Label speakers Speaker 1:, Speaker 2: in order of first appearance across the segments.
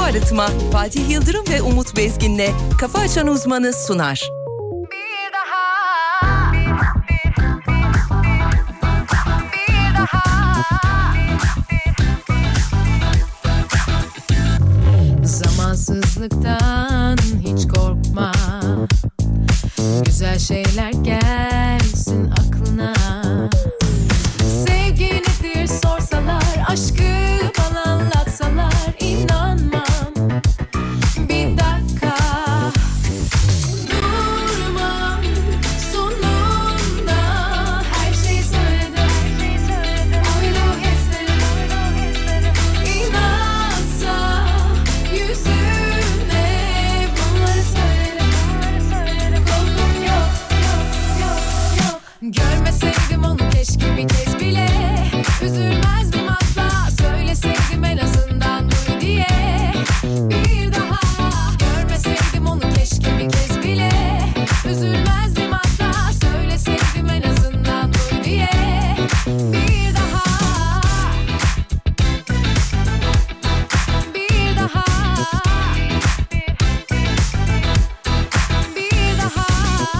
Speaker 1: Arıtma Fatih Yıldırım ve Umut Bezgin'le Kafa Açan Uzmanı sunar.
Speaker 2: Bir daha, bir daha.
Speaker 3: Zamansızlıktan hiç korkma Güzel şeyler gelsin aklına Sevgi nedir sorsalar Aşkı bana anlatsalar inanmam Bir dakika Durmam Sonunda her şeyi söyledim Oyunu İnansa yüzüne bunları söylerim Korkum yok, yok, yok, yok Görmeseydim onu keşke bir kez bile Üzülmezdim asla Söyleseydim en azından bunu diye Bir daha Görmeseydim onu keşke bir kez bile Üzülmezdim asla Söyleseydim en azından bunu diye Bir daha bir daha bir daha bir daha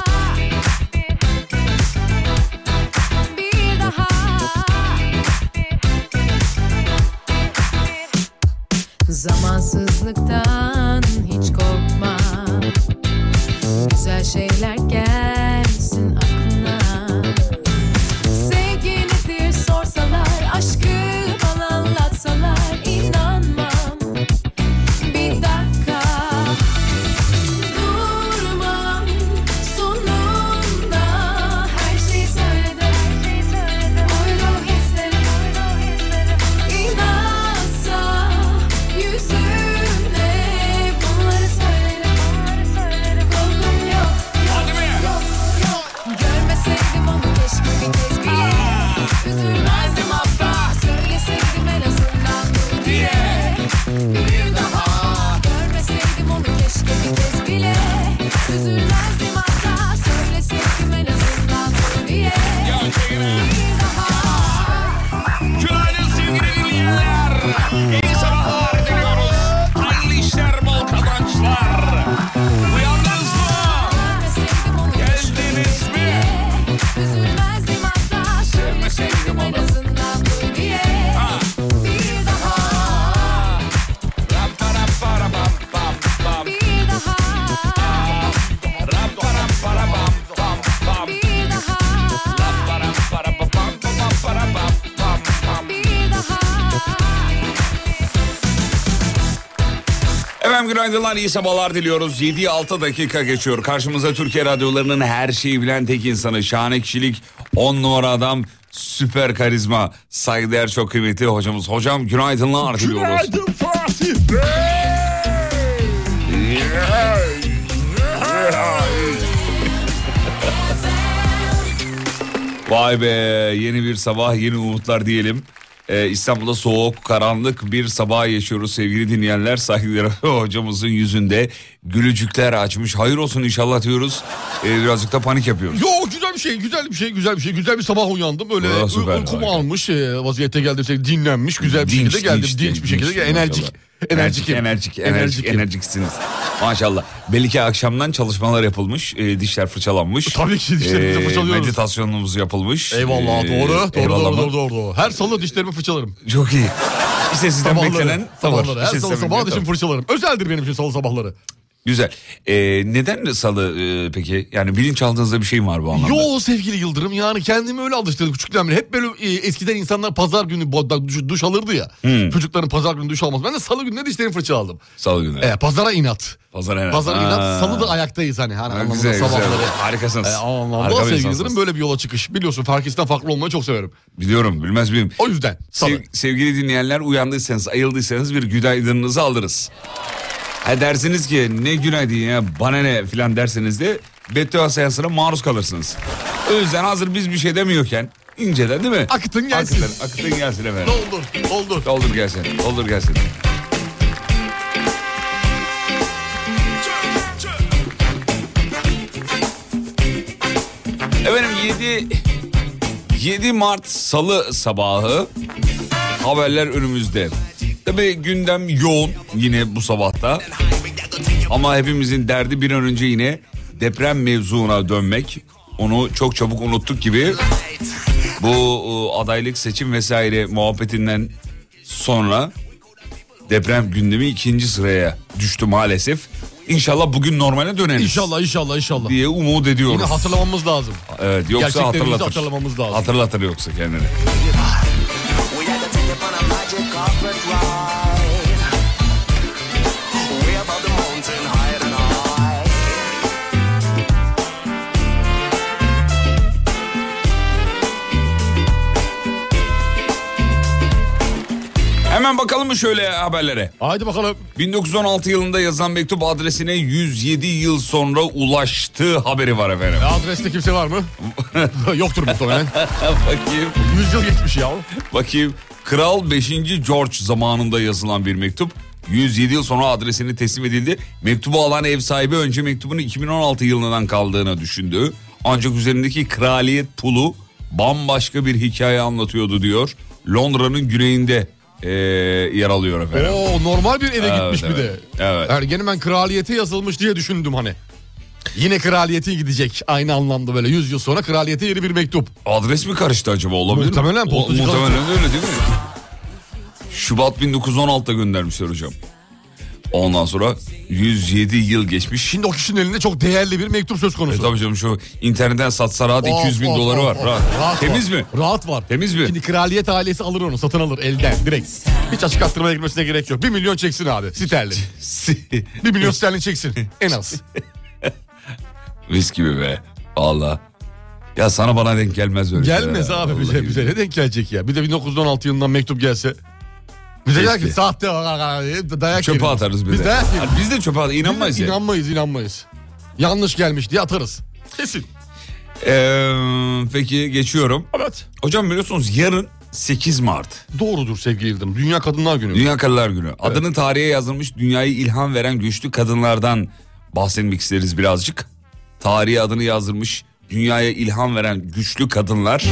Speaker 3: zamansızlıktan hiç korkma güzel şeyler gelsin aklına Sevgi nedir sorsalar Aşkı bana anlatsalar inanmam Bir dakika Durmam Sonunda her şeyi söyledim Oyunu hislerim İnansa yüzüne bunları söylerim Korkum yok yok yok Görmeseydim onu keşke bir kez bile Üzülmezdim asla Söyleseydim en azından bunu diye Bir daha Görmeseydim onu keşke bir kez bile Üzülmezdim asla Söyleseydim en azından bunu diye Bir daha
Speaker 4: Günaydın sevgili dinleyenler. İyi sabahlar diliyoruz. Hayırlı işler, bol kazançlar. Uyandınız mı?
Speaker 3: Görmeseydim onu keşke bir
Speaker 4: Geldiniz
Speaker 3: kez
Speaker 4: mi?
Speaker 3: bile Üzülmezdim asla Söyleseydim en azından bunu diye Bir daha
Speaker 4: Ram param param bam bam bam.
Speaker 3: Bir daha,
Speaker 4: Ram param param bam bam bam.
Speaker 3: bir daha,
Speaker 4: Ram param param bam bam bam param bam bam bam.
Speaker 3: bir daha.
Speaker 4: Efendim günaydınlar, iyi sabahlar diliyoruz. 7'ye 6 dakika geçiyor. Karşımıza Türkiye radyolarının her şeyi bilen tek insanı. Şahane kişilik, 10 numara adam, süper karizma, saygıdeğer çok kıymetli hocamız. Hocam günaydınlar diliyoruz.
Speaker 5: Günaydın Fatih Bey.
Speaker 4: Vay be yeni bir sabah yeni umutlar diyelim. Ee, İstanbul'da soğuk karanlık bir sabah yaşıyoruz sevgili dinleyenler. Saygıdeğer hocamızın yüzünde gülücükler açmış. Hayır olsun inşallah diyoruz. Ee, birazcık da panik yapıyoruz.
Speaker 5: Yo güzel bir şey, güzel bir şey, güzel bir şey. Güzel bir sabah uyandım. Böyle
Speaker 4: Aa,
Speaker 5: uy-
Speaker 4: süper,
Speaker 5: uykumu
Speaker 4: harika.
Speaker 5: almış, e, vaziyette geldim. şey Dinlenmiş, güzel bir
Speaker 4: Dinç,
Speaker 5: şekilde geldim.
Speaker 4: dinç,
Speaker 5: Dinç,
Speaker 4: dinç,
Speaker 5: bir şekilde
Speaker 4: dinç,
Speaker 5: enerjik.
Speaker 4: maşallah.
Speaker 5: Enerjik,
Speaker 4: enerjik, enerjik, enerjiksiniz. Maşallah. Belli ki akşamdan çalışmalar yapılmış, e, dişler fırçalanmış. E,
Speaker 5: Tabii ki dişlerimizi fırçalıyoruz.
Speaker 4: Meditasyonumuz yapılmış.
Speaker 5: Eyvallah
Speaker 4: E,
Speaker 5: doğru, doğru,
Speaker 4: eyvallah
Speaker 5: doğru,
Speaker 4: mı?
Speaker 5: doğru, doğru, doğru. Her salı dişlerimi fırçalarım.
Speaker 4: Çok iyi. İşte sizden beklenen tavır.
Speaker 5: sabahları. Her
Speaker 4: İşte
Speaker 5: salı
Speaker 4: sizden
Speaker 5: sabah
Speaker 4: beklenen
Speaker 5: dişimi
Speaker 4: tavır.
Speaker 5: fırçalarım. Özeldir benim için salı sabahları.
Speaker 4: Güzel. E, neden salı e, peki? Yani bilinçaltınızda bir şey mi var bu anlamda?
Speaker 5: Yo sevgili Yıldırım yani kendimi öyle alıştırdım küçükten beri. Hep böyle e, eskiden insanlar pazar günü bo- duş, duş alırdı ya. Çocukların pazar günü duş almaz. Ben de salı günleri dişlerimi fırça aldım.
Speaker 4: Hmm. Salı günü.
Speaker 5: E, pazara inat.
Speaker 4: Pazar en
Speaker 5: Pazar
Speaker 4: Aa.
Speaker 5: inat salı da ayaktayız hani. hani
Speaker 4: Ha,
Speaker 5: anlamında
Speaker 4: güzel, güzel.
Speaker 5: sabahları.
Speaker 4: Harikasınız.
Speaker 5: E, o anlamda
Speaker 4: Harika bir
Speaker 5: sevgili
Speaker 4: insansınız.
Speaker 5: Yıldırım böyle bir yola çıkış. Biliyorsun Farkistan farklı olmayı çok severim.
Speaker 4: Biliyorum bilmez miyim?
Speaker 5: O yüzden salı.
Speaker 4: Sev- sevgili dinleyenler uyandıysanız, ayıldıysanız bir günaydınınızı alırız. Ha dersiniz ki ne günaydın ya bana ne filan derseniz de beddua seansına maruz kalırsınız. O yüzden hazır biz bir şey demiyorken inceden değil mi?
Speaker 5: Akıtın gelsin.
Speaker 4: Akıtın, akıtın gelsin efendim.
Speaker 5: Doldur, doldur.
Speaker 4: Doldur gelsin, doldur gelsin. Efendim 7 7 Mart Salı sabahı haberler önümüzde. Tabii gündem yoğun yine bu sabahta. Ama hepimizin derdi bir an önce yine deprem mevzuna dönmek. Onu çok çabuk unuttuk gibi. Bu e, adaylık seçim vesaire muhabbetinden sonra deprem gündemi ikinci sıraya düştü maalesef. İnşallah bugün normale döneriz.
Speaker 5: İnşallah inşallah inşallah.
Speaker 4: diye umut ediyoruz.
Speaker 5: Yine hatırlamamız lazım.
Speaker 4: Evet yoksa
Speaker 5: Gerçeklerimizi
Speaker 4: hatırlatır.
Speaker 5: hatırlamamız lazım.
Speaker 4: Hatırlatır yoksa kendini.
Speaker 6: We had to take it on a magic carpet ride. Way above the mountain, higher than high.
Speaker 4: Hemen bakalım mı şöyle haberlere?
Speaker 5: Haydi bakalım.
Speaker 4: 1916 yılında yazan mektup adresine 107 yıl sonra ulaştı haberi var efendim.
Speaker 5: E, Adreste kimse var mı? Yoktur muhtemelen.
Speaker 4: bakayım,
Speaker 5: 100 yıl geçmiş ya.
Speaker 4: bakayım. Kral 5. George zamanında yazılan bir mektup. 107 yıl sonra adresine teslim edildi. Mektubu alan ev sahibi önce mektubun 2016 yılından kaldığını düşündü. Ancak üzerindeki kraliyet pulu bambaşka bir hikaye anlatıyordu diyor. Londra'nın güneyinde eee, yer alıyor efendim.
Speaker 5: Oo normal bir eve
Speaker 4: Evet,
Speaker 5: gitmiş bir de.
Speaker 4: evet. Evet.
Speaker 5: Ergeni ben kraliyete yazılmış diye düşündüm hani. Yine kraliyete gidecek aynı anlamda böyle 100 yıl sonra kraliyete yeni bir mektup.
Speaker 4: Adres mi karıştı acaba olabilir
Speaker 5: Muhtemelen
Speaker 4: mi?
Speaker 5: postacı
Speaker 4: O- Muhtemelen öyle değil mi? Şubat 1916'da göndermişler hocam. Ondan sonra 107 yıl geçmiş. Şimdi
Speaker 5: Şimdi o kişinin elinde çok değerli bir mektup söz konusu.
Speaker 4: tabii canım şu internetten satsa rahat 200 bin
Speaker 5: Of, of,
Speaker 4: doları
Speaker 5: of,
Speaker 4: var.
Speaker 5: of.
Speaker 4: rahat.
Speaker 5: Rahat
Speaker 4: Temiz
Speaker 5: var.
Speaker 4: mi?
Speaker 5: Rahat var.
Speaker 4: Temiz mi?
Speaker 5: Şimdi kraliyet ailesi alır onu satın alır elden direkt. Hiç açık arttırmaya girmesine gerek yok. 1 milyon çeksin abi sterlin. 1 milyon sterlin çeksin en az.
Speaker 4: Risk gibi be. Valla. Ya sana bana denk gelmez öyle.
Speaker 5: Gelmez
Speaker 4: şeyler.
Speaker 5: abi
Speaker 4: Vallahi
Speaker 5: bize, bize ne denk gelecek ya. Bir de 1916 yılından mektup gelse. Bize der ki
Speaker 4: Keşke.
Speaker 5: sahte e, dayak
Speaker 4: Çöpe
Speaker 5: yeriz.
Speaker 4: atarız bir
Speaker 5: Biz
Speaker 4: de.
Speaker 5: dayak yeriz.
Speaker 4: Ha, Biz de çöpe atarız. İnanmayız
Speaker 5: Biz
Speaker 4: ya.
Speaker 5: İnanmayız inanmayız. Yanlış gelmiş diye atarız. Kesin.
Speaker 4: Ee, peki geçiyorum.
Speaker 5: Evet.
Speaker 4: Hocam biliyorsunuz yarın 8 Mart.
Speaker 5: Doğrudur sevgili Yıldırım. Dünya Kadınlar Günü.
Speaker 4: Dünya Kadınlar Günü. Adını tarihe yazılmış dünyayı ilham veren güçlü kadınlardan bahsetmek isteriz birazcık. Tarihe adını yazdırmış dünyaya ilham veren güçlü kadınlar.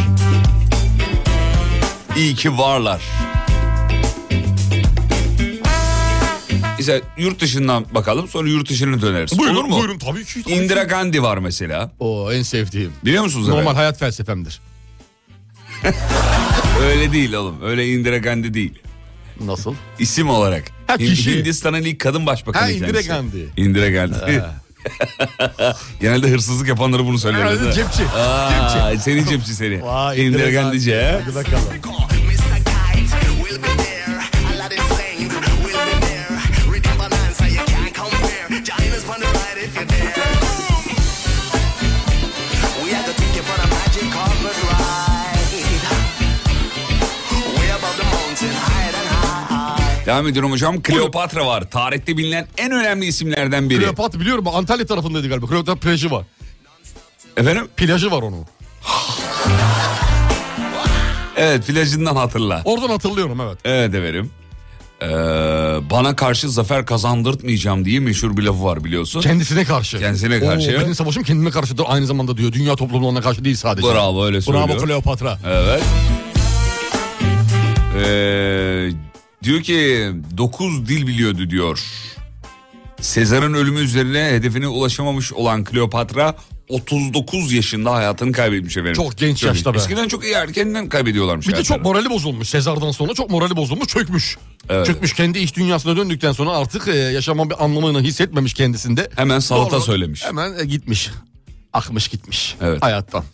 Speaker 4: İyi ki varlar. Mesela yurt dışından bakalım sonra yurt dışına döneriz.
Speaker 5: Buyurun,
Speaker 4: Olur mu?
Speaker 5: Buyurun tabii ki. tabii
Speaker 4: Indira
Speaker 5: ki.
Speaker 4: Gandhi var mesela.
Speaker 5: Oo, en sevdiğim.
Speaker 4: Biliyor musunuz?
Speaker 5: Normal
Speaker 4: efendim?
Speaker 5: hayat felsefemdir.
Speaker 4: Öyle değil oğlum. Öyle Indira Gandhi değil.
Speaker 5: Nasıl?
Speaker 4: İsim olarak.
Speaker 5: Ha,
Speaker 4: Hin-
Speaker 5: kişi.
Speaker 4: Hindistan'ın ilk kadın başbakanı.
Speaker 5: Ha, Indira
Speaker 4: kendisi.
Speaker 5: Gandhi.
Speaker 4: Indira Gandhi. Genelde hırsızlık yapanları bunu söylüyorlar.
Speaker 5: Herhalde
Speaker 4: değil mi?
Speaker 5: cepçi.
Speaker 4: Aa,
Speaker 5: Cepçi.
Speaker 4: Senin cepçi seni.
Speaker 5: Vay,
Speaker 4: Indira
Speaker 5: Indira
Speaker 4: Gandhi'ci
Speaker 5: Gandhi.
Speaker 4: ha?
Speaker 5: Hadi bakalım.
Speaker 6: Mr. Kite will be there. Aladdin Sane will be there. Reading Bonanza, you can't compare. Join us on the ride if you're there. We had to take you for a magic carpet ride. Way above the mountain, higher than high.
Speaker 4: Devam ediyorum hocam. Kleopatra var. Tarihte bilinen en önemli isimlerden biri.
Speaker 5: Kleopatra biliyorum Antalya tarafındaydı galiba. Kleopatra plajı var.
Speaker 4: Efendim?
Speaker 5: Plajı var onun.
Speaker 4: Evet plajından hatırla.
Speaker 5: Oradan hatırlıyorum evet.
Speaker 4: Evet efendim. Ee, bana karşı zafer kazandırtmayacağım diye meşhur bir lafı var biliyorsun.
Speaker 5: Kendisine karşı.
Speaker 4: Kendisine karşı,
Speaker 5: Oo,
Speaker 4: evet.
Speaker 5: Benim savaşım kendime karşıdır aynı zamanda diyor. Dünya toplumlarına karşı değil sadece.
Speaker 4: Bravo öyle söylüyor.
Speaker 5: Bravo Kleopatra.
Speaker 4: Evet. Ee, diyor ki 9 dil biliyordu diyor. Sezar'ın ölümü üzerine hedefine ulaşamamış olan Kleopatra 39 yaşında hayatını kaybetmiş efendim.
Speaker 5: Çok genç yaşta be.
Speaker 4: Eskiden çok iyi erkenden kaybediyorlarmış.
Speaker 5: Bir de çok
Speaker 4: hayatlarını.
Speaker 5: morali bozulmuş. Sezar'dan sonra çok morali bozulmuş çökmüş. Çökmüş kendi iş dünyasına döndükten sonra artık e, yaşamın bir anlamını hissetmemiş kendisinde.
Speaker 4: Hemen salata
Speaker 5: Doğru.
Speaker 4: söylemiş.
Speaker 5: Hemen e, gitmiş. Akmış gitmiş
Speaker 4: Evet.
Speaker 5: hayattan.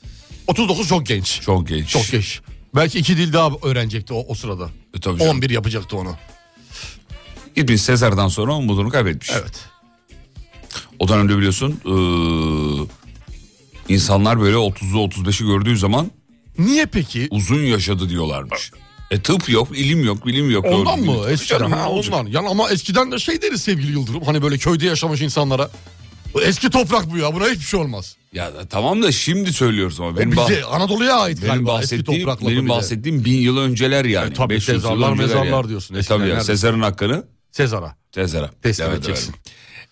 Speaker 5: 39 çok genç.
Speaker 4: Çok genç.
Speaker 5: Çok genç. Belki iki dil daha öğrenecekti o, o sırada.
Speaker 4: E, tabii canım.
Speaker 5: 11 yapacaktı onu.
Speaker 4: Gitmiş Sezar'dan sonra umudunu kaybetmiş.
Speaker 5: Evet.
Speaker 4: O dönemde biliyorsun ee, insanlar böyle 30'u 35'i gördüğü zaman
Speaker 5: Niye peki?
Speaker 4: uzun yaşadı diyorlarmış. E tıp yok, ilim yok, bilim yok.
Speaker 5: Ondan
Speaker 4: Doğru.
Speaker 5: mı? Eskiden
Speaker 4: Canım,
Speaker 5: ha,
Speaker 4: ne olacak?
Speaker 5: ondan. Yani ama eskiden de şey deriz sevgili Yıldırım. Hani böyle köyde yaşamış insanlara. "Bu Eski toprak bu ya buna hiçbir şey olmaz.
Speaker 4: Ya da tamam da şimdi söylüyoruz ama benim,
Speaker 5: Bize
Speaker 4: bah-
Speaker 5: Anadolu'ya ait
Speaker 4: benim
Speaker 5: galiba eski
Speaker 4: bahsettiğim
Speaker 5: toprakla.
Speaker 4: benim
Speaker 5: bir de.
Speaker 4: bahsettiğim bin yıl önceler yani.
Speaker 5: E, tabii,
Speaker 4: 500 yıl
Speaker 5: Sezarlar,
Speaker 4: önceler
Speaker 5: mezarlar
Speaker 4: yani.
Speaker 5: diyorsun.
Speaker 4: E,
Speaker 5: Eskiden
Speaker 4: tabii ya
Speaker 5: neredeyse.
Speaker 4: Sezar'ın hakkını
Speaker 5: Sezar'a.
Speaker 4: Sezar'a.
Speaker 5: Teslim
Speaker 4: Evet,
Speaker 5: edeceksin.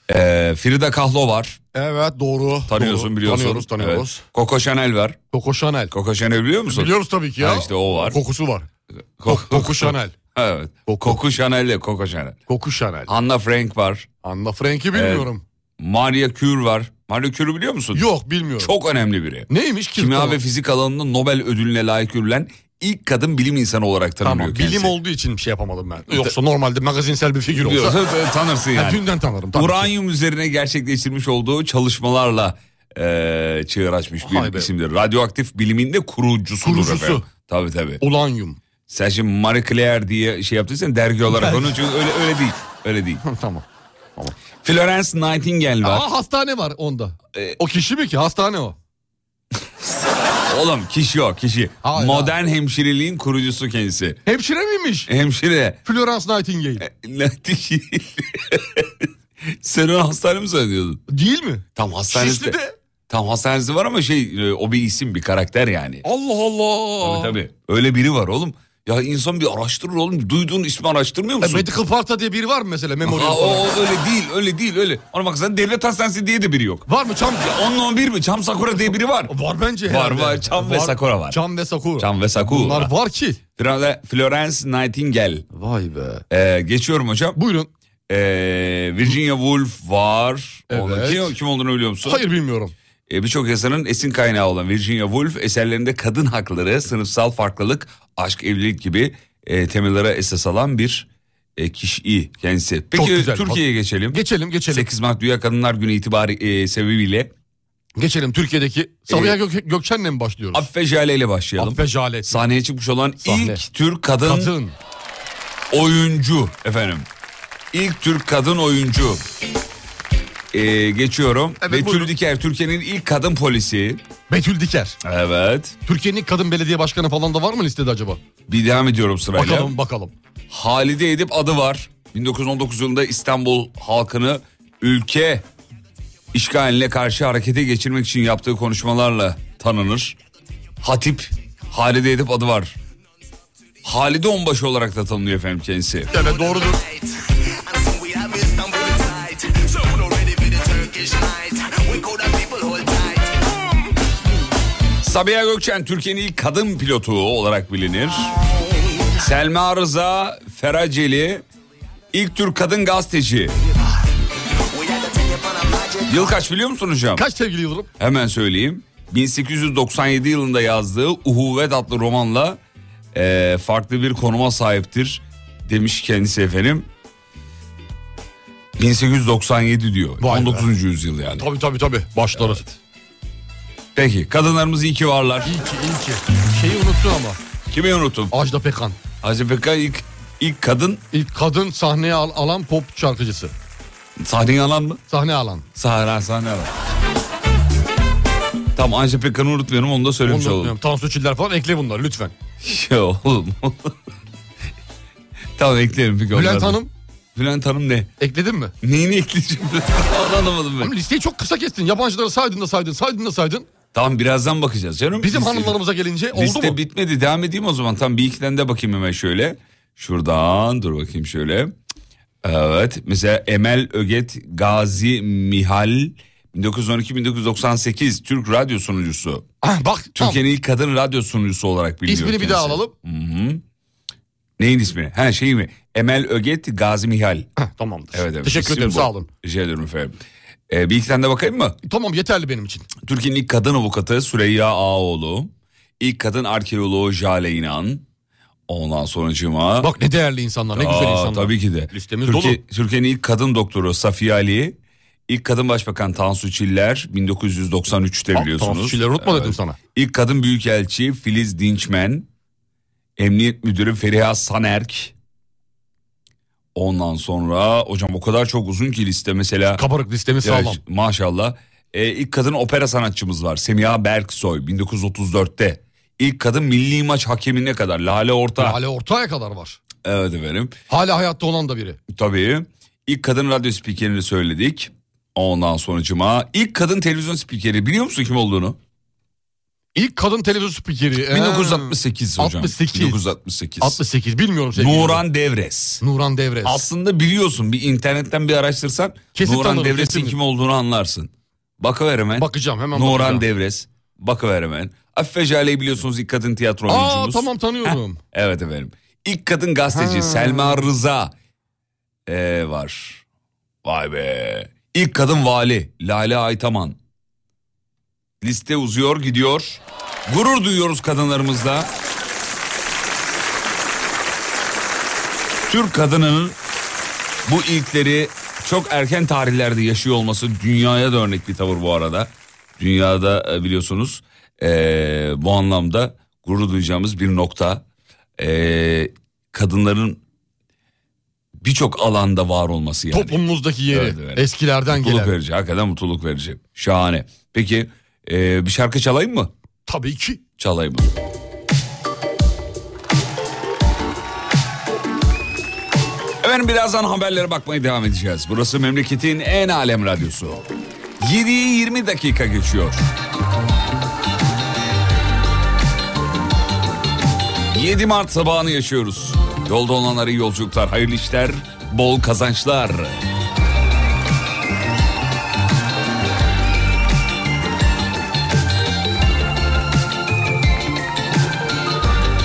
Speaker 4: evet. E, Frida Kahlo var.
Speaker 5: Evet doğru.
Speaker 4: Tanıyorsun
Speaker 5: Doğru.
Speaker 4: biliyorsun.
Speaker 5: Tanıyoruz tanıyoruz.
Speaker 4: Evet. Coco Chanel var.
Speaker 5: Coco Chanel.
Speaker 4: Coco Chanel biliyor musun?
Speaker 5: Biliyoruz tabii ki ya.
Speaker 4: Ha, işte o var.
Speaker 5: Kokusu var.
Speaker 4: Coco-
Speaker 5: Coco Chanel.
Speaker 4: Evet.
Speaker 5: Coco.
Speaker 4: Coco Chanel de Coco Chanel.
Speaker 5: Koku Chanel.
Speaker 4: Anna Frank var.
Speaker 5: Anna Frank'i bilmiyorum.
Speaker 4: Maria Curie var. Maria Curie'ü biliyor musun?
Speaker 5: Yok bilmiyorum.
Speaker 4: Çok önemli biri.
Speaker 5: Neymiş ki?
Speaker 4: Kimya
Speaker 5: Tamam.
Speaker 4: ve fizik alanında Nobel ödülüne layık görülen ilk kadın bilim insanı olarak tanınıyor
Speaker 5: Tamam
Speaker 4: kendisi.
Speaker 5: bilim olduğu için bir şey yapamadım ben. Yoksa normalde magazinsel bir figür olsa.
Speaker 4: Biliyorsun, t- tanırsın
Speaker 5: Ha,
Speaker 4: yani.
Speaker 5: Dünden tanırım. tabii ki.
Speaker 4: Uranyum üzerine gerçekleştirmiş olduğu çalışmalarla eee çığır açmış bir
Speaker 5: Hay be.
Speaker 4: isimdir. Radyoaktif bilimin de kurucusudur
Speaker 5: Kurucusu.
Speaker 4: efendim. Tabii tabii.
Speaker 5: Ulanyum.
Speaker 4: Sen şimdi Marie Claire diye şey yaptıysan dergi olarak onun için öyle, öyle değil. Öyle değil.
Speaker 5: tamam. Ah!
Speaker 4: Florence Nightingale var. E,
Speaker 5: Aa hastane var onda. o kişi mi ki? Hastane o.
Speaker 4: Oğlum kişi o kişi.
Speaker 5: Hayır,
Speaker 4: Modern hemşireliğin kurucusu kendisi.
Speaker 5: Hemşire miymiş?
Speaker 4: Hemşire.
Speaker 5: Florence Nightingale.
Speaker 4: E, Nightingale. Sen onu hastane mi zannediyordun?
Speaker 5: Değil mi?
Speaker 4: Tam hastanesi de.
Speaker 5: Şişli'de.
Speaker 4: Tam hastanesi var ama şey e, o bir isim bir karakter yani.
Speaker 5: Allah Allah.
Speaker 4: Tabii tabii. Öyle biri var oğlum. Ya insan bir araştırır oğlum. Duyduğun ismi araştırmıyor
Speaker 5: E,
Speaker 4: musun?
Speaker 5: Medical Farta diye biri var mı mesela memorial
Speaker 4: Aa, o,
Speaker 5: falan?
Speaker 4: o öyle değil öyle değil öyle. Ona baksana devlet hastanesi diye de biri yok.
Speaker 5: Var mı Çam?
Speaker 4: Onunla on bir mi? Çam Sakura diye biri var.
Speaker 5: Var
Speaker 4: Var,
Speaker 5: bence herhalde.
Speaker 4: var. Çam ve Sakura var.
Speaker 5: Çam ve Sakura.
Speaker 4: Çam ve Sakura.
Speaker 5: Bunlar var ki.
Speaker 4: Flore- Florence Nightingale.
Speaker 5: Vay be.
Speaker 4: Ee, geçiyorum hocam.
Speaker 5: Buyurun.
Speaker 4: Ee, Virginia Woolf var.
Speaker 5: Evet.
Speaker 4: Onu- Kim, kim olduğunu biliyor musun?
Speaker 5: Hayır bilmiyorum.
Speaker 4: Ee, Birçok yazarın esin kaynağı olan Virginia Woolf eserlerinde kadın hakları, sınıfsal farklılık, aşk, evlilik gibi e, temellere esas alan bir e, kişi kendisi. Peki
Speaker 5: güzel.
Speaker 4: Türkiye'ye geçelim.
Speaker 5: Geçelim geçelim.
Speaker 4: 8 Mart Dünya Kadınlar Günü itibari e, sebebiyle E,
Speaker 5: Geçelim Türkiye'deki.
Speaker 4: Ee,
Speaker 5: Sabiha Gök- Gökçen'le mi başlıyoruz?
Speaker 4: Affe Jale ile başlayalım.
Speaker 5: Affe Jale.
Speaker 4: Sahneye çıkmış olan
Speaker 5: Sahne.
Speaker 4: ilk Türk kadın,
Speaker 5: Kadın.
Speaker 4: oyuncu efendim. İlk Türk kadın oyuncu. E, geçiyorum.
Speaker 5: Evet,
Speaker 4: Betül
Speaker 5: buyurun.
Speaker 4: Diker Türkiye'nin ilk kadın polisi.
Speaker 5: Betül Diker.
Speaker 4: Evet.
Speaker 5: Türkiye'nin ilk kadın belediye başkanı falan da var mı listede acaba?
Speaker 4: Bir devam ediyorum sırayla.
Speaker 5: Bakalım bakalım.
Speaker 4: Halide Edip adı var. 1919 yılında İstanbul halkını ülke işgaline karşı harekete geçirmek için yaptığı konuşmalarla tanınır. Hatip Halide Edip adı var. Halide Onbaşı olarak da tanınıyor efendim kendisi.
Speaker 5: Evet doğrudur.
Speaker 6: And so we have Istanbul inside. So we're ready for the Turkish night. We call the people hold tight.
Speaker 4: Sabiha Gökçen Türkiye'nin ilk kadın pilotu olarak bilinir. Selma Rıza Feraceli ilk Türk kadın gazeteci.
Speaker 6: We had to take it on a magic
Speaker 4: Yıl kaç biliyor musun hocam?
Speaker 5: Kaç sevgili Yıldırım?
Speaker 4: Hemen söyleyeyim. 1897 yılında yazdığı Uhuvvet adlı romanla eee, farklı bir konuma sahiptir demiş kendisi efendim. 1897 diyor.
Speaker 5: Vay be.
Speaker 4: 19. yüzyıl yani.
Speaker 5: Tabii tabii tabii. Başları.
Speaker 4: Peki kadınlarımız iyi ki varlar.
Speaker 5: İyi ki iyi ki. Şeyi unuttun ama.
Speaker 4: Kimi unuttum?
Speaker 5: Ajda Pekan.
Speaker 4: Hacı Pekka ilk, ilk kadın
Speaker 5: İlk kadın sahneye al- alan pop şarkıcısı.
Speaker 4: sahneye alan mı?
Speaker 5: Sahne alan.
Speaker 4: Sahra sahne alan. Tamam Ajda Pekkan'ı unutmuyorum onu da
Speaker 5: Onu
Speaker 4: söylemiş oldum.
Speaker 5: unutmayalım. Tansu Çiller falan ekle bunları lütfen.
Speaker 4: Ya oğlum. tamam eklerim bir
Speaker 5: Bülent Hanım
Speaker 4: Bülent Hanım ne?
Speaker 5: ekledin mi?
Speaker 4: Neyini ekleyeceğim? Onu anlamadım
Speaker 5: Ama
Speaker 4: ben.
Speaker 5: listeyi çok kısa kestin. Yabancıları saydın da saydın, saydın da saydın.
Speaker 4: Tamam birazdan bakacağız canım.
Speaker 5: Bizim
Speaker 4: Liste-
Speaker 5: hanımlarımıza gelince oldu
Speaker 4: Liste
Speaker 5: mu?
Speaker 4: bitmedi devam edeyim o zaman. Tam bir ikiden de bakayım hemen şöyle. Şuradan dur bakayım şöyle. Evet mesela Emel Öget Gazi Mihal 1912-1998 Türk radyo sunucusu.
Speaker 5: Ah, bak tamam.
Speaker 4: Türkiye'nin ilk kadın radyo sunucusu olarak biliniyor.
Speaker 5: İsmini bir daha
Speaker 4: kendisi.
Speaker 5: alalım.
Speaker 4: Neyin ismi? Ha şey mi? Emel Öget Gazi Mihal.
Speaker 5: Heh, tamamdır.
Speaker 4: Evet, evet.
Speaker 5: Teşekkür
Speaker 4: İsim
Speaker 5: ederim
Speaker 4: bu.
Speaker 5: sağ olun.
Speaker 4: Rica ederim efendim. Ee, bir iki tane de bakayım mı?
Speaker 5: Tamam yeterli benim için.
Speaker 4: Türkiye'nin ilk kadın avukatı Süreyya Ağoğlu. İlk kadın arkeoloğu Jale İnan. Ondan sonucuma...
Speaker 5: Bak ne değerli insanlar, ne güzel insanlar.
Speaker 4: Tabii ki de.
Speaker 5: Listemiz
Speaker 4: Türkiye-
Speaker 5: dolu.
Speaker 4: Türkiye'nin ilk kadın doktoru Safiye Ali. İlk kadın başbakan Tansu Çiller 1993'te biliyorsunuz.
Speaker 5: Tansu Çiller'i unutma dedim
Speaker 4: Evet.
Speaker 5: sana.
Speaker 4: İlk kadın büyükelçi Filiz Dinçmen. Emniyet müdürü Feriha Sanerk. Ondan sonra hocam o kadar çok uzun ki liste mesela.
Speaker 5: Kabarık listemiz
Speaker 4: Evet,
Speaker 5: sağlam.
Speaker 4: maşallah. Ee, ilk kadın opera sanatçımız var. Semiha Berksoy 1934'te. İlk kadın milli maç hakemine kadar Lale Orta.
Speaker 5: Hala ortaya kadar var.
Speaker 4: Evet efendim.
Speaker 5: Hala hayatta olan da biri.
Speaker 4: Tabii. İlk kadın radyo spikerini söyledik. Ondan sonucuma ilk kadın televizyon spikeri biliyor musun kim olduğunu?
Speaker 5: İlk kadın televizyon spikeri. ee,
Speaker 4: 1968 hocam.
Speaker 5: 68.
Speaker 4: 1968.
Speaker 5: 68 bilmiyorum sevgili Yıldırım.
Speaker 4: Nuran Devres.
Speaker 5: Nuran Devres.
Speaker 4: Aslında biliyorsun bir internetten bir araştırsan
Speaker 5: Kesin
Speaker 4: Nuran
Speaker 5: tanırım,
Speaker 4: Devres'in
Speaker 5: kesin.
Speaker 4: kim olduğunu anlarsın. Bakıver hemen.
Speaker 5: Bakacağım hemen
Speaker 4: Nuran
Speaker 5: bakacağım.
Speaker 4: Devres. Bakıver hemen. Afife Jale'yi biliyorsunuz ilk kadın tiyatro
Speaker 5: Aa
Speaker 4: oyuncumuz.
Speaker 5: tamam tanıyorum.
Speaker 4: Evet efendim. İlk kadın gazeteci Selma Rıza ee, var. Vay be. İlk kadın vali Lale Aytaman. Liste uzuyor gidiyor. Gurur duyuyoruz kadınlarımızla. Türk kadınının bu ilkleri çok erken tarihlerde yaşıyor olması dünyaya da örnek bir tavır bu arada. Dünyada e, biliyorsunuz e, bu anlamda gurur duyacağımız bir nokta. E, kadınların birçok alanda var olması yani.
Speaker 5: Toplumumuzdaki yeri.
Speaker 4: Evet, evet.
Speaker 5: Eskilerden
Speaker 4: mutluluk
Speaker 5: gelen.
Speaker 4: verici hakikaten mutluluk verici. Şahane. Peki e, bir şarkı çalayım mı?
Speaker 5: Tabii ki.
Speaker 4: Çalayım mı? Efendim birazdan haberlere bakmaya devam edeceğiz. Burası memleketin en alem radyosu. 7'yi 20 dakika geçiyor. 7 Mart sabahını yaşıyoruz. Yolda olanlara iyi yolculuklar, hayırlı işler, bol kazançlar.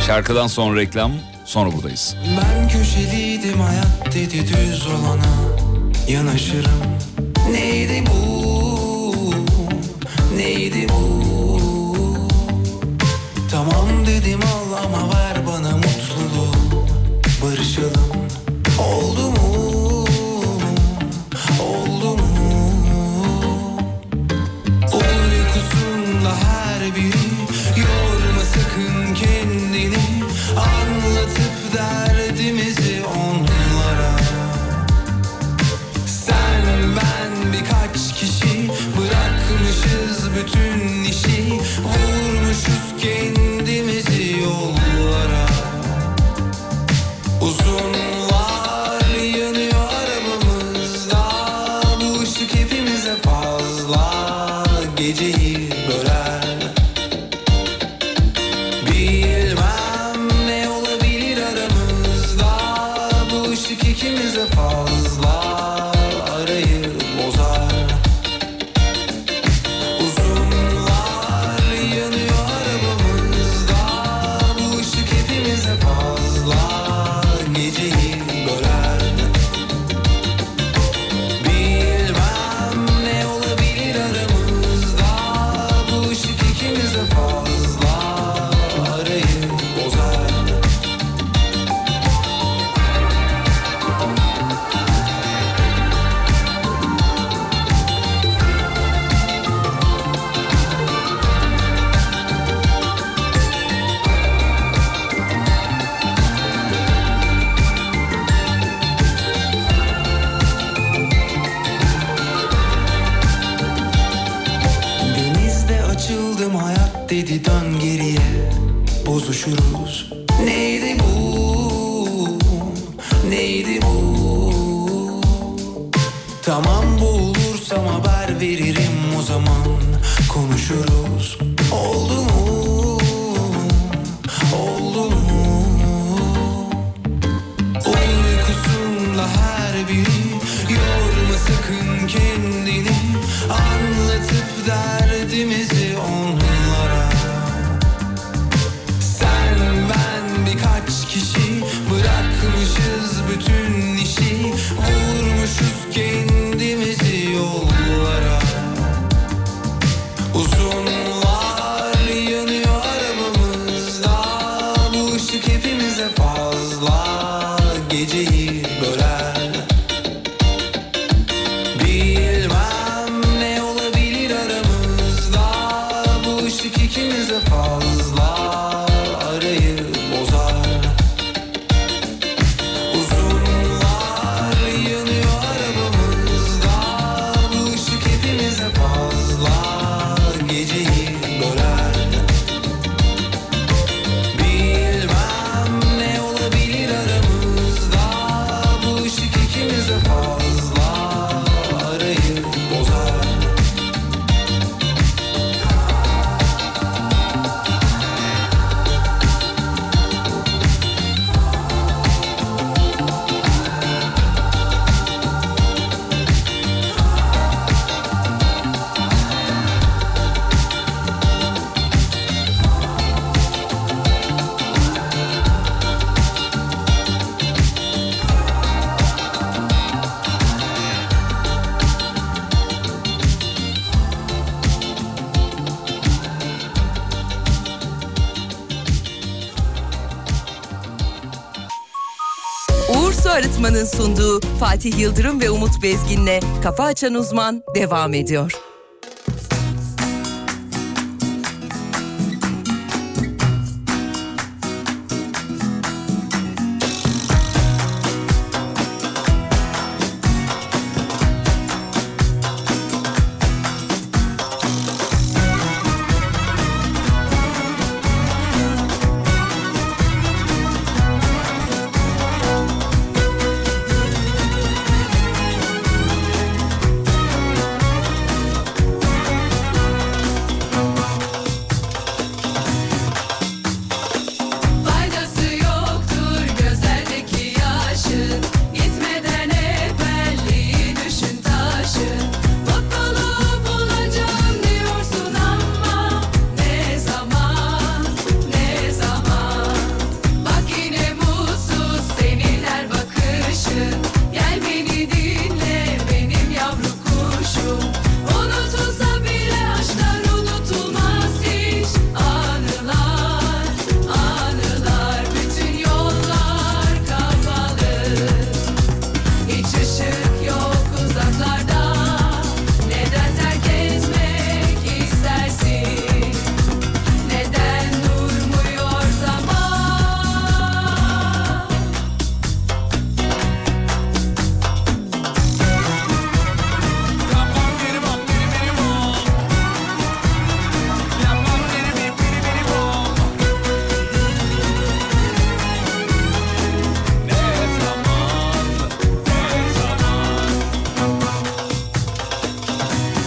Speaker 4: Şarkıdan sonra reklam, sonra buradayız.
Speaker 7: Ben köşeliydim hayat dedi düz olana Yanaşırım Neydi bu Neydi bu Tamam dedim al ama ver bana mutluluğu Barışalım Oldu mu Oldu mu Uykusunda her biri Yorma sakın kendini Anlatıp derdimizi onlara Sen ben birkaç kişi Bırakmışız bütün işi Vurmuşuz kendimizi yollara Uzunlar yanıyor arabamızda Bu ışık hepimize fazla Geceyi böler Bilmem ne olabilir aramızda Bu ışık ikimize fazla Arayı bozar Uzunlar yanıyor arabamızda Bu ışık hepimize fazla Geceyi böler Bilmem ne olabilir aramızda Bu ışık ikimize fazla Arayı bozar Denizde açıldım hayat dedi dön geriye Bozuşuruz Neydi bu Neydi bu Tamam boğulursam haber veririm o zaman Konuşuruz Oldu mu Oldu mu Uykusunda her biri Yorma sakın kendini Anlatıp derdimizi onlara Sen ben birkaç kişi Bırakmışız bütün işi Vurmuşuz kendimizi yollara Uzunlar yanıyor arabamızda Bu ışık hepimize fazla Geceyi böler Bilmem ne olabilir aramızda Bu ışık ikimize fazla Arayı bozar Uzunlar yanıyor
Speaker 1: Arıtma'nın sunduğu Fatih Yıldırım ve Umut Bezgin'le Kafa Açan Uzman devam ediyor.
Speaker 8: Faydası yoktur gözlerdeki yaşın Gitmeden evvelliği düşün taşın Mutluluk bulacağım diyorsun ama Ne zaman, ne zaman Bak yine mutsuz seninler bakışın Gel beni dinle benim yavru kuşum Unutulsa bile aşklar unutulmaz hiç Anılar, anılar Bütün yollar kapalı Hiç ışık yok uzaklarda Neden terk etmek istersin neden durmuyor zaman?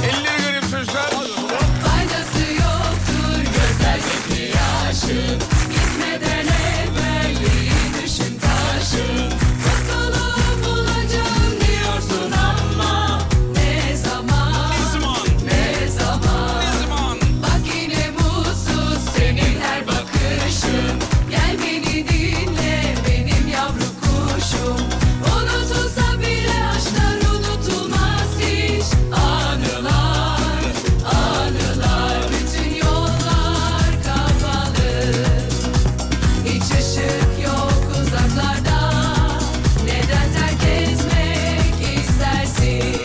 Speaker 4: Elleri göreyim çocuklar.
Speaker 8: Faydası yoktur gözlerdeki yaşın Gitmeden evvelliği düşün taşın Mutluluğu bulacağım diyorsun ama Ne zaman, ne zaman Bak yine mutsuz senin her bakışın Gel beni dinle benim yavru kuşum Unutulsa bile aşklar unutulmaz hiç Anılar, anılar Bütün yollar kapalı Hiç ışık yok uzaklarda Neden terk etmek istersin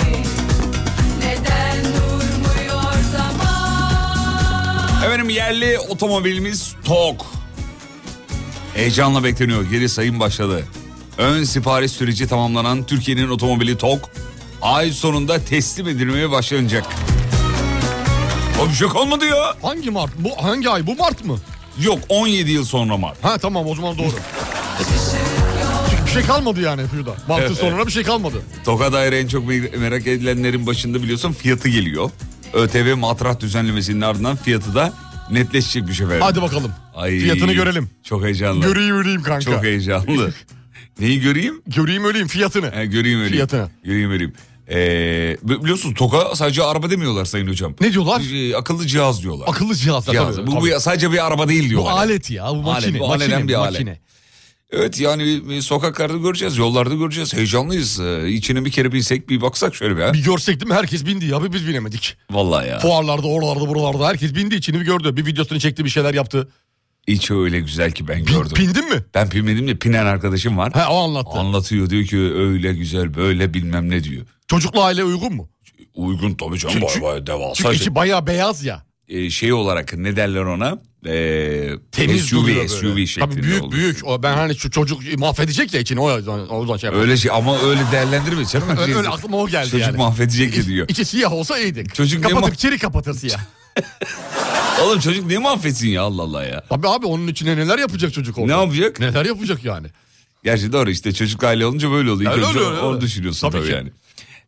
Speaker 8: Neden durmuyor zaman
Speaker 4: Efendim yerli otomobilimiz TOK. Heyecanla bekleniyor. Geri sayım başladı. Ön sipariş süreci tamamlanan Türkiye'nin otomobili TOK ay sonunda teslim edilmeye başlanacak. O bir şey olmadı ya.
Speaker 5: Hangi Mart? Bu hangi ay? Bu Mart mı?
Speaker 4: Yok 17 yıl sonra Mart.
Speaker 5: Ha tamam o zaman doğru. Çünkü bir şey kalmadı yani şurada. Mart'ın
Speaker 4: Evet.
Speaker 5: sonuna bir şey kalmadı.
Speaker 4: TOK'a dair en çok me- merak edilenlerin başında biliyorsun fiyatı geliyor. ÖTV matrah düzenlemesinin ardından fiyatı da netleşecek bir şey efendim.
Speaker 5: Hadi bakalım.
Speaker 4: Ay,
Speaker 5: Fiyatını görelim.
Speaker 4: Çok heyecanlı.
Speaker 5: Göreyim öleyim kanka.
Speaker 4: Çok heyecanlı. Neyi göreyim?
Speaker 5: Göreyim öleyim fiyatını.
Speaker 4: He, göreyim öyle.
Speaker 5: Fiyatı.
Speaker 4: Göreyim öyle. Ee, bi- biliyorsun TOK'a sadece araba demiyorlar sayın hocam.
Speaker 5: Ne diyorlar?
Speaker 4: Bir, e, akıllı cihaz diyorlar.
Speaker 5: Akıllı cihazlar
Speaker 4: cihaz.
Speaker 5: tabii.
Speaker 4: bu,
Speaker 5: tabii.
Speaker 4: bu ya- sadece bir araba değil
Speaker 5: Bu
Speaker 4: diyorlar.
Speaker 5: alet ya bu makine.
Speaker 4: bu
Speaker 5: makine,
Speaker 4: alenen bir
Speaker 5: bu
Speaker 4: alet.
Speaker 5: makine.
Speaker 4: Evet yani bir- bir sokaklarda göreceğiz, yollarda göreceğiz. Heyecanlıyız. Ee, içine bir kere binsek bir baksak şöyle bir. ha.
Speaker 5: Bir görsek değil mi herkes bindi ya bir biz binemedik.
Speaker 4: Vallahi ya.
Speaker 5: Fuarlarda oralarda buralarda herkes bindi içini bir gördü. Bir videosunu çekti bir şeyler yaptı.
Speaker 4: İçi öyle güzel ki ben
Speaker 5: Bin-
Speaker 4: gördüm.
Speaker 5: bindin mi?
Speaker 4: Ben bilmedim de pinen arkadaşım var.
Speaker 5: He o anlattı.
Speaker 4: Anlatıyor diyor ki öyle güzel böyle bilmem ne diyor.
Speaker 5: Çocukla aile uygun mu?
Speaker 4: Uygun tabii canım baya
Speaker 5: Çünkü-
Speaker 4: baya devasa.
Speaker 5: Çünkü
Speaker 4: şey.
Speaker 5: içi bayağı beyaz ya.
Speaker 4: e, şey olarak ne derler ona? E,
Speaker 5: Temiz
Speaker 4: SUV,
Speaker 5: duruyor
Speaker 4: SUV
Speaker 5: böyle.
Speaker 4: şeklinde
Speaker 5: Tabii büyük
Speaker 4: oldu.
Speaker 5: büyük. O, ben hani şu çocuk mahvedecek ya içini o yüzden, o yüzden şey yapıyorum.
Speaker 4: Öyle şey ama öyle değerlendirme canım.
Speaker 5: Öyle, öyle aklıma o geldi
Speaker 4: Çocuk
Speaker 5: yani.
Speaker 4: mahvedecek ya diyor.
Speaker 5: İçi siyah olsa iyiydik.
Speaker 4: Çocuk ne
Speaker 5: kapatır,
Speaker 4: ma-
Speaker 5: içeri kapatır siyah.
Speaker 4: Oğlum çocuk ne mahvetsin ya Allah Allah ya.
Speaker 5: Tabii abi onun içine neler yapacak çocuk orada?
Speaker 4: Ne yapacak?
Speaker 5: Neler yapacak yani?
Speaker 4: Gerçi doğru işte çocuk aile olunca böyle oluyor. İlk
Speaker 5: Öyle
Speaker 4: önce
Speaker 5: oluyor, öyle.
Speaker 4: Onu düşünüyorsun
Speaker 5: Tabii
Speaker 4: tabii,
Speaker 5: ki.
Speaker 4: yani.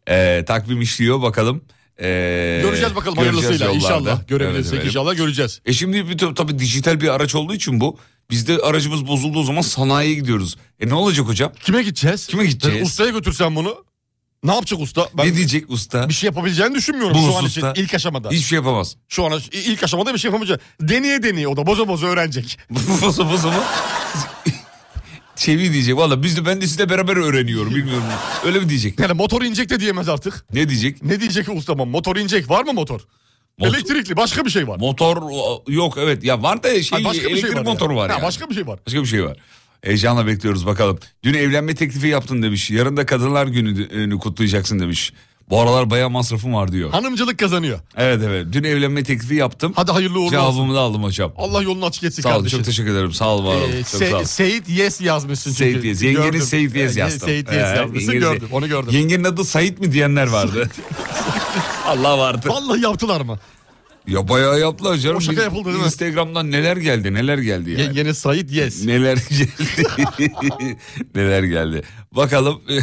Speaker 4: E, takvim işliyor bakalım. E,
Speaker 5: Göreceğiz bakalım
Speaker 4: göreceğiz
Speaker 5: hayırlısıyla
Speaker 4: yollarda.
Speaker 5: inşallah. Görebilirsek
Speaker 4: Evet efendim.
Speaker 5: inşallah göreceğiz.
Speaker 4: E şimdi bir tabii, tabii dijital bir araç olduğu için bu. Biz de aracımız bozulduğu zaman sanayiye gidiyoruz. E ne olacak hocam?
Speaker 5: Kime gideceğiz?
Speaker 4: Kime gideceğiz?
Speaker 5: Yani ustaya götürsen bunu. Ne yapacak usta? Ben
Speaker 4: ne diyecek usta?
Speaker 5: bir şey yapabileceğini düşünmüyorum
Speaker 4: Bu
Speaker 5: şu an için
Speaker 4: hususta.
Speaker 5: ilk aşamada.
Speaker 4: Hiçbir şey yapamaz.
Speaker 5: Şu an i- ilk aşamada bir şey yapamayacak. Deneye deneye o da boza boza öğrenecek.
Speaker 4: Fısı fısı mı? Çevi diyecek. Valla biz de ben de sizle beraber öğreniyorum. Bilmiyorum. Öyle mi diyecek?
Speaker 5: Yani motor inecek de diyemez artık.
Speaker 4: Ne diyecek?
Speaker 5: Ne diyecek ki ustam? Motor inecek. Var mı motor?
Speaker 4: Motor-
Speaker 5: Elektrikli başka bir şey var.
Speaker 4: Motor o- yok evet. Ya var da şey
Speaker 5: Hayır, başka bir
Speaker 4: elektrik
Speaker 5: şey var.
Speaker 4: motoru
Speaker 5: yani.
Speaker 4: var.
Speaker 5: Ha,
Speaker 4: yani.
Speaker 5: başka bir şey var.
Speaker 4: Başka bir şey var. Heyecanla bekliyoruz bakalım. Dün evlenme teklifi yaptın demiş. Yarın da kadınlar gününü kutlayacaksın demiş. Bu aralar bayağı masrafım var diyor.
Speaker 5: Hanımcılık kazanıyor.
Speaker 4: Evet evet. Dün evlenme teklifi yaptım.
Speaker 5: Hani- Hadi hayırlı uğurlu olsun.
Speaker 4: Cevabımı da aldım hocam.
Speaker 5: Allah yolunu açık etsin
Speaker 4: Sağ olun
Speaker 5: kardeşim.
Speaker 4: çok teşekkür ederim. Sağ ol var olun.
Speaker 5: Ee,
Speaker 4: Çok
Speaker 5: Se-
Speaker 4: sağ olun.
Speaker 5: Seyit Yes yazmışsın çünkü.
Speaker 4: Seyit Yes. Yengenin
Speaker 5: Gördüm.
Speaker 4: Seyit Yes
Speaker 5: Ee,
Speaker 4: yazdım.
Speaker 5: Seyit
Speaker 4: Ee,
Speaker 5: Yes yazmışsın
Speaker 4: yengenin-
Speaker 5: gördüm onu gördüm.
Speaker 4: Yengenin adı Sait mi diyenler vardı. Allah vardı.
Speaker 5: Vallahi yaptılar mı?
Speaker 4: Ya bayağı yaptılar canım.
Speaker 5: O şaka yapıldı değil mi?
Speaker 4: Instagram'dan neler geldi neler geldi yani.
Speaker 5: Ye- Yeni Sait Yes.
Speaker 4: Neler geldi. neler geldi. Bakalım e,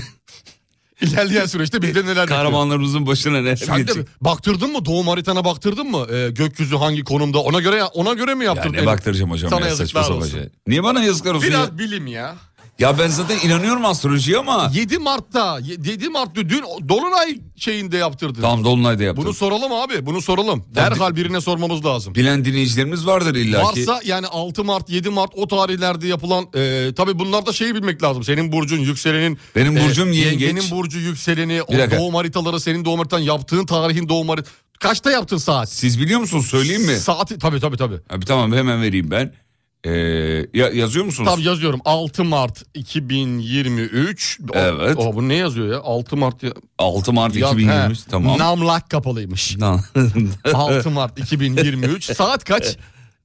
Speaker 5: İlerleyen süreçte bizde neler bekliyor?
Speaker 4: kahramanlarımızın başına neler
Speaker 5: Sen de
Speaker 4: gelecek.
Speaker 5: baktırdın mı doğum haritana baktırdın mı Ee, gökyüzü hangi konumda ona göre ona göre mi
Speaker 4: Ya
Speaker 5: yaptırdın?
Speaker 4: ne baktıracağım hocam
Speaker 5: Sana
Speaker 4: ya saçma
Speaker 5: yazıklar
Speaker 4: sapan
Speaker 5: olsun.
Speaker 4: şey. Niye bana yazıklar olsun ya?
Speaker 5: Biraz bilim ya.
Speaker 4: Ya ben zaten inanıyorum astrolojiye ama.
Speaker 5: 7 Mart'ta 7 Mart dün Dolunay şeyinde yaptırdın.
Speaker 4: Tamam Dolunay'da yaptım.
Speaker 5: Bunu soralım abi bunu soralım. Derhal birine sormamız lazım.
Speaker 4: Bilen dinleyicilerimiz vardır illa ki.
Speaker 5: Varsa yani 6 Mart 7 Mart o tarihlerde yapılan e, tabi bunlarda şeyi bilmek lazım. Senin burcun yükselenin.
Speaker 4: Benim burcum yengeç.
Speaker 5: Yengenin burcu yükseleni o
Speaker 4: Bir dakika.
Speaker 5: doğum haritaları senin doğum haritan yaptığın tarihin doğum haritası. Kaçta yaptın saat?
Speaker 4: Siz biliyor musunuz söyleyeyim mi?
Speaker 5: Saati tabi tabi tabi.
Speaker 4: Abi tamam hemen vereyim ben. Ee, ya, yazıyor musunuz?
Speaker 5: Tam yazıyorum 6 Mart 2023. O-
Speaker 4: Evet.
Speaker 5: O, bu ne yazıyor ya? 6 Mart ya,
Speaker 4: 6 Mart
Speaker 5: ya-
Speaker 4: 2023
Speaker 5: he.
Speaker 4: tamam.
Speaker 5: Namlak kapalıymış.
Speaker 4: Lan,
Speaker 5: 6 Mart 2023 saat kaç?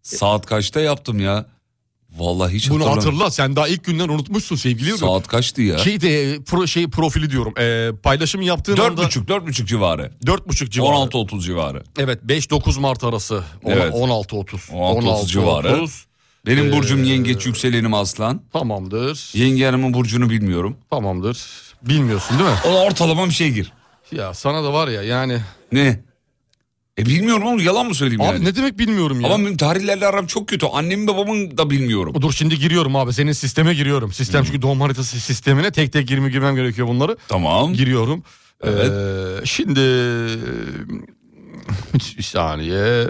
Speaker 4: Saat kaçta yaptım ya? Vallahi hiç
Speaker 5: Bunu
Speaker 4: hatırlamıyorum.
Speaker 5: hatırla sen daha ilk günden unutmuşsun sevgili Yıldırım.
Speaker 4: Saat kaçtı ya?
Speaker 5: Şey de pro, şey profili diyorum. Ee, paylaşım yaptığın
Speaker 4: Dört
Speaker 5: anda
Speaker 4: buçuk, dört buçuk civarı.
Speaker 5: 4.30 civarı.
Speaker 4: 16.30 civarı.
Speaker 5: Evet 5-9 Mart arası. On-
Speaker 4: Evet.
Speaker 5: 16.30.
Speaker 4: 16.30 civarı.
Speaker 5: 16.30.
Speaker 4: Benim
Speaker 5: Ee,
Speaker 4: burcum yengeç, yükselenim aslan.
Speaker 5: Tamamdır.
Speaker 4: Yenge hanımın burcunu bilmiyorum.
Speaker 5: Tamamdır. Bilmiyorsun değil mi?
Speaker 4: Ona ortalama bir şey gir.
Speaker 5: Ya sana da var ya yani.
Speaker 4: Ne? E bilmiyorum oğlum yalan mı söyleyeyim
Speaker 5: Abi
Speaker 4: yani?
Speaker 5: ne demek bilmiyorum ya.
Speaker 4: Ama benim tarihlerle aram çok kötü. Annemin babamın da bilmiyorum.
Speaker 5: Dur şimdi giriyorum abi senin sisteme giriyorum. Sistem çünkü doğum haritası sistemine tek tek girme girmem gerekiyor bunları.
Speaker 4: Tamam.
Speaker 5: Giriyorum.
Speaker 4: Evet.
Speaker 5: Ee, şimdi bir saniye.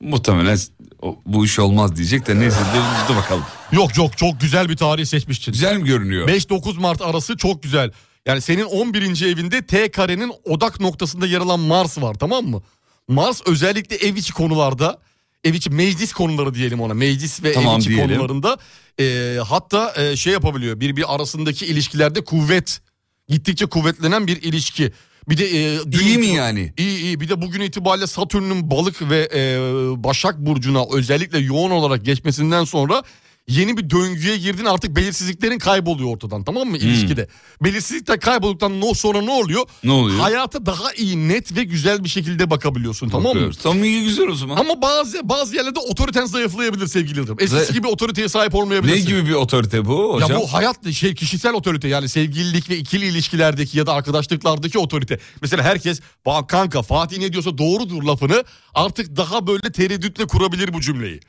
Speaker 4: Muhtemelen o- bu iş olmaz diyecek de neyse dur, dur bakalım.
Speaker 5: Yok yok çok güzel bir tarih seçmişsin.
Speaker 4: Güzel mi görünüyor?
Speaker 5: 5-9 Mart arası çok güzel. Yani senin 11. evinde T karenin odak noktasında yer alan Mars var tamam mı? Mars özellikle ev içi konularda ev içi meclis konuları diyelim ona meclis ve
Speaker 4: Tamam,
Speaker 5: ev içi
Speaker 4: diyelim.
Speaker 5: konularında e, hatta e, şey yapabiliyor bir bir arasındaki ilişkilerde kuvvet gittikçe kuvvetlenen bir ilişki. Bir de e, dün
Speaker 4: İyi mi
Speaker 5: iti-
Speaker 4: yani?
Speaker 5: İyi iyi bir de bugün itibariyle Satürn'ün balık ve e, Başak Burcu'na özellikle yoğun olarak geçmesinden sonra yeni bir döngüye girdin artık belirsizliklerin kayboluyor ortadan tamam mı ilişkide. Belirsizlikler kaybolduktan no sonra ne oluyor?
Speaker 4: Hmm. Ne oluyor?
Speaker 5: Hayata daha iyi net ve güzel bir şekilde bakabiliyorsun tamam mı?
Speaker 4: Bakıyoruz. Tamam iyi güzel o zaman.
Speaker 5: Ama bazı bazı yerlerde otoriten zayıflayabilir sevgili Yıldırım. Eskisi
Speaker 4: Zay-
Speaker 5: gibi otoriteye sahip
Speaker 4: Ne
Speaker 5: olmayabilirsin.
Speaker 4: gibi bir otorite bu hocam?
Speaker 5: Ya bu hayat şey kişisel otorite yani sevgililik ve ikili ilişkilerdeki ya da arkadaşlıklardaki otorite. Mesela herkes "Ba- kanka Fatih ne diyorsa doğrudur lafını artık daha böyle tereddütle kurabilir bu cümleyi.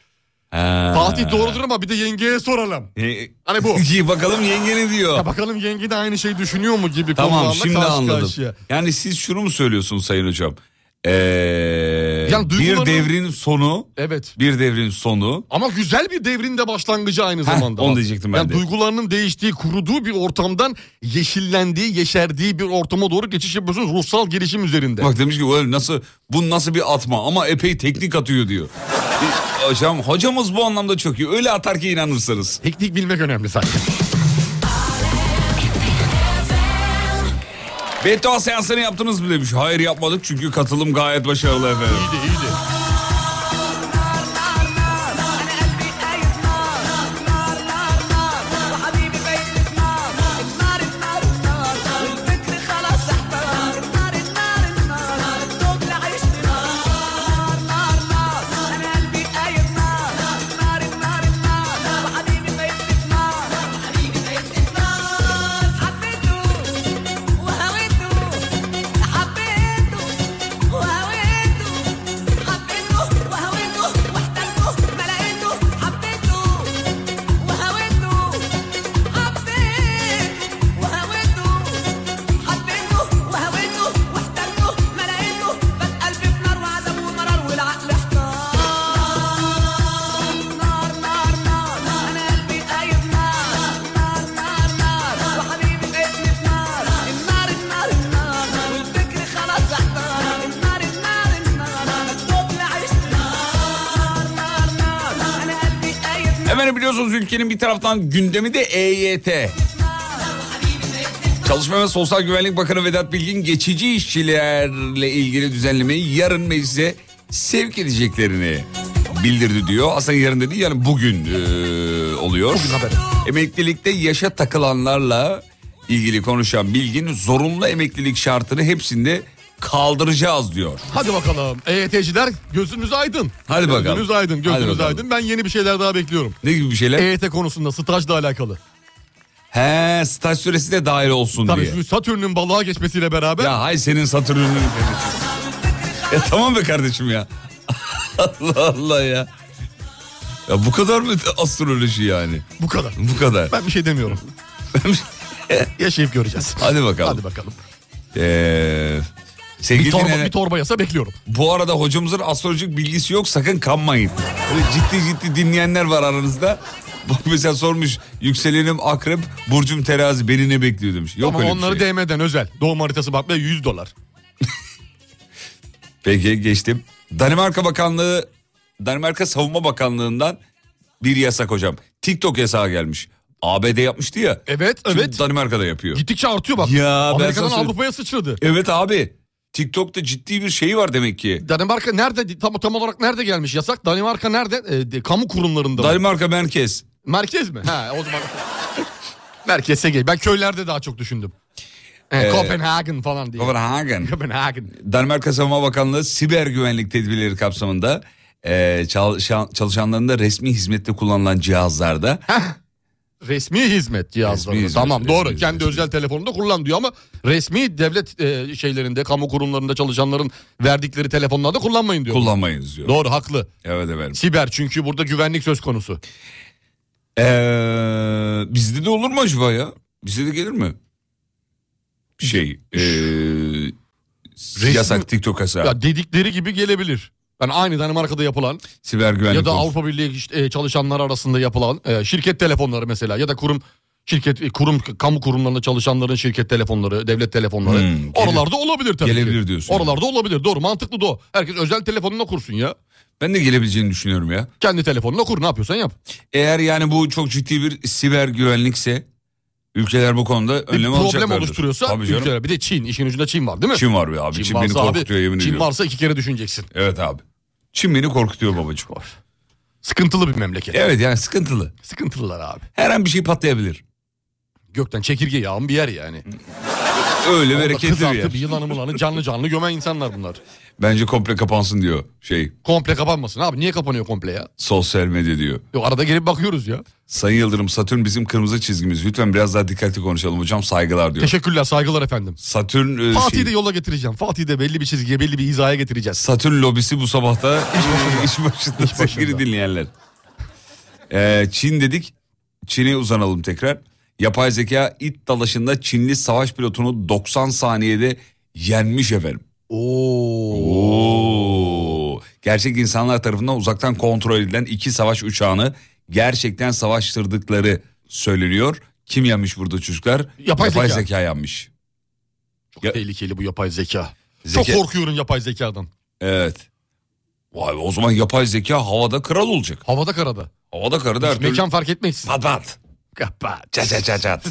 Speaker 4: Ha.
Speaker 5: Fatih doğrudur ama bir de yengeye soralım.
Speaker 4: E,
Speaker 5: Hani bu.
Speaker 4: İyi bakalım yenge ne diyor?
Speaker 5: Ya bakalım yenge de aynı şey düşünüyor mu gibi
Speaker 4: tamam
Speaker 5: konularla
Speaker 4: şimdi
Speaker 5: karşı
Speaker 4: anladım.
Speaker 5: karşıya.
Speaker 4: Yani siz şunu mu söylüyorsunuz sayın hocam? Ee,
Speaker 5: Yani duyguları-
Speaker 4: Bir devrin sonu,
Speaker 5: Evet.
Speaker 4: bir devrin sonu.
Speaker 5: Ama güzel bir devrin de başlangıcı aynı
Speaker 4: Heh,
Speaker 5: zamanda.
Speaker 4: onu diyecektim ben
Speaker 5: yani
Speaker 4: de.
Speaker 5: Duygularının değiştiği, kuruduğu bir ortamdan yeşillendiği, yeşerdiği bir ortama doğru geçiş yapıyorsunuz ruhsal gelişim üzerinde.
Speaker 4: Bak demiş ki "Ulan nasıl bu nasıl bir atma ama epey teknik atıyor diyor. E, hocam hocamız bu anlamda çok iyi. Öyle atar ki inanırsınız.
Speaker 5: Teknik bilmek önemli sanki.
Speaker 4: Beddua seansını yaptınız mı demiş. Hayır yapmadık çünkü katılım gayet başarılı efendim.
Speaker 5: İyiydi iyiydi.
Speaker 2: حبيته وهويته وهويته حبيته
Speaker 4: Hemen biliyorsunuz ülkenin bir taraftan gündemi de EYT. Çalışma ve Sosyal Güvenlik Bakanı Vedat Bilgin geçici işçilerle ilgili düzenlemeyi yarın meclise sevk edeceklerini bildirdi diyor. Aslında yarın dedi yani bugün eee, oluyor. Emeklilikte yaşa takılanlarla ilgili konuşan Bilgin zorunlu emeklilik şartını hepsinde kaldıracağız diyor.
Speaker 5: Hadi bakalım E EYT'ciler gözünüz aydın.
Speaker 4: Hadi bakalım.
Speaker 5: Gözünüz aydın,
Speaker 4: Hadi
Speaker 5: gözünüz
Speaker 4: bakalım.
Speaker 5: aydın. Ben yeni bir şeyler daha bekliyorum.
Speaker 4: Ne gibi bir şeyler?
Speaker 5: EYT konusunda stajla alakalı.
Speaker 4: He staj süresi de dahil olsun
Speaker 5: Tabii
Speaker 4: diye.
Speaker 5: şu Satürn'ün balığa geçmesiyle beraber
Speaker 4: Ya hay senin Satürn'ünü. ya tamam be kardeşim ya. Allah Allah ya. Ya bu kadar mı astroloji yani?
Speaker 5: bu kadar.
Speaker 4: Bu kadar.
Speaker 5: Ben bir şey demiyorum. Yaşayıp göreceğiz.
Speaker 4: Hadi bakalım.
Speaker 5: Hadi bakalım.
Speaker 4: Ee, sevgili
Speaker 5: Bir torba,
Speaker 4: dinleyenler,
Speaker 5: bir torba yasa bekliyorum.
Speaker 4: bu arada hocamızın astrolojik bilgisi yok sakın kanmayın. Böyle ciddi ciddi dinleyenler var aranızda. Bak mesela sormuş yükselenim akrep, burcum terazi beni ne bekliyor demiş. Yok
Speaker 5: Ama
Speaker 4: öyle bir
Speaker 5: onları
Speaker 4: şey.
Speaker 5: DM'den özel. Doğum haritası bakmaya 100 dolar.
Speaker 4: Peki geçtim. Danimarka Bakanlığı, Danimarka Savunma Bakanlığı'ndan bir yasak hocam. TikTok yasağı gelmiş. ABD yapmıştı ya.
Speaker 5: Evet
Speaker 4: Şimdi
Speaker 5: evet.
Speaker 4: Danimarka'da yapıyor.
Speaker 5: Gittikçe artıyor bak.
Speaker 4: Ya, ben sana
Speaker 5: Amerika'dan
Speaker 4: söyleyeyim.
Speaker 5: Avrupa'ya sıçradı.
Speaker 4: Evet abi. TikTok'ta ciddi bir şey var demek ki.
Speaker 5: Danimarka nerede tam tam olarak nerede gelmiş yasak? Danimarka nerede? Ee, de- kamu kurumlarında. mı?
Speaker 4: Danimarka merkez.
Speaker 5: Merkez mi? Ha o zaman. Merkeze gel. Ben köylerde daha çok düşündüm. Ee,
Speaker 4: Ee,
Speaker 5: Kopenhagen falan diye.
Speaker 4: Copenhagen.
Speaker 5: Kopenhagen.
Speaker 4: Danimarka Savunma Bakanlığı siber güvenlik tedbirleri kapsamında e, çalışan, çalışanların da resmi hizmette kullanılan cihazlarda
Speaker 5: Resmi hizmet cihazları.
Speaker 4: Resmi hizmet,
Speaker 5: tamam
Speaker 4: resmi
Speaker 5: doğru.
Speaker 4: hizmet,
Speaker 5: Kendi
Speaker 4: resmi.
Speaker 5: özel telefonunda kullan diyor ama resmi devlet e, şeylerinde, kamu kurumlarında çalışanların verdikleri telefonlarda kullanmayın diyor.
Speaker 4: kullanmayınız diyor.
Speaker 5: Doğru haklı.
Speaker 4: Evet efendim.
Speaker 5: Siber çünkü burada güvenlik söz konusu.
Speaker 4: Ee, bizde de olur mu acaba ya? Bizde de gelir mi? Şey, ee, yasak TikTok yasağı,
Speaker 5: Ya dedikleri gibi gelebilir. Yani aynı Danimarka'da yapılan
Speaker 4: siber güvenlik.
Speaker 5: ya da
Speaker 4: konusu.
Speaker 5: Avrupa Birliği iş- e, çalışanları arasında yapılan e, şirket telefonları mesela ya da kurum şirket e, kurum kamu kurumlarında çalışanların şirket telefonları, devlet telefonları
Speaker 4: Hmm, gelir-
Speaker 5: oralarda olabilir tabii. ki.
Speaker 4: gelebilir diyorsun.
Speaker 5: Oralarda olabilir. Doğru. Mantıklı da o. Herkes özel telefonuna kursun ya.
Speaker 4: Ben de gelebileceğini düşünüyorum ya.
Speaker 5: Kendi telefonuna kur. Ne yapıyorsan yap.
Speaker 4: Eğer yani bu çok ciddi bir siber güvenlikse ülkeler bu konuda
Speaker 5: Bir
Speaker 4: önlem
Speaker 5: problem
Speaker 4: alacaklardır.
Speaker 5: oluşturuyorsa
Speaker 4: Tabii canım.
Speaker 5: ülkeler- bir de Çin işin ucunda Çin var değil mi?
Speaker 4: Çin var be abi. Çin, beni
Speaker 5: varsa abi,
Speaker 4: korkutuyor yemin
Speaker 5: Çin
Speaker 4: ediyorum.
Speaker 5: varsa iki kere düşüneceksin.
Speaker 4: Evet abi. Çin beni korkutuyor babacığım.
Speaker 5: Sıkıntılı bir memleket.
Speaker 4: Evet yani sıkıntılı.
Speaker 5: Sıkıntılılar abi.
Speaker 4: Her an bir şey patlayabilir.
Speaker 5: Gökten çekirge yağan bir yer yani.
Speaker 4: Öyle
Speaker 5: Orada
Speaker 4: bereketli bir
Speaker 5: kızartı,
Speaker 4: yer.
Speaker 5: bir yılanı mılanı canlı canlı gömen insanlar bunlar.
Speaker 4: Bence komple kapansın diyor şey
Speaker 5: Komple kapanmasın abi. Niye kapanıyor komple ya?
Speaker 4: sosyal medya diyor.
Speaker 5: Yok arada gelip bakıyoruz ya.
Speaker 4: Sayın Yıldırım Satürn bizim kırmızı çizgimiz. Lütfen biraz daha dikkatli konuşalım hocam saygılar diyor.
Speaker 5: Teşekkürler saygılar efendim.
Speaker 4: Satürn e,
Speaker 5: Fatih'i
Speaker 4: şey-
Speaker 5: de yola getireceğim. Fatih'i de belli bir çizgiye belli bir izaya getireceğiz.
Speaker 4: Satürn lobisi bu sabahta e, iş başında,
Speaker 5: İş başında.
Speaker 4: sevgili dinleyenler. E, Çin dedik. Çin'e uzanalım tekrar. Yapay zeka it dalaşında Çinli savaş pilotunu 90 saniyede yenmiş efendim.
Speaker 5: Oo.
Speaker 4: Oo. Gerçek insanlar tarafından uzaktan kontrol edilen iki savaş uçağını gerçekten savaştırdıkları söyleniyor. Kim yanmış burada çocuklar?
Speaker 5: Yapay zeka.
Speaker 4: yanmış.
Speaker 5: Çok
Speaker 4: Ya-
Speaker 5: tehlikeli bu yapay zeka.
Speaker 4: Zeka-
Speaker 5: Çok korkuyorum yapay zekadan.
Speaker 4: Evet. Vay be, o zaman yapay zeka havada kral olacak.
Speaker 5: Havada karada.
Speaker 4: Havada karada her
Speaker 5: Hiç
Speaker 4: türlü...
Speaker 5: mekan fark etmeksin.
Speaker 4: Pat pat.
Speaker 5: Kapat.
Speaker 4: Çat çat çat çat.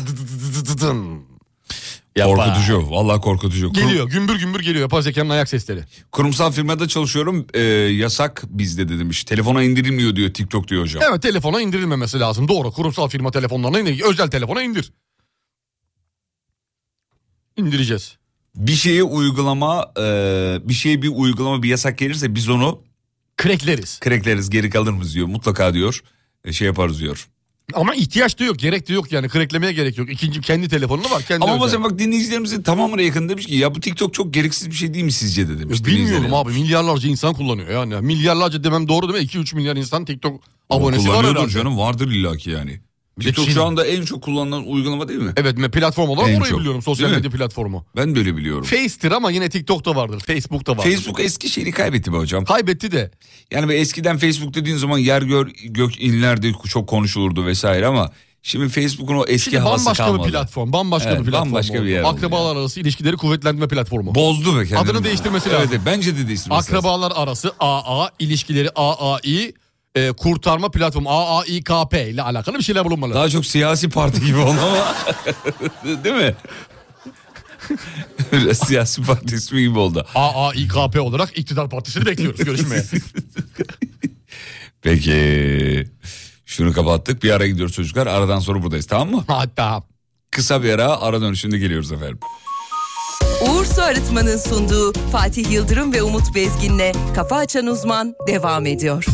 Speaker 5: Yapay.
Speaker 4: Korkutucu. Vallahi korkutucu. Kurum-
Speaker 5: Geliyor gümbür gümbür geliyor yapay zekanın ayak sesleri.
Speaker 4: kurumsal firmada çalışıyorum. e, yasak bizde de demiş. Telefona indirilmiyor diyor TikTok diyor hocam.
Speaker 5: Evet telefona indirilmemesi lazım. Doğru kurumsal firma telefonlarına indir. Özel telefona indir. İndireceğiz.
Speaker 4: Bir şeye uygulama, e, bir şeye bir uygulama bir yasak gelirse biz onu
Speaker 5: Krekleriz.
Speaker 4: krekleriz geri kalırız diyor. Mutlaka diyor. e, şey yaparız diyor.
Speaker 5: Ama ihtiyaç da yok. Gerek de yok yani. Kreklemeye gerek yok. İkinci kendi telefonunu var. Kendi
Speaker 4: Ama
Speaker 5: özel.
Speaker 4: mesela bak dinleyicilerimizin tamamına yakın demiş ki ya bu TikTok çok gereksiz bir şey değil mi sizce de demiş.
Speaker 5: E, Bilmiyorum
Speaker 4: dinleyicilerimiz.
Speaker 5: abi milyarlarca insan kullanıyor yani. Milyarlarca demem doğru değil mi? 2-3 milyar insan TikTok abonesi var
Speaker 4: Kullanıyordur
Speaker 5: herhalde.
Speaker 4: canım vardır illaki yani.
Speaker 5: Bir de
Speaker 4: TikTok
Speaker 5: Çin.
Speaker 4: şu anda en çok kullanılan uygulama değil mi?
Speaker 5: Evet me- platform olarak
Speaker 4: En
Speaker 5: orayı
Speaker 4: çok.
Speaker 5: biliyorum. Sosyal
Speaker 4: Değil mi?
Speaker 5: medya platformu.
Speaker 4: Ben böyle biliyorum.
Speaker 5: Face'tir ama yine TikTok'ta vardır. Facebook'ta vardır.
Speaker 4: Facebook eski şeyini kaybetti be hocam.
Speaker 5: Kaybetti de.
Speaker 4: Yani böyle eskiden Facebook dediğin zaman yer gör gök inlerdi çok konuşulurdu vesaire ama şimdi Facebook'un o eski
Speaker 5: Şimdi
Speaker 4: havası
Speaker 5: bambaşka
Speaker 4: kalmadı.
Speaker 5: bir platform. Bambaşka
Speaker 4: Evet,
Speaker 5: bir platform.
Speaker 4: bambaşka bir
Speaker 5: oldu.
Speaker 4: yer oldu
Speaker 5: Akrabalar arası ilişkileri kuvvetlendirme platformu.
Speaker 4: Bozdu be kendini.
Speaker 5: Adını değiştirmesi lazım.
Speaker 4: Evet, evet, bence de değiştirmesi lazım.
Speaker 5: Akrabalar arası AA, ilişkileri AAI, e, kurtarma platformu AAİKP ile alakalı bir şeyler bulunmalı.
Speaker 4: Daha çok siyasi parti gibi oldu ama değil mi? Biraz siyasi parti ismi gibi oldu.
Speaker 5: AAİKP olarak iktidar partisini bekliyoruz görüşmeye.
Speaker 4: Peki şunu kapattık bir ara gidiyoruz çocuklar aradan sonra buradayız tamam mı?
Speaker 5: Hatta
Speaker 4: Kısa bir ara ara dönüşünde geliyoruz efendim.
Speaker 1: Uğur Su Arıtma'nın sunduğu Fatih Yıldırım ve Umut Bezgin'le Kafa Açan Uzman devam ediyor.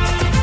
Speaker 8: Kafa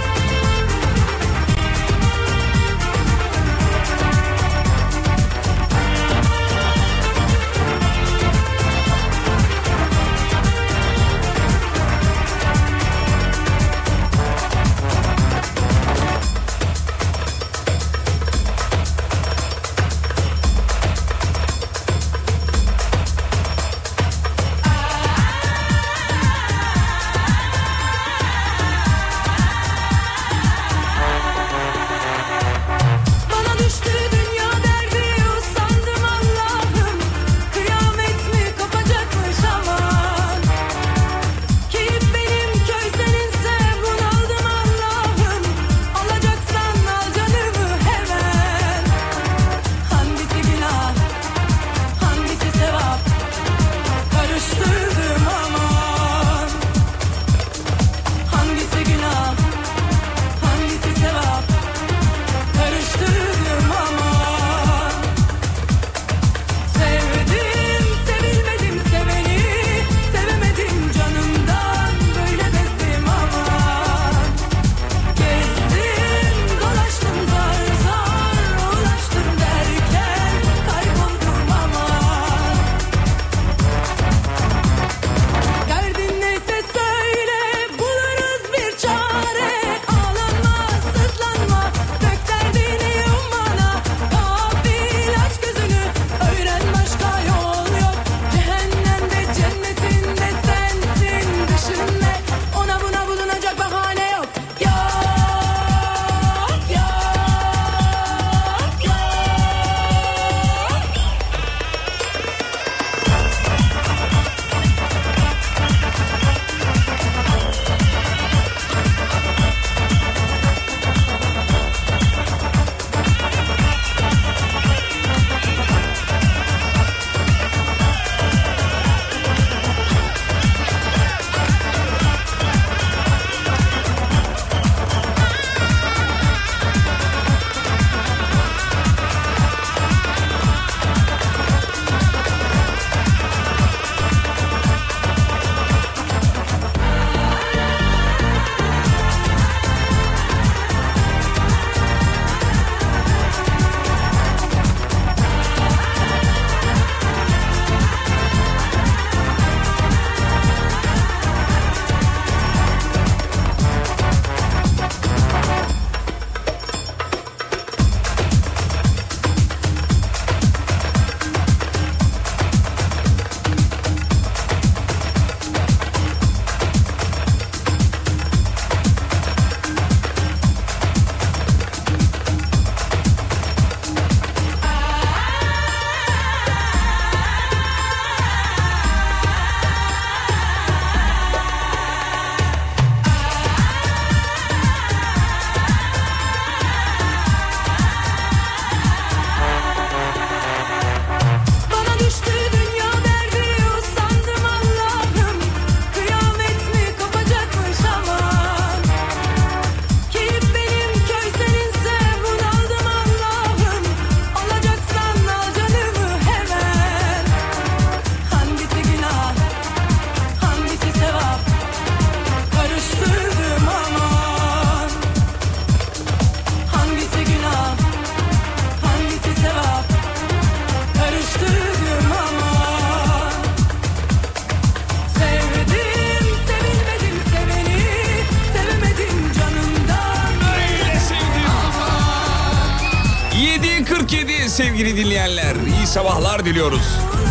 Speaker 4: sevgili dinleyenler. İyi sabahlar diliyoruz.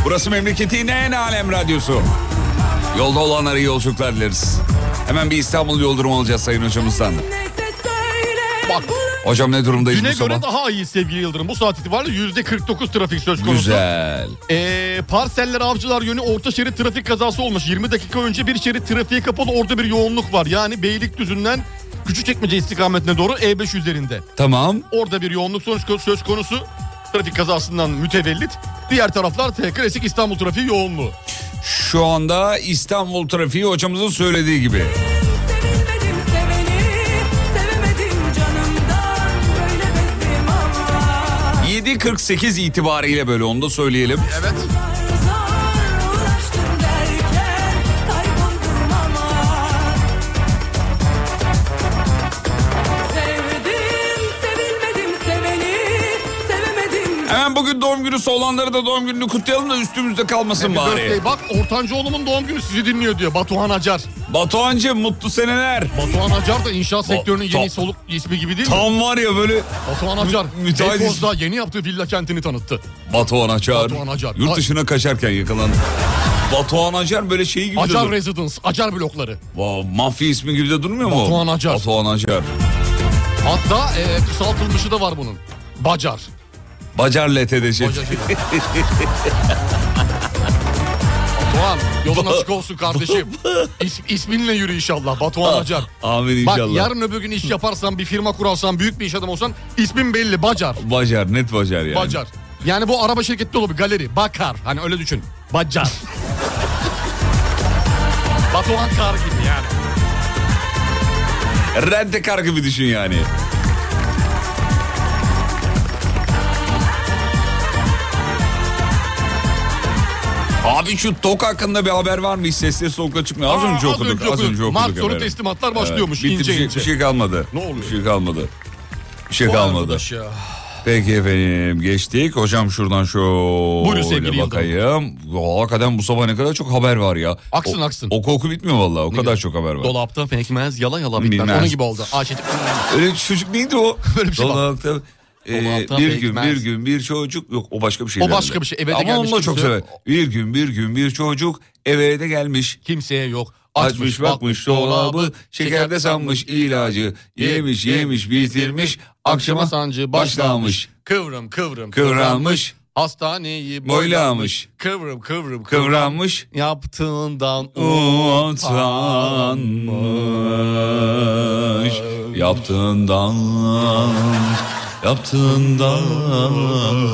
Speaker 4: Burası memleketin en alem radyosu. Yolda olanlara iyi yolculuklar dileriz. Hemen bir İstanbul yol durumu alacağız sayın hocamızdan.
Speaker 5: Bak
Speaker 4: Hocam ne durumdayız
Speaker 5: düne
Speaker 4: bu sabah?
Speaker 5: göre daha iyi sevgili Yıldırım. Bu saat itibariyle yüzde 49 trafik söz konusu.
Speaker 4: Güzel.
Speaker 5: Ee, parseller avcılar yönü orta şerit trafik kazası olmuş. 20 dakika önce bir şerit trafiğe kapalı orada bir yoğunluk var. Yani Beylikdüzü'nden Küçükçekmece istikametine doğru E5 üzerinde.
Speaker 4: Tamam.
Speaker 5: Orada bir yoğunluk söz, söz konusu. Trafik kazasından mütevellit. Diğer taraflar te- klasik İstanbul trafiği yoğunluğu.
Speaker 4: Şu anda İstanbul trafiği hocamızın söylediği gibi.
Speaker 1: Sevilmedim seveni, sevemedim canımdan böyle bezdim ama.
Speaker 4: 7.48 itibariyle böyle onu da söyleyelim.
Speaker 5: Evet.
Speaker 1: Zar ulaştım derken kayboldum ama Sevdim, sevilmedim seveni, sevemedim
Speaker 4: Hemen bugün doğum günüsü olanlara da doğum gününü kutlayalım da üstümüzde kalmasın bari.
Speaker 5: Birthday. Bak Ortancıoğlu'mun doğum günü sizi dinliyor diyor Batuhan Acar.
Speaker 4: Batuhan'cığım mutlu seneler.
Speaker 5: Batuhan Acar da inşaat sektörünün yeni
Speaker 4: tam-
Speaker 5: soluk ismi gibi değil mi?
Speaker 4: Tam var ya böyle
Speaker 5: Batuhan Acar.
Speaker 4: Mü- müteahhit
Speaker 5: Beykoz'da yeni yaptığı villa kentini tanıttı.
Speaker 4: Batuhan Acar.
Speaker 5: Batuhan Acar.
Speaker 4: Yurt dışına kaçarken yakalandı. Batuhan Acar böyle şey gibi de
Speaker 5: Acar
Speaker 4: dur-
Speaker 5: Residence, Acar blokları.
Speaker 4: Vav, mafya ismi gibi de durmuyor mu?
Speaker 5: Batuhan Acar.
Speaker 4: Batuhan Acar.
Speaker 5: Hatta e, kısaltılmışı da var bunun. Bacar.
Speaker 4: Bacar LTD şey.
Speaker 5: Bacar. Batuhan yolun açık olsun kardeşim. İs, isminle yürü inşallah Batuhan Acar.
Speaker 4: Ah, Amin
Speaker 5: Bak
Speaker 4: inşallah.
Speaker 5: yarın öbür gün iş yaparsan bir firma kurarsan büyük bir iş adamı olsan ismin belli Bacar.
Speaker 4: Bacar net Bacar yani.
Speaker 5: Bacar. Yani bu araba şirketi de olur galeri. Bakar. Hani öyle düşün. Bacar. Batuhan Kar gibi yani.
Speaker 4: Reddekar gibi düşün yani. Abi şu TOK hakkında bir haber var mı? Hiç sesli solukla çıkmıyor. Az
Speaker 5: Aa,
Speaker 4: önce okuduk. Az önce okuduk.
Speaker 5: Mart sonu
Speaker 4: haberi.
Speaker 5: teslimatlar
Speaker 4: Evet,
Speaker 5: başlıyormuş
Speaker 4: bitti,
Speaker 5: ince
Speaker 4: bir, şey,
Speaker 5: ince.
Speaker 4: bir şey kalmadı.
Speaker 5: Ne oluyor?
Speaker 4: Bir şey kalmadı. Bir şey
Speaker 5: Vay
Speaker 4: kalmadı.
Speaker 5: arkadaş ya.
Speaker 4: Peki efendim geçtik. Hocam şuradan
Speaker 5: Buyurun
Speaker 4: şöyle
Speaker 5: sevgili
Speaker 4: bakayım. Hakikaten bu sabah ne kadar çok haber var ya.
Speaker 5: Aksın,
Speaker 4: O-
Speaker 5: aksın.
Speaker 4: Oku oku bitmiyor vallahi. O kadar çok haber var.
Speaker 5: Dolapta pekmez yala yala
Speaker 4: Bilmez.
Speaker 5: bitmez. Onun gibi oldu. Aşet
Speaker 4: Öyle çocuk neydi o?
Speaker 5: Böyle bir şey var.
Speaker 4: Dolapta, e,
Speaker 5: Dolapta
Speaker 4: bir gün
Speaker 5: pekmez.
Speaker 4: bir gün bir çocuk yok o başka bir şey.
Speaker 5: O başka bir şey, eve de
Speaker 4: Ama
Speaker 5: gelmiş
Speaker 4: onu da çok
Speaker 5: kimse.
Speaker 4: sever. Bir gün bir gün bir çocuk eve de gelmiş.
Speaker 5: kimseye yok.
Speaker 4: Açmış bakmış dolabı şekerde sanmış ilacı yemiş yemiş bitirmiş akşama sancı başlamış
Speaker 5: Kıvrım kıvrım.
Speaker 4: kıvranmış
Speaker 5: Hastaneyi
Speaker 4: Boylamış.
Speaker 5: boylamış. Kıvrım kıvrım
Speaker 4: kıvranmış
Speaker 5: Yaptığından
Speaker 4: utanmış yaptığından yaptığından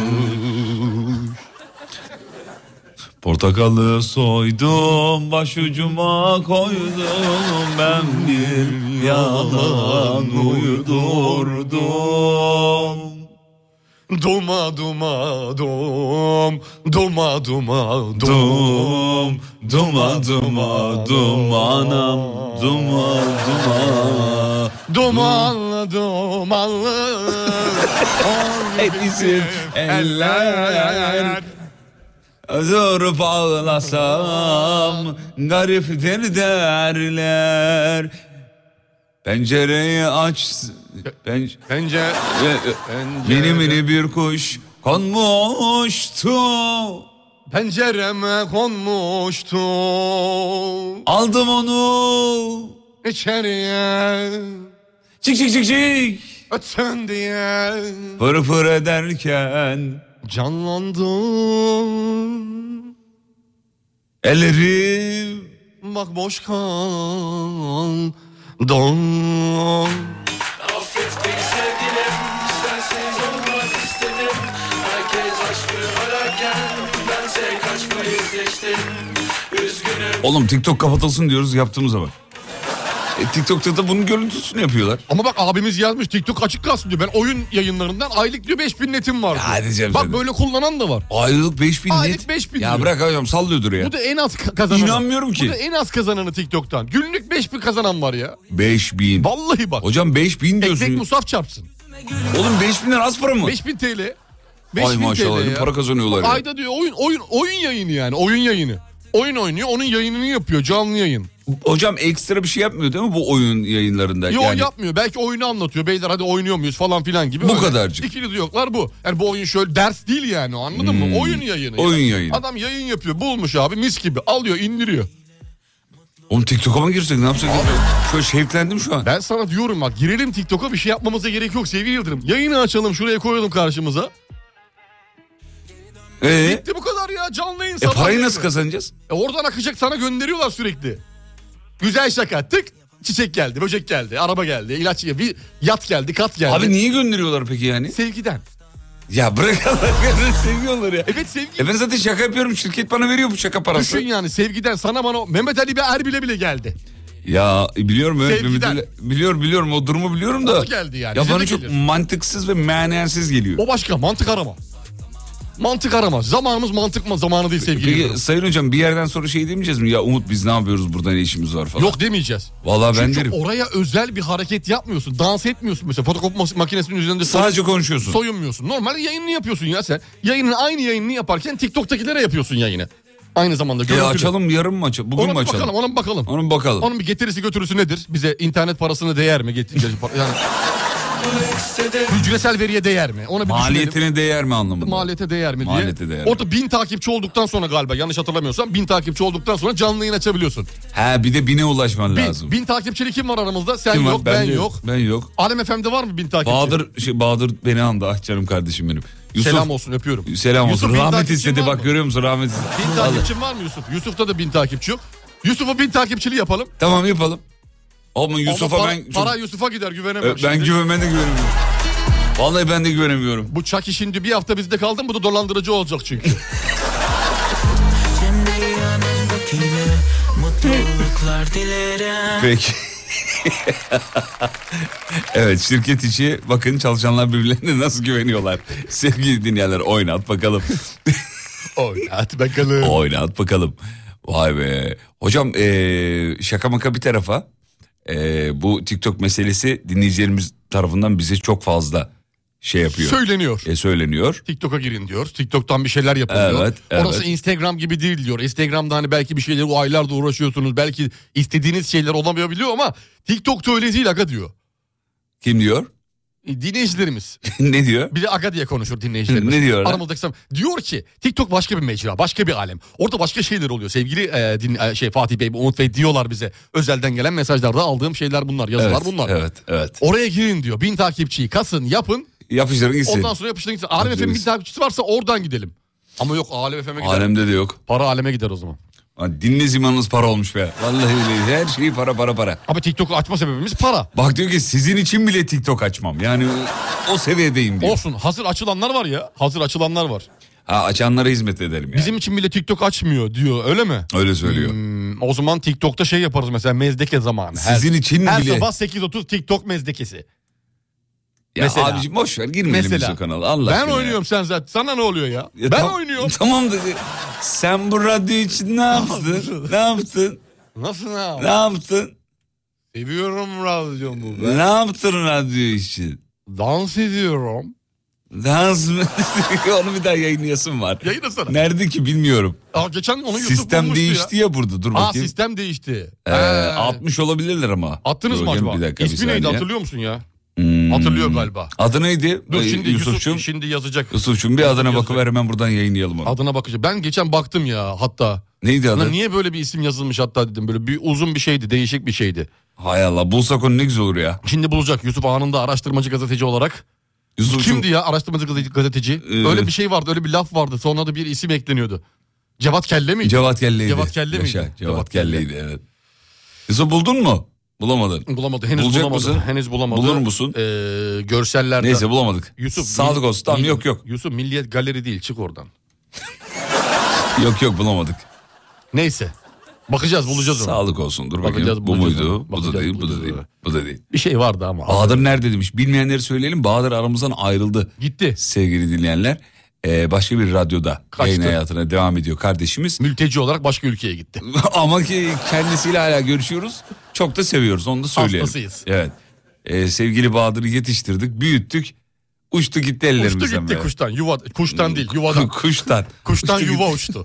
Speaker 4: utanmış Portakalı soydum başucuma koydum ben bir yalan uydurdum
Speaker 5: Duma duma dum. Duma duma dum.
Speaker 4: Dum, duma duma dumanam duma duma
Speaker 5: Dumanlı dumanlı.
Speaker 4: Et bizim eller Zor bağlasam gariptir derler Pencereyi aç penc-
Speaker 5: Bence
Speaker 4: e, Mini mini bir kuş konmuştu
Speaker 5: pencereme konmuştu.
Speaker 4: Aldım onu
Speaker 5: İçeriye
Speaker 4: Çık çık çık çık
Speaker 5: ötsün diye
Speaker 4: Pır pır ederken
Speaker 5: canlandım.
Speaker 4: Ellerim
Speaker 5: Bak boş kaldım.
Speaker 4: Oğlum TikTok kapatılsın diyoruz yaptığımıza bak. E, TikTok'ta da bunun görüntüsünü yapıyorlar.
Speaker 5: Ama bak abimiz yazmış TikTok açık kalsın diyor. Ben oyun yayınlarından aylık diyor 5000 netim var. diyor.
Speaker 4: Hadi canım
Speaker 5: Bak
Speaker 4: sen de.
Speaker 5: böyle kullanan da var.
Speaker 4: Aylık 5000
Speaker 5: Aylık
Speaker 4: net.
Speaker 5: 5000
Speaker 4: Ya
Speaker 5: diyor.
Speaker 4: bırak hocam sallıyordur ya.
Speaker 5: Bu da en az ka- kazananı.
Speaker 4: İnanmıyorum ki.
Speaker 5: Bu da en az kazananı TikTok'tan. Günlük 5000 kazanan var ya.
Speaker 4: 5000.
Speaker 5: Vallahi bak.
Speaker 4: Hocam 5000 diyorsun.
Speaker 5: Ekmek musaf çarpsın.
Speaker 4: Oğlum 5000 az para mı?
Speaker 5: 5000 TL. 5000
Speaker 4: Ay maşallah
Speaker 5: TL
Speaker 4: ne
Speaker 5: ya.
Speaker 4: para kazanıyorlar ya.
Speaker 5: Ayda diyor oyun oyun oyun yayını yani oyun yayını. Oyun oynuyor onun yayınını yapıyor canlı yayın.
Speaker 4: Hocam ekstra bir şey yapmıyor değil mi bu oyun yayınlarında?
Speaker 5: Yo
Speaker 4: Yani
Speaker 5: yapmıyor. Belki oyunu anlatıyor. Beyler hadi oynuyor muyuz falan filan gibi.
Speaker 4: Bu kadarcık.
Speaker 5: İkili diyoklar bu. Yani bu oyun şöyle ders değil yani anladın mı? Oyun yayını.
Speaker 4: Hmm. Oyun
Speaker 5: yani.
Speaker 4: yayını.
Speaker 5: Adam yayın yapıyor. Bulmuş abi mis gibi. Alıyor indiriyor.
Speaker 4: Oğlum TikTok'a mı girsek ne yapsak? Şöyle şevklendim şu an.
Speaker 5: Ben sana diyorum bak girelim TikTok'a bir şey yapmamıza gerek yok sevgili Yıldırım. Yayını açalım şuraya koyalım karşımıza.
Speaker 4: Ee,
Speaker 5: Bitti bu kadar ya canlı yayın.
Speaker 4: e
Speaker 5: sabah
Speaker 4: parayı
Speaker 5: yayını.
Speaker 4: nasıl kazanacağız?
Speaker 5: E oradan akacak sana gönderiyorlar sürekli. Güzel şaka tık çiçek geldi böcek geldi araba geldi ilaç geldi bir yat geldi kat geldi.
Speaker 4: Abi niye gönderiyorlar peki yani?
Speaker 5: Sevgiden.
Speaker 4: Ya bırak Allah'ını seviyorlar ya.
Speaker 5: Evet sevgi.
Speaker 4: E ben zaten şaka yapıyorum. Şirket bana veriyor bu şaka parası.
Speaker 5: Düşün yani sevgiden sana bana Mehmet Ali ve Erbil'e bile geldi.
Speaker 4: Ya e, biliyorum evet.
Speaker 5: Sevgiden.
Speaker 4: Mehmet Ali- Biliyorum biliyorum o durumu biliyorum da.
Speaker 5: O geldi yani,
Speaker 4: Ya
Speaker 5: bize
Speaker 4: bana
Speaker 5: de
Speaker 4: çok
Speaker 5: gelir.
Speaker 4: mantıksız ve manasız geliyor.
Speaker 5: O başka mantık arama. Mantık arama. Zamanımız mantık mı zamanı değil sevgili.
Speaker 4: Peki
Speaker 5: Yıldırım.
Speaker 4: Sayın Hocam bir yerden sonra şey demeyeceğiz mi? Ya Umut biz ne yapıyoruz burada ne işimiz var falan.
Speaker 5: Yok demeyeceğiz.
Speaker 4: Vallahi ben
Speaker 5: Çünkü
Speaker 4: derim.
Speaker 5: oraya özel bir hareket yapmıyorsun. Dans etmiyorsun mesela. Fotokopi mas- makinesinin üzerinde soy-
Speaker 4: Sadece konuşuyorsun.
Speaker 5: soyunmuyorsun. Normal yayınını yapıyorsun ya sen. Yayının aynı yayınını yaparken TikTok'takilere yapıyorsun yayını. Aynı zamanda
Speaker 4: E
Speaker 5: görüntülü.
Speaker 4: açalım yarın mı açalım? Bugün
Speaker 5: Ona
Speaker 4: mü
Speaker 5: bir
Speaker 4: açalım?
Speaker 5: bakalım, ona bir bakalım.
Speaker 4: Onun bakalım.
Speaker 5: Onun bir getirisi götürüsü nedir? Bize internet parasını değer mi? Getir, yani hücresel veriye değer mi? Ona bir düşünelim.
Speaker 4: Maliyetine değer mi anlamında?
Speaker 5: maliyete değer mi diye.
Speaker 4: Maliyete değer mi?
Speaker 5: Orada bin takipçi olduktan sonra galiba yanlış hatırlamıyorsam bin takipçi olduktan sonra canlı yayın açabiliyorsun.
Speaker 4: Ha bir de bine ulaşman
Speaker 5: Bin,
Speaker 4: lazım.
Speaker 5: bin takipçili kim var aramızda? Sen
Speaker 4: Kim var?
Speaker 5: yok, ben,
Speaker 4: de
Speaker 5: yok.
Speaker 4: Ben yok.
Speaker 5: Alem FM'de var mı bin takipçi?
Speaker 4: Bahadır, şey, Bahadır beni andı ah canım kardeşim benim. Yusuf,
Speaker 5: Selam olsun öpüyorum.
Speaker 4: Selam
Speaker 5: Yusuf,
Speaker 4: olsun.
Speaker 5: bin
Speaker 4: Rahmet
Speaker 5: takipçin
Speaker 4: istedi
Speaker 5: var
Speaker 4: bak
Speaker 5: mı?
Speaker 4: görüyor musun rahmet istedi.
Speaker 5: Bin
Speaker 4: Vallahi.
Speaker 5: takipçin var mı Yusuf? Yusuf'ta da bin takipçi yok. Yusuf'u bin takipçili yapalım.
Speaker 4: Tamam yapalım. Ama Yusuf'a
Speaker 5: Ama para,
Speaker 4: ben çok-
Speaker 5: para Yusuf'a gider güvenemem.
Speaker 4: Ö, ben
Speaker 5: şimdi.
Speaker 4: güven ben de güvenemiyorum. Vallahi ben de güvenemiyorum.
Speaker 5: Bu Chucky şimdi bir hafta bizde kaldı mı bu da dolandırıcı olacak çünkü.
Speaker 7: Şimdi yanındakine mutluluklar dilerim
Speaker 4: Peki. evet şirket içi bakın çalışanlar birbirlerine nasıl güveniyorlar. Sevgili dinleyenler oynat bakalım.
Speaker 5: Oynat bakalım.
Speaker 4: Oynat bakalım. Vay be. Hocam eee, şaka maka bir tarafa eee, bu TikTok meselesi dinleyicilerimiz tarafından bize çok fazla şey yapıyor.
Speaker 5: Söyleniyor.
Speaker 4: E, söyleniyor.
Speaker 5: TikTok'a girin diyor. TikTok'tan bir şeyler yapın diyor.
Speaker 4: Evet, evet.
Speaker 5: Orası Instagram gibi değil diyor. Instagram'da hani belki bir şeyleri aylarda uğraşıyorsunuz. Belki istediğiniz şeyler olamayabiliyor ama TikTok'ta öyle değil aga diyor.
Speaker 4: Kim diyor?
Speaker 5: E, Dinleyicilerimiz.
Speaker 4: ne diyor?
Speaker 5: Bir de aga diye konuşur dinleyicilerimiz.
Speaker 4: Ne diyor lan?
Speaker 5: Aramızdaki sam- Diyor ki TikTok başka bir mecra, başka bir alem. Orada başka şeyler oluyor. Sevgili e, din, e, şey Fatih Bey, Umut Bey diyorlar bize. Özelden gelen mesajlarda aldığım şeyler bunlar, yazılar
Speaker 4: Evet,
Speaker 5: bunlar.
Speaker 4: Evet, evet.
Speaker 5: Oraya girin diyor. Bin takipçiyi kasın, yapın.
Speaker 4: Yapıştırın gitsin.
Speaker 5: Ondan sonra yapıştırın gitsin. Alem
Speaker 4: Yapıştırın
Speaker 5: FM'in bin
Speaker 4: gitsin.
Speaker 5: takipçisi varsa oradan gidelim. Ama yok Alem FM'e gider.
Speaker 4: Alemde de yok.
Speaker 5: Para aleme gider o zaman.
Speaker 4: Ha, Dinle zimanınız para olmuş be. Vallahi öyle. Her şeyi para para para.
Speaker 5: Ama TikTok'u açma sebebimiz para.
Speaker 4: Bak diyor ki sizin için bile TikTok açmam. Yani o seviyedeyim diyor.
Speaker 5: Olsun hazır açılanlar var ya. Hazır açılanlar var.
Speaker 4: Ha, açanlara hizmet ederim yani.
Speaker 5: Bizim için bile TikTok açmıyor diyor öyle mi?
Speaker 4: Öyle söylüyor.
Speaker 5: Hmm, O zaman TikTok'ta şey yaparız mesela mezdeke zamanı. Her-
Speaker 4: Sizin için
Speaker 5: her
Speaker 4: bile.
Speaker 5: sabah 8.30 Tiktok mezdekesi.
Speaker 4: Ya
Speaker 5: Mesela.
Speaker 4: abicim boş ver girmeyelim biz
Speaker 5: Mesela.
Speaker 4: o kanala. Allah
Speaker 5: ben
Speaker 4: aşkına ya.
Speaker 5: oynuyorum sen zaten. Sana ne oluyor ya?
Speaker 4: Ya
Speaker 5: ben
Speaker 4: tam-
Speaker 5: oynuyorum.
Speaker 4: Tamam da şey, sen bu radyo için ne yaptın? ne yaptın?
Speaker 5: Nasıl
Speaker 4: Ne
Speaker 5: ya?
Speaker 4: yaptın?
Speaker 5: Seviyorum radyomu ben.
Speaker 4: Ne yaptın radyo için?
Speaker 5: Dans ediyorum.
Speaker 4: Dans mı? Onu bir daha yayınlayasın var.
Speaker 5: Yayınlasana.
Speaker 4: Nerede ki bilmiyorum.
Speaker 5: Aa, geçen onu YouTube
Speaker 4: Sistem
Speaker 5: bulmuştu
Speaker 4: değişti ya. burada dur
Speaker 5: ya. Aa
Speaker 4: bakayım.
Speaker 5: sistem değişti.
Speaker 4: Ee,
Speaker 5: Ee,
Speaker 4: 60 olabilirler ama.
Speaker 5: attınız
Speaker 4: Dur
Speaker 5: mı
Speaker 4: bakayım,
Speaker 5: acaba?
Speaker 4: Bir dakika, bir
Speaker 5: İsmi neydi
Speaker 4: saniye.
Speaker 5: hatırlıyor musun ya?
Speaker 4: Hmm.
Speaker 5: Hatırlıyor galiba.
Speaker 4: Adı neydi?
Speaker 5: Dur
Speaker 4: Ee,
Speaker 5: şimdi Yusuf,
Speaker 4: Yusufçum.
Speaker 5: şimdi yazacak.
Speaker 4: Yusufçum bir adına
Speaker 5: Yusuf.
Speaker 4: bakıver hemen buradan yayınlayalım onu.
Speaker 5: Adına bakacağım. Ben geçen baktım ya hatta.
Speaker 4: neydi
Speaker 5: Lan
Speaker 4: adı?
Speaker 5: niye böyle bir isim yazılmış hatta dedim. Böyle bir uzun bir şeydi, değişik bir şeydi.
Speaker 4: Hay Allah bulsak onu ne güzel olur ya.
Speaker 5: Şimdi bulacak Yusuf anında araştırmacı gazeteci olarak.
Speaker 4: Yusufçum.
Speaker 5: Kimdi ya araştırmacı gazete- gazeteci?
Speaker 4: Ee,
Speaker 5: öyle bir şey vardı, öyle bir laf vardı. Sonra da bir isim ekleniyordu. Cevat Kelle miydi?
Speaker 4: Cevat Kelle'ydi.
Speaker 5: Cevat Kelle miydi?
Speaker 4: Yaşa, Cevat,
Speaker 5: Cevat Kelle.
Speaker 4: Kelle'ydi evet. Yusuf buldun mu? Bulamadın.
Speaker 5: Bulamadı, henüz
Speaker 4: Bulacak
Speaker 5: bulamadı.
Speaker 4: mısın?
Speaker 5: Henüz bulamadı.
Speaker 4: Bulur musun?
Speaker 5: Ee, görsellerde.
Speaker 4: Neyse bulamadık.
Speaker 5: Yusuf.
Speaker 4: Sağlık
Speaker 5: mil-
Speaker 4: olsun. Tamam
Speaker 5: mil-
Speaker 4: yok yok.
Speaker 5: Yusuf Milliyet Galeri değil, çık oradan.
Speaker 4: Yok yok bulamadık.
Speaker 5: Neyse. Bakacağız, bulacağız onu.
Speaker 4: Sağlık olsun. Dur
Speaker 5: Bakacağız,
Speaker 4: bakayım. Bu
Speaker 5: bulacağız
Speaker 4: muydu?
Speaker 5: onu.
Speaker 4: Bu da
Speaker 5: Bakacağız,
Speaker 4: değil, bu da
Speaker 5: bulacağız
Speaker 4: değil.
Speaker 5: onu.
Speaker 4: Bu da değil.
Speaker 5: Bir şey vardı ama.
Speaker 4: Bahadır nerede demiş? Bilmeyenleri söyleyelim. Bahadır aramızdan ayrıldı.
Speaker 5: Gitti.
Speaker 4: Sevgili dinleyenler. Ee, başka bir radyoda
Speaker 5: Kaçtı.
Speaker 4: yayın hayatına devam ediyor kardeşimiz.
Speaker 5: Mülteci olarak başka ülkeye gitti.
Speaker 4: Ama ki kendisiyle hala görüşüyoruz. Çok da seviyoruz onu da söyleyelim.
Speaker 5: Hastasıyız.
Speaker 4: Evet. Ee, sevgili Bahadır'ı yetiştirdik, büyüttük. Uçtu gitti ellerimizden.
Speaker 5: Uçtu gitti
Speaker 4: be. Hmm,
Speaker 5: kuştan. Yuva, kuştan değil, yuvadan.
Speaker 4: Kuştan.
Speaker 5: Kuştan
Speaker 4: Uçtu
Speaker 5: yuva
Speaker 4: gitti.
Speaker 5: uçtu.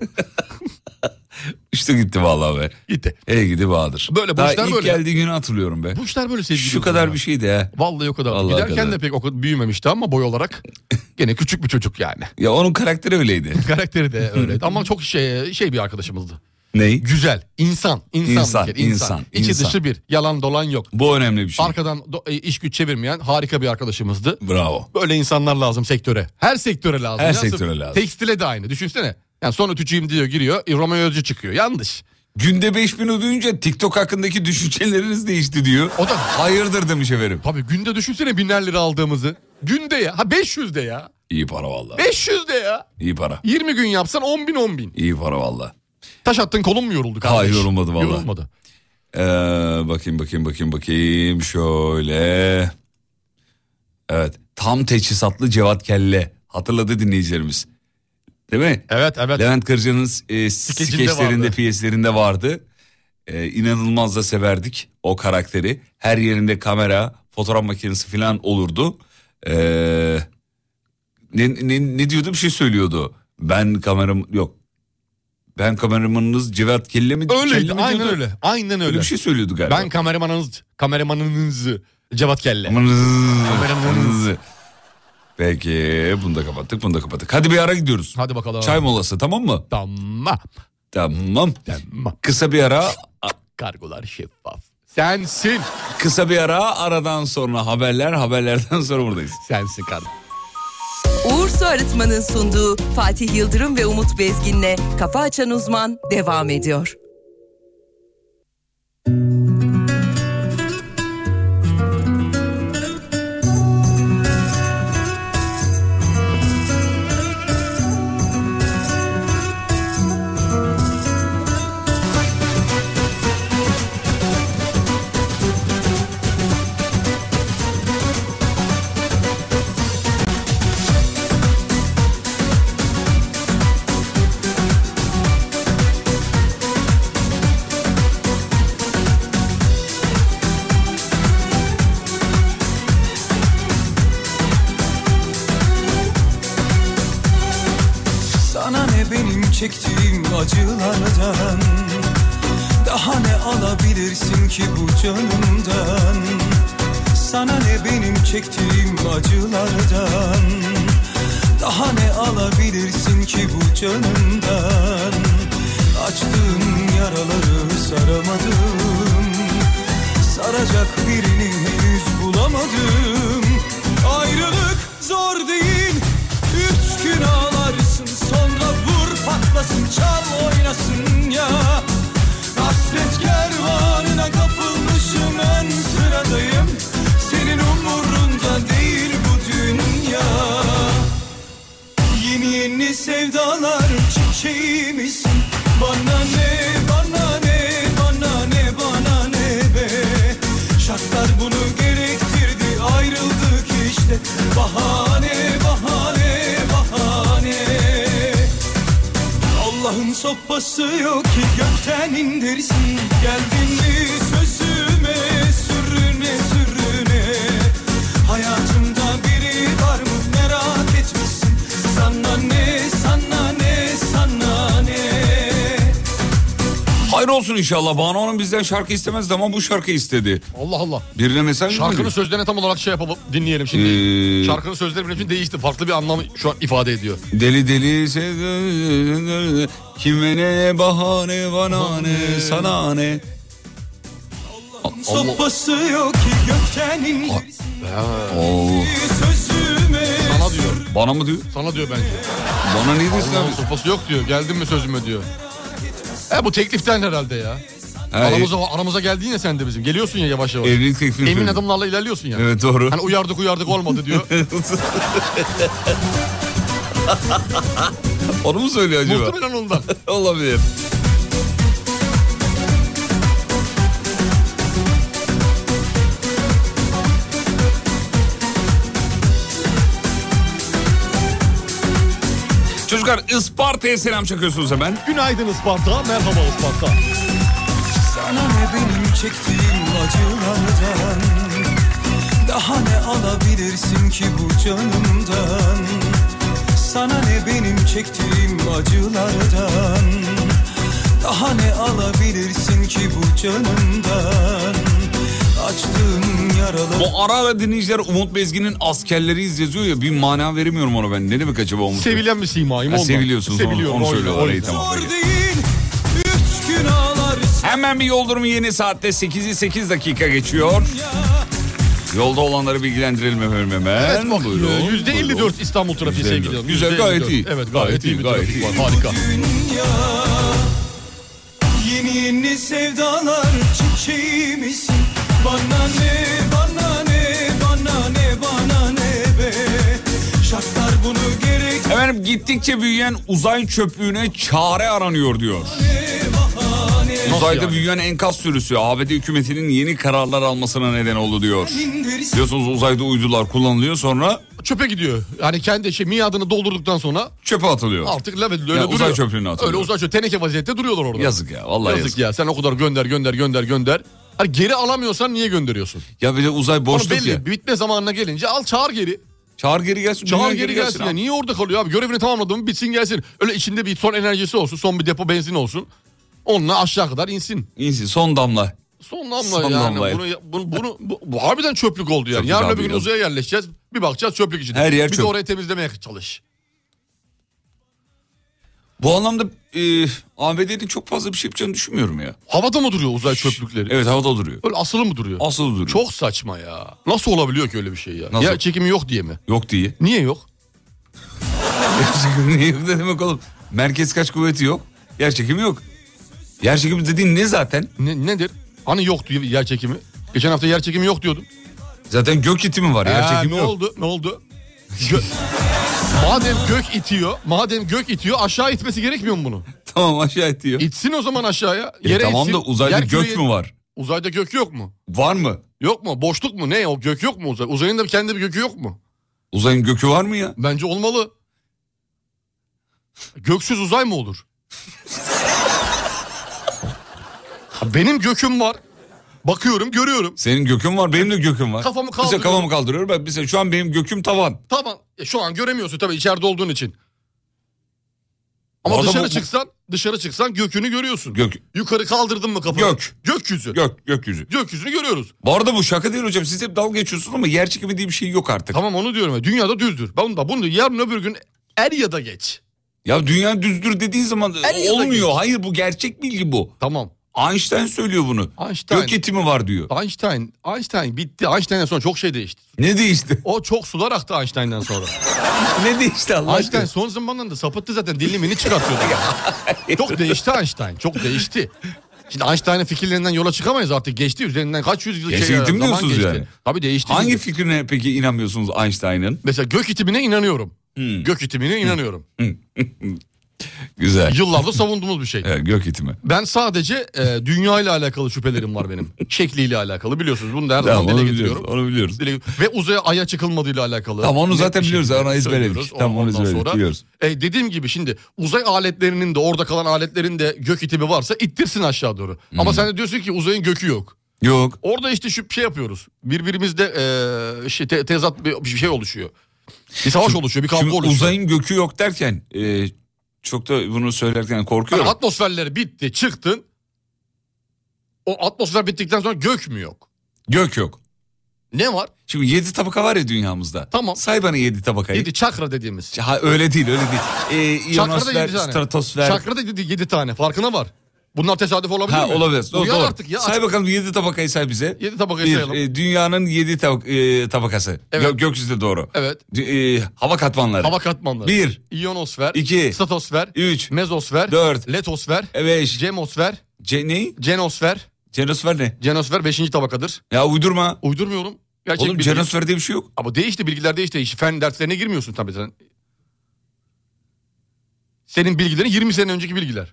Speaker 4: Uçtu gitti vallahi be.
Speaker 5: Gitti.
Speaker 4: Ey gidi Bahadır.
Speaker 5: Böyle bu
Speaker 4: Daha
Speaker 5: işler
Speaker 4: ilk
Speaker 5: böyle.
Speaker 4: geldiği günü hatırlıyorum be.
Speaker 5: Bu işler böyle sevgili
Speaker 4: Şu kadar
Speaker 5: dostlar.
Speaker 4: bir şeydi ha.
Speaker 5: Vallahi o kadar.
Speaker 4: Vallahi o
Speaker 5: Giderken
Speaker 4: kadar.
Speaker 5: de pek o kadar büyümemişti ama boy olarak gene küçük bir çocuk yani.
Speaker 4: Ya onun karakteri öyleydi.
Speaker 5: Karakteri de öyleydi ama çok şey şey bir arkadaşımızdı.
Speaker 4: Ney?
Speaker 5: Güzel, insan, insan,
Speaker 4: İnsan,
Speaker 5: bir kere, insan.
Speaker 4: insan,
Speaker 5: İçi
Speaker 4: insan.
Speaker 5: dışı bir, yalan dolan yok.
Speaker 4: Bu önemli bir şey.
Speaker 5: Arkadan do- e, iş güç çevirmeyen harika bir arkadaşımızdı.
Speaker 4: Bravo.
Speaker 5: Böyle insanlar lazım sektöre. Her sektöre lazım.
Speaker 4: Her
Speaker 5: Ya
Speaker 4: sektöre
Speaker 5: sırf
Speaker 4: lazım.
Speaker 5: Tekstile de aynı. Düşünsene. Yani son ötücüyüm diyor giriyor. E, Romeo Özcü çıkıyor. Yanlış.
Speaker 4: Günde 5000 ödeyince TikTok hakkındaki düşünceleriniz değişti diyor.
Speaker 5: O da-
Speaker 4: hayırdır demiş efendim.
Speaker 5: Tabii günde düşünsene binler lira aldığımızı. Günde ya. Ha 500 de ya.
Speaker 4: İyi para vallahi.
Speaker 5: 500 de ya.
Speaker 4: İyi para.
Speaker 5: 20 gün yapsan 10 bin 10 bin.
Speaker 4: İyi para vallahi.
Speaker 5: Taş attın kolun mu yoruldu kardeş?
Speaker 4: Hayır, yorulmadı vallahi.
Speaker 5: Yorulmadı.
Speaker 4: Ee, bakayım bakayım bakayım bakayım şöyle. Evet tam teçhizatlı Cevat Kelle hatırladı dinleyicilerimiz. Değil mi?
Speaker 5: Evet evet.
Speaker 4: Levent Kırca'nın e, skeçlerinde
Speaker 5: vardı.
Speaker 4: piyeslerinde vardı. E, inanılmaz da severdik o karakteri. Her yerinde kamera, fotoğraf makinesi falan olurdu. E, ne, ne, ne diyordu bir şey söylüyordu. Ben kameram yok. Ben kameramanınız Cevat Kelle mi?
Speaker 5: Öyleydi
Speaker 4: Kelle mi
Speaker 5: aynen
Speaker 4: diyordu?
Speaker 5: öyle. Aynen öyle.
Speaker 4: Öyle bir şey söylüyordu galiba.
Speaker 5: Ben kameramanınız, kameramanınızı Cevat Kelle.
Speaker 4: Kameranızı. Peki bunu da kapattık bunu da kapattık. Hadi bir ara gidiyoruz.
Speaker 5: Hadi bakalım.
Speaker 4: Çay molası tamam mı?
Speaker 5: Damma.
Speaker 4: Tamam.
Speaker 5: Damma.
Speaker 4: Kısa bir ara
Speaker 5: Kargolar şeffaf. Sensin.
Speaker 4: kısa bir ara aradan sonra haberler haberlerden sonra buradayız.
Speaker 5: Sensin kardeşim.
Speaker 1: Uğur Su Arıtma'nın sunduğu Fatih Yıldırım ve Umut Bezgin'le Kafa Açan Uzman devam ediyor.
Speaker 9: Sana ne benim çektiğim acılardan Daha ne alabilirsin ki bu canımdan Sana ne benim çektiğim acılardan Daha ne alabilirsin ki bu canımdan Açtığım yaraları saramadım Saracak birini henüz bulamadım Ayrılık zor değil Üç gün ağlarsın sonra vur patlasın çal oynasın ya Hasret kervanına kapılmışım en sıradayım Senin umurunda değil bu dünya Yeni yeni sevdalar çiçeği misin? Bana ne, bana ne, bana ne, bana ne be Şartlar bunu gerektirdi ayrıldık işte Bahane, bahane, bahane Allah'ın sopası yok ki gökten indirsin Geldin mi sözüme sürüne sürüne Hayatımda biri var mı merak etmişsin Sana ne sana ne sana ne
Speaker 4: Hayır olsun inşallah. Banu Hanım bizden şarkı istemezdi ama bu şarkı istedi.
Speaker 5: Allah Allah.
Speaker 4: Birine mesaj mı
Speaker 5: Şarkının
Speaker 4: veriyor?
Speaker 5: sözlerine tam olarak şey yapalım dinleyelim şimdi.
Speaker 4: Ee,
Speaker 5: Şarkının sözleri benim için değişti. Farklı bir anlam şu an ifade ediyor.
Speaker 4: Deli deli sevdim. Kime ne bahane bana ne sana ne.
Speaker 9: Sopası yok ki gökten indirsin
Speaker 4: Oo.
Speaker 9: Sözüme
Speaker 5: Sana diyor.
Speaker 4: Bana mı diyor?
Speaker 5: Sana diyor bence.
Speaker 4: Bana ne diyorsun abi?
Speaker 5: Allah'ın sopası yok diyor. Geldin mi sözüme diyor. E bu tekliften herhalde ya.
Speaker 4: Ha, e-
Speaker 5: Aramıza, aramıza geldin ya sen de bizim. Geliyorsun ya yavaş yavaş.
Speaker 4: Evlilik teklifini
Speaker 5: Emin
Speaker 4: söylüyor.
Speaker 5: adımlarla ilerliyorsun ya.
Speaker 4: Evet doğru.
Speaker 5: Hani uyardık uyardık olmadı diyor.
Speaker 4: Onu mu söylüyor acaba?
Speaker 5: Muhtemelen ondan.
Speaker 4: Olabilir. Çocuklar Isparta'ya selam çakıyorsunuz hemen.
Speaker 5: Günaydın Isparta, merhaba Isparta.
Speaker 9: Sana ne benim çektiğim acılardan Daha ne alabilirsin ki bu canımdan Sana ne benim çektiğim acılardan
Speaker 7: Daha ne alabilirsin ki bu canımdan Açtığın yaraları
Speaker 4: Bu ara ara dinleyiciler Umut Bezgin'in askerleriyiz yazıyor ya bir mana veremiyorum ona ben. Ne demek acaba Umut?
Speaker 5: Sevilen bir simayım
Speaker 4: Ha,
Speaker 5: ondan.
Speaker 4: seviliyorsunuz onu,
Speaker 5: Seviliyorum,
Speaker 4: onu
Speaker 5: o yüzden,
Speaker 4: söylüyorlar.
Speaker 5: o
Speaker 4: iyi,
Speaker 5: yüzden.
Speaker 4: tamam,
Speaker 7: Zor
Speaker 4: peki.
Speaker 7: değil Üç gün ağlarsın
Speaker 4: Hemen bir yol durumu yeni saatte 8'i 8 dakika geçiyor. Yolda olanları bilgilendirelim efendim hemen.
Speaker 5: Evet bak e,
Speaker 4: Buyurun,
Speaker 5: yüzde
Speaker 4: buyurun.
Speaker 5: %54 İstanbul trafiği
Speaker 4: %54.
Speaker 5: sevgili canım.
Speaker 4: Güzel,
Speaker 5: %54.
Speaker 4: gayet iyi.
Speaker 5: Evet gayet iyi bir
Speaker 4: gayet
Speaker 5: trafik
Speaker 4: iyi.
Speaker 5: var harika.
Speaker 7: dünya Yeni yeni sevdalar çiçeği misin? Bana ne, bana ne, bana ne, bana ne be Şartlar bunu gerek
Speaker 4: Efendim gittikçe büyüyen uzay çöplüğüne çare aranıyor diyor. Uzayda
Speaker 5: yani?
Speaker 4: büyüyen enkaz sürüsü ABD hükümetinin yeni kararlar almasına neden oldu diyor.
Speaker 7: indirsin
Speaker 4: Biliyorsunuz uzayda uydular kullanılıyor sonra
Speaker 5: Çöpe gidiyor. Yani kendi şey miadını doldurduktan sonra
Speaker 4: çöpe atılıyor.
Speaker 5: artık level öyle
Speaker 4: Ya
Speaker 5: duruyor.
Speaker 4: uzay çöplüğüne atılıyor.
Speaker 5: Öyle uzay çöplüğü. Teneke vaziyette duruyorlar orada.
Speaker 4: Yazık ya vallahi yazık.
Speaker 5: Yazık ya sen o kadar gönder gönder gönder gönder. Hani geri alamıyorsan niye gönderiyorsun?
Speaker 4: Ya bir de uzay
Speaker 5: Onu
Speaker 4: boşluk
Speaker 5: belli
Speaker 4: ya.
Speaker 5: bitme zamanına gelince al çağır geri.
Speaker 4: Çağır geri gelsin.
Speaker 5: Çağır
Speaker 4: dünya
Speaker 5: geri gelsin ya.
Speaker 4: abi.
Speaker 5: Niye orada kalıyor abi? Görevini tamamladı mı bitsin gelsin. Öyle içinde bir son enerjisi olsun. Son bir depo benzin olsun. Onunla aşağı kadar insin.
Speaker 4: İyisi son damla.
Speaker 5: Son damla
Speaker 4: Son
Speaker 5: yani.
Speaker 4: damlayla.
Speaker 5: Bunu, bunu, bunu, bu, bu harbiden çöplük oldu yani.
Speaker 4: Çöplük
Speaker 5: Yarın
Speaker 4: abi
Speaker 5: öbür gün
Speaker 4: ya.
Speaker 5: uzaya yerleşeceğiz. Bir bakacağız çöplük içinde.
Speaker 4: Her yer
Speaker 5: bir
Speaker 4: çöp.
Speaker 5: de orayı temizlemeye çalış.
Speaker 4: Bu anlamda e, ABD'nin çok fazla bir şey yapacağını düşünmüyorum ya.
Speaker 5: Havada mı duruyor uzay çöplükleri?
Speaker 4: Evet havada duruyor.
Speaker 5: Öyle asılı mı duruyor?
Speaker 4: Asıl duruyor.
Speaker 5: Çok saçma ya. Nasıl olabiliyor ki öyle bir şey ya?
Speaker 4: Nasıl?
Speaker 5: Ya çekimi yok diye mi?
Speaker 4: Yok diye.
Speaker 5: Niye yok?
Speaker 4: Niye ne demek oğlum? Merkez kaç kuvveti yok. Yer çekimi yok. Yer çekimi dediğin ne zaten?
Speaker 5: Ne, nedir? Hani yoktu yer çekimi? Geçen hafta yer çekimi yok diyordun.
Speaker 4: Zaten gök itimi var. Yer
Speaker 5: Ha,
Speaker 4: çekimi
Speaker 5: ne
Speaker 4: yok.
Speaker 5: oldu? Ne oldu? Gö- madem gök itiyor, madem gök itiyor aşağı itmesi gerekmiyor mu bunu?
Speaker 4: Tamam aşağı itiyor.
Speaker 5: İtsin o zaman aşağıya.
Speaker 4: E,
Speaker 5: Yere
Speaker 4: tamam
Speaker 5: itsin.
Speaker 4: da uzayda
Speaker 5: Yer
Speaker 4: gök
Speaker 5: küreye-
Speaker 4: mü var?
Speaker 5: Uzayda gök yok mu?
Speaker 4: Var mı?
Speaker 5: Yok mu? Boşluk mu? Ne? O gök yok mu uzay? Uzayın da kendi bir gökü yok mu?
Speaker 4: Uzayın gökü var mı ya?
Speaker 5: Bence olmalı. Göksüz uzay mı olur? Ha, Benim göküm var. Bakıyorum, görüyorum.
Speaker 4: Senin gökün var, benim de göküm var.
Speaker 5: Kafamı
Speaker 4: Mesela
Speaker 5: kaldırıyorum.
Speaker 4: kafamı kaldırıyorum. Ben mesela şu an benim göküm tavan.
Speaker 5: Tamam. E, şu an göremiyorsun tabii içeride olduğun için. Ama
Speaker 4: Orada
Speaker 5: dışarı
Speaker 4: bu- bu-
Speaker 5: çıksan, dışarı çıksan gökünü görüyorsun.
Speaker 4: Gök.
Speaker 5: Yukarı kaldırdın mı kafanı?
Speaker 4: Gök.
Speaker 5: Gökyüzü.
Speaker 4: Gök, gökyüzü.
Speaker 5: Gökyüzünü görüyoruz.
Speaker 4: Bu arada bu şaka değil hocam. Siz hep dalga geçiyorsunuz ama yer çekimi diye bir şey yok artık.
Speaker 5: Tamam onu diyorum ya. Dünyada düzdür. Ben da bunu yarın öbür gün er ya da geç.
Speaker 4: Ya dünya düzdür dediği zaman
Speaker 5: Her yılda
Speaker 4: olmuyor.
Speaker 5: geç.
Speaker 4: Hayır bu gerçek bilgi bu.
Speaker 5: Tamam.
Speaker 4: Einstein söylüyor bunu.
Speaker 5: Einstein.
Speaker 4: Gök itimi var diyor.
Speaker 5: Einstein, Einstein bitti. Einstein'den sonra çok şey değişti.
Speaker 4: Ne değişti?
Speaker 5: O çok sular aktı Einstein'den sonra.
Speaker 4: ne değişti Allah
Speaker 5: Einstein
Speaker 4: aşkına?
Speaker 5: son zamanlarda sapıttı zaten dilimini çıkartıyordu. çok değişti Einstein, çok değişti. Şimdi Einstein'ın fikirlerinden yola çıkamayız artık. Geçti üzerinden kaç yüz yıl
Speaker 4: Geçti,
Speaker 5: şey,
Speaker 4: gitti mi
Speaker 5: zaman
Speaker 4: diyorsunuz
Speaker 5: geçti.
Speaker 4: yani?
Speaker 5: Tabii değişti.
Speaker 4: Hangi fikrine peki inanmıyorsunuz Hmm. Einstein'ın?
Speaker 5: Mesela gök itimine inanıyorum. Gök itimine inanıyorum.
Speaker 4: Güzel.
Speaker 5: Yıllardır savunduğumuz bir şey.
Speaker 4: Evet, gök itimi.
Speaker 5: Ben sadece e, dünya ile alakalı şüphelerim var benim. Şekliyle alakalı biliyorsunuz. Bunu da her
Speaker 4: Tamam,
Speaker 5: zaman
Speaker 4: onu
Speaker 5: dile
Speaker 4: biliyoruz.
Speaker 5: getiriyorum.
Speaker 4: Onu biliyoruz.
Speaker 5: Dile- Ve uzaya aya çıkılmadığıyla alakalı.
Speaker 4: Tamam, onu
Speaker 5: net
Speaker 4: zaten
Speaker 5: bir
Speaker 4: biliyoruz.
Speaker 5: şekilde
Speaker 4: Onu ezberledik.
Speaker 5: söylüyoruz.
Speaker 4: Tamam, onu
Speaker 5: Ondan
Speaker 4: ezberledik,
Speaker 5: sonra,
Speaker 4: biliyoruz.
Speaker 5: E, dediğim gibi şimdi uzay aletlerinin de orada kalan aletlerin de gök itimi varsa ittirsin aşağı doğru.
Speaker 4: Hmm.
Speaker 5: Ama sen de diyorsun ki uzayın gökü yok.
Speaker 4: Yok.
Speaker 5: Orada işte şu şey yapıyoruz. Birbirimizde e, şey, te- tezat bir bir şey oluşuyor. Bir savaş oluşuyor, bir kavga
Speaker 4: Şimdi
Speaker 5: oluşuyor.
Speaker 4: uzayın gökü yok derken e, çok da bunu söylerken
Speaker 5: Yani
Speaker 4: korkuyorum.
Speaker 5: atmosferleri bitti, çıktın. O atmosfer bittikten sonra gök mü yok?
Speaker 4: Gök yok.
Speaker 5: Ne var?
Speaker 4: Şimdi yedi tabaka var ya dünyamızda.
Speaker 5: Tamam.
Speaker 4: Say bana yedi tabakayı.
Speaker 5: Yedi çakra dediğimiz.
Speaker 4: Ha, öyle değil öyle değil. E,
Speaker 5: Çakra'da
Speaker 4: iyonosfer,
Speaker 5: yedi tane.
Speaker 4: stratosfer.
Speaker 5: Çakra'da yedi, yedi tane. Farkına var. Bunlar tesadüf olabilir
Speaker 4: Ha
Speaker 5: mi?
Speaker 4: olabilir. Doğru,
Speaker 5: Uyan
Speaker 4: doğru.
Speaker 5: artık ya.
Speaker 4: Say bakalım yedi tabakayı say bize.
Speaker 5: Yedi tabakayı
Speaker 4: Bir,
Speaker 5: sayalım.
Speaker 4: e, dünyanın yedi tab- e, tabakası.
Speaker 5: Evet.
Speaker 4: Gö- gökyüzü de doğru.
Speaker 5: Evet.
Speaker 4: Dü- e, hava katmanları.
Speaker 5: Hava katmanları.
Speaker 4: Bir.
Speaker 5: İyonosfer.
Speaker 4: İki.
Speaker 5: Statosfer.
Speaker 4: Üç.
Speaker 5: Mezosfer.
Speaker 4: Dört.
Speaker 5: Letosfer.
Speaker 4: Evet.
Speaker 5: Cemosfer.
Speaker 4: Ce- ne?
Speaker 5: Genosfer.
Speaker 4: Cenosfer ne?
Speaker 5: Genosfer beşinci tabakadır.
Speaker 4: Ya uydurma.
Speaker 5: Uydurmuyorum. Gerçek
Speaker 4: Oğlum
Speaker 5: bilgi.
Speaker 4: cenosfer diye bir şey yok.
Speaker 5: Ama değişti bilgiler değişti. Hiç fen derslerine girmiyorsun tabii sen. Senin bilgilerin 20 sene önceki bilgiler.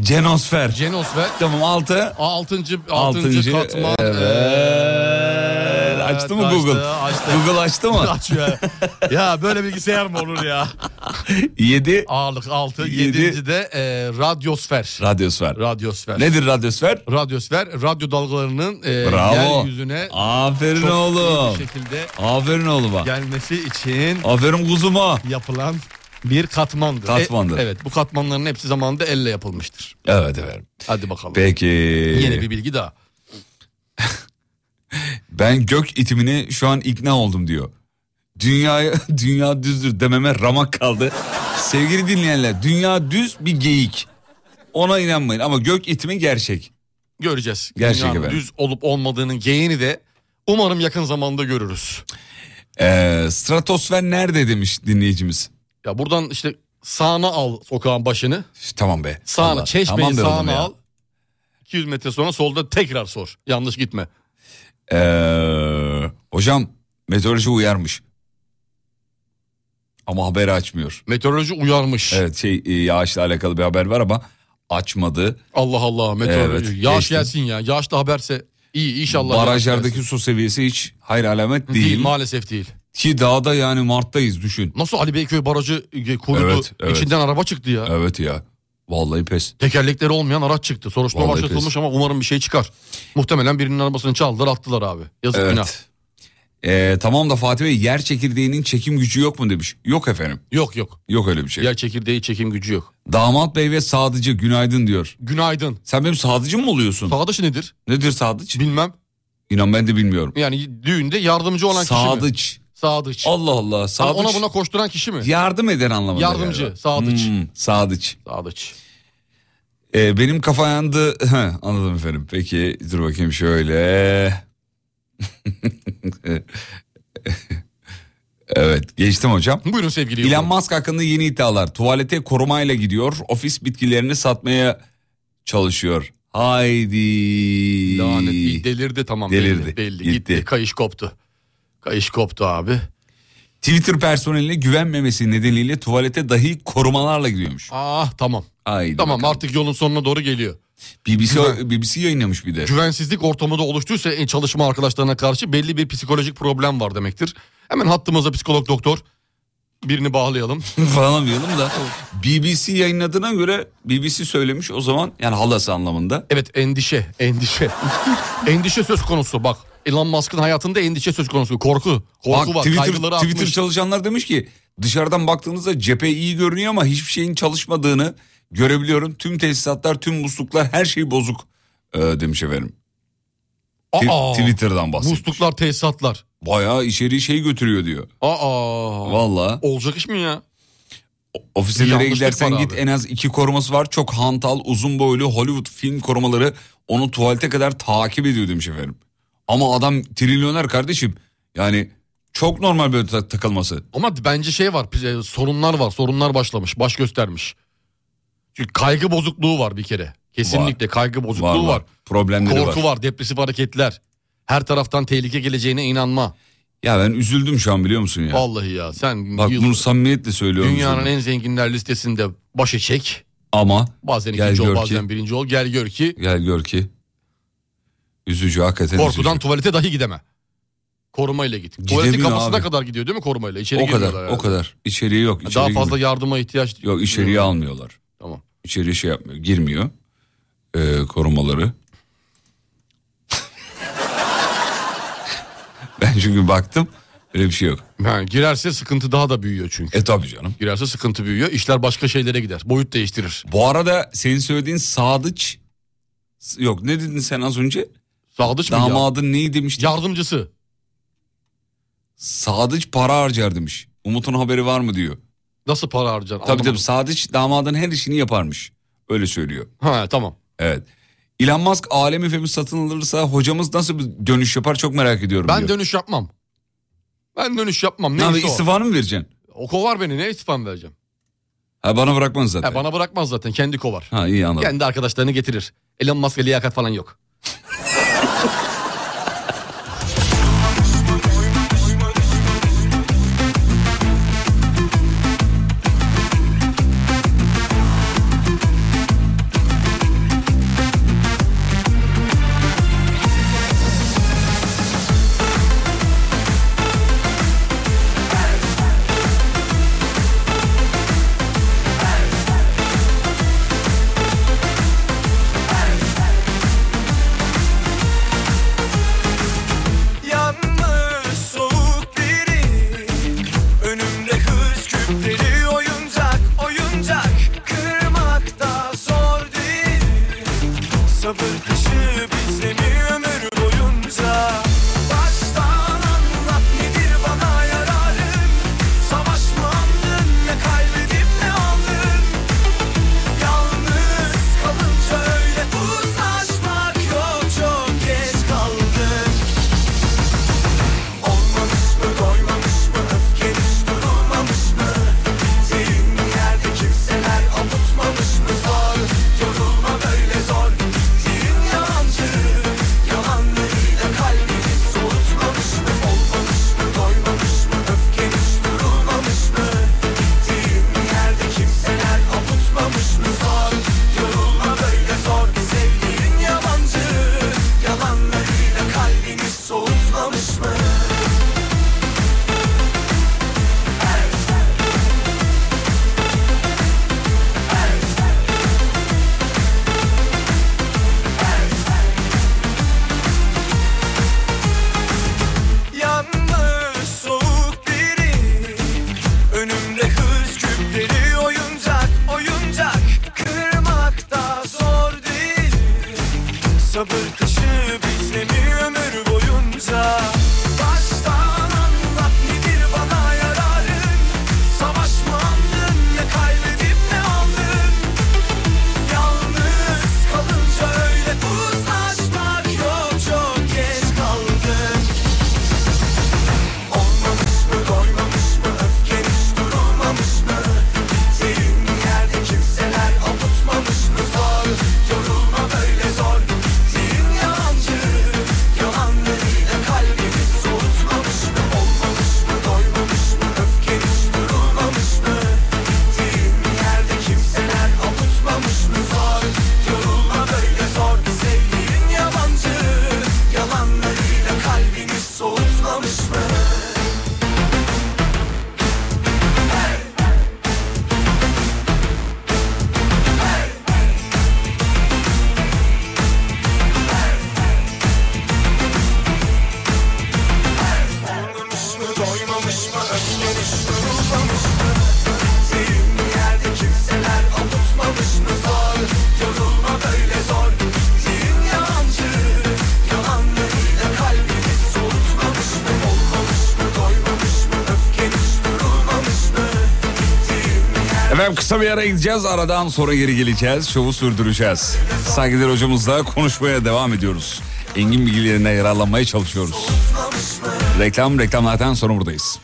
Speaker 4: Cenosfer.
Speaker 5: Genosfer.
Speaker 4: tamam altı.
Speaker 5: Altıncı, altıncı,
Speaker 4: Altıncı.
Speaker 5: katman.
Speaker 4: Evet. Açtı mı Google?
Speaker 5: Açtı, açtı.
Speaker 4: Google açtı mı?
Speaker 5: Aç ya. ya böyle bilgisayar mı olur ya?
Speaker 4: Yedi.
Speaker 5: Ağırlık 6.
Speaker 4: Yedi.
Speaker 5: Yedinci de e, radyosfer.
Speaker 4: Radyosfer.
Speaker 5: radyosfer.
Speaker 4: Nedir radyosfer?
Speaker 5: Radyosfer, radyo dalgalarının e,
Speaker 4: Bravo.
Speaker 5: yeryüzüne
Speaker 4: Aferin
Speaker 5: çok iyi
Speaker 4: oğlum.
Speaker 5: bir şekilde
Speaker 4: Aferin oğluma.
Speaker 5: gelmesi için
Speaker 4: Aferin kuzuma.
Speaker 5: yapılan Bir katmandır.
Speaker 4: Katmandır.
Speaker 5: E, evet bu katmanların hepsi zamanında elle yapılmıştır.
Speaker 4: Evet efendim.
Speaker 5: Hadi bakalım.
Speaker 4: Peki.
Speaker 5: Yeni bir bilgi daha.
Speaker 4: Ben gök itimine şu an ikna oldum diyor. Dünyaya dünya düzdür dememe ramak kaldı. Sevgili dinleyenler dünya düz bir geyik. Ona inanmayın ama gök itimi gerçek.
Speaker 5: Göreceğiz.
Speaker 4: Gerçek
Speaker 5: Dünyanın
Speaker 4: efendim.
Speaker 5: düz olup olmadığının yeğeni de umarım yakın zamanda görürüz.
Speaker 4: Ee, stratosfer nerede demiş dinleyicimiz.
Speaker 5: Ya buradan işte sağına al sokağın başını.
Speaker 4: Üf, Tamam be.
Speaker 5: Sağına
Speaker 4: Allah,
Speaker 5: çeşmeyi
Speaker 4: be oğlum
Speaker 5: sağına
Speaker 4: ya.
Speaker 5: al. 200 metre sonra solda tekrar sor. Yanlış gitme.
Speaker 4: Ee, hocam meteoroloji uyarmış. Ama haberi açmıyor.
Speaker 5: Meteoroloji uyarmış.
Speaker 4: Evet şey e, yağışla alakalı bir haber var ama açmadı.
Speaker 5: Allah Allah meteoroloji.
Speaker 4: Evet,
Speaker 5: Yağış
Speaker 4: geçtim.
Speaker 5: gelsin ya. Yağışla haberse iyi inşallah. yağış
Speaker 4: Barajlardaki
Speaker 5: gelsin.
Speaker 4: su seviyesi hiç hayır alamet
Speaker 5: değil.
Speaker 4: değil.
Speaker 5: maalesef değil.
Speaker 4: Ki dağda yani Mart'tayız düşün.
Speaker 5: Nasıl Ali Beyköy barajı e, kurudu.
Speaker 4: Evet, evet.
Speaker 5: İçinden araba çıktı ya.
Speaker 4: Evet ya. Vallahi pes.
Speaker 5: Tekerlekleri olmayan araç çıktı. Soruşturma
Speaker 4: Vallahi
Speaker 5: başlatılmış
Speaker 4: pes.
Speaker 5: ama umarım bir şey çıkar. Muhtemelen birinin arabasını çaldılar attılar abi. Yazık günah.
Speaker 4: Evet. Ee, tamam da Fatih Bey yer çekirdeğinin çekim gücü yok mu demiş. Yok efendim.
Speaker 5: Yok yok.
Speaker 4: Yok öyle bir şey.
Speaker 5: Yer çekirdeği çekim gücü yok.
Speaker 4: Damat Bey ve Sadıcı günaydın diyor.
Speaker 5: Günaydın.
Speaker 4: Sen benim Sadıcı mı oluyorsun?
Speaker 5: Sağdaşı nedir?
Speaker 4: Nedir Sadıç?
Speaker 5: Bilmem.
Speaker 4: İnan ben de bilmiyorum.
Speaker 5: Yani düğünde yardımcı olan kişi mi?
Speaker 4: Sadıç.
Speaker 5: Sadıç.
Speaker 4: Allah Allah.
Speaker 5: Hani
Speaker 4: Sadıç.
Speaker 5: Ona buna koşturan kişi mi?
Speaker 4: Yardım eden anlamında.
Speaker 5: Yardımcı,
Speaker 4: galiba.
Speaker 5: sadıç.
Speaker 4: Hmm, sadıç.
Speaker 5: Sadıç.
Speaker 4: Ee, benim kafa yandı. Heh, Anladım efendim. Peki dur bakayım şöyle. evet geçtim hocam.
Speaker 5: Buyurun sevgili
Speaker 4: Elon
Speaker 5: Yıldırım.
Speaker 4: Musk hakkında yeni iddialar. Tuvalete korumayla gidiyor. Ofis bitkilerini satmaya çalışıyor. Haydi.
Speaker 5: Lanet bir delirdi tamam.
Speaker 4: Delirdi,
Speaker 5: Belli, belli.
Speaker 4: gitti.
Speaker 5: Gitti. Kayış koptu. Kayış koptu abi.
Speaker 4: Twitter personeline güvenmemesi nedeniyle tuvalete dahi korumalarla gidiyormuş.
Speaker 5: Ah tamam.
Speaker 4: Haydi
Speaker 5: Tamam
Speaker 4: bakalım.
Speaker 5: artık yolun sonuna doğru geliyor.
Speaker 4: BBC, BBC yayınlamış bir de.
Speaker 5: Güvensizlik ortamı da oluştuysa en çalışma arkadaşlarına karşı belli bir psikolojik problem var demektir. Hemen hattımıza psikolog doktor birini bağlayalım.
Speaker 4: falan diyelim da BBC yayınladığına göre BBC söylemiş o zaman yani halası anlamında.
Speaker 5: Evet endişe, endişe. endişe söz konusu bak. Elon Musk'ın hayatında endişe söz konusu. Korku, korku
Speaker 4: Bak,
Speaker 5: var.
Speaker 4: Twitter,
Speaker 5: Kaygıları
Speaker 4: Twitter
Speaker 5: artmış.
Speaker 4: çalışanlar demiş ki dışarıdan baktığınızda cephe iyi görünüyor ama hiçbir şeyin çalışmadığını görebiliyorum. Tüm tesisatlar, tüm musluklar her şey bozuk e, demiş efendim. Ti-
Speaker 5: Aa,
Speaker 4: Twitter'dan bahsediyor.
Speaker 5: musluklar, tesisatlar.
Speaker 4: Bayağı içeriği şey götürüyor diyor.
Speaker 5: Aa.
Speaker 4: Valla
Speaker 5: Olacak iş mi ya?
Speaker 4: ofislere
Speaker 5: yanlışlık
Speaker 4: gidersen
Speaker 5: var
Speaker 4: git
Speaker 5: abi.
Speaker 4: en az iki koruması var. Çok hantal, uzun boylu Hollywood film korumaları onu tuvalete kadar takip ediyor demiş efendim. Ama adam trilyoner kardeşim. Yani çok normal böyle ta- takılması.
Speaker 5: Ama bence şey var bize sorunlar var sorunlar başlamış baş göstermiş. Çünkü kaygı bozukluğu var bir kere. Kesinlikle kaygı bozukluğu
Speaker 4: Var
Speaker 5: var.
Speaker 4: var. Problemleri
Speaker 5: Korku
Speaker 4: var.
Speaker 5: var. depresif hareketler. Her taraftan tehlike geleceğine inanma.
Speaker 4: Ya ben üzüldüm şu an biliyor musun ya?
Speaker 5: Vallahi ya sen
Speaker 4: Bak
Speaker 5: yıl-
Speaker 4: bunu samimiyetle söylüyorum.
Speaker 5: dünyanın
Speaker 4: sana.
Speaker 5: en zenginler listesinde başı çek.
Speaker 4: Ama
Speaker 5: Bazen
Speaker 4: Gel
Speaker 5: ikinci
Speaker 4: gör
Speaker 5: ol
Speaker 4: ki-
Speaker 5: bazen birinci ol. Gel gör ki
Speaker 4: gel gör ki üzücü hakikaten
Speaker 5: korkudan
Speaker 4: üzücü.
Speaker 5: tuvalete dahi gideme. Korumayla git. Tuvaletin
Speaker 4: Gidemiyor
Speaker 5: kapısına
Speaker 4: abi.
Speaker 5: kadar gidiyor değil mi korumayla? İçeri
Speaker 4: O kadar
Speaker 5: giriyorlar
Speaker 4: o
Speaker 5: yani.
Speaker 4: kadar. İçeriği yok.
Speaker 5: Daha
Speaker 4: içeriği
Speaker 5: fazla
Speaker 4: girmiyor.
Speaker 5: yardıma ihtiyaç
Speaker 4: Yok içeriği almıyorlar.
Speaker 5: Tamam.
Speaker 4: İçeri şey yapmıyor, girmiyor Ee, korumaları. ben çünkü baktım öyle bir şey yok.
Speaker 5: Yani girerse sıkıntı daha da büyüyor çünkü.
Speaker 4: E tabii canım.
Speaker 5: Girerse sıkıntı büyüyor. İşler başka şeylere gider. Boyut değiştirir.
Speaker 4: Bu arada senin söylediğin Sadıç S- yok ne dedin sen az önce?
Speaker 5: Sadıç mı ya?
Speaker 4: Damadın neyi demiştin?
Speaker 5: Yardımcısı.
Speaker 4: Sadıç para harcar demiş. Umut'un haberi var mı diyor.
Speaker 5: Nasıl para harcar?
Speaker 4: Tabii tabii Sadıç damadın her işini yaparmış. Öyle söylüyor.
Speaker 5: Ha tamam.
Speaker 4: Evet. Elon Musk alemi femi satın alırsa hocamız nasıl bir dönüş yapar çok merak ediyorum
Speaker 5: Ben
Speaker 4: diyor.
Speaker 5: dönüş yapmam. Ben dönüş
Speaker 4: Ne
Speaker 5: yapmam. Neyse
Speaker 4: abi
Speaker 5: o.
Speaker 4: istifanı mı vereceksin?
Speaker 5: O kovar beni. Ne istifam vereceğim?
Speaker 4: Ha bana bırakmanız zaten.
Speaker 5: Ha, bana bırakmaz zaten. Kendi kovar.
Speaker 4: Ha iyi anladım.
Speaker 5: Kendi arkadaşlarını getirir. Elon Musk'a liyakat falan yok.
Speaker 7: Yanmış soğuk deri Önümde hız küpleri oyuncak
Speaker 4: Efendim kısa bir ara gideceğiz. Aradan sonra geri geleceğiz. Şovu sürdüreceğiz. Saygıdeğer hocamızla konuşmaya devam ediyoruz. Engin bilgilerinden yararlanmaya çalışıyoruz. Reklam reklamlardan sonra buradayız.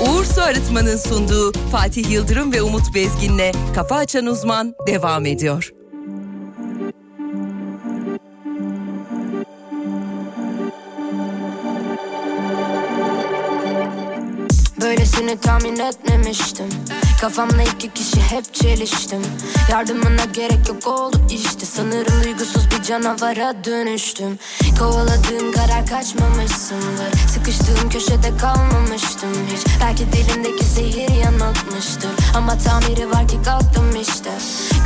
Speaker 1: Uğur Su Arıtma'nın sunduğu Fatih Yıldırım ve Umut Bezgin'le Kafa Açan Uzman devam ediyor.
Speaker 10: Böylesini tahmin etmemiştim Kafamla iki kişi hep çeliştim Yardımına gerek yok oldu işte Sanırım duygusuz bir canavara dönüştüm Kovaladığım karar kaçmamışsındır Sıkıştığım köşede kalmamıştım hiç Belki dilimdeki zehir yanıltmıştır Ama tamiri var ki kalktım işte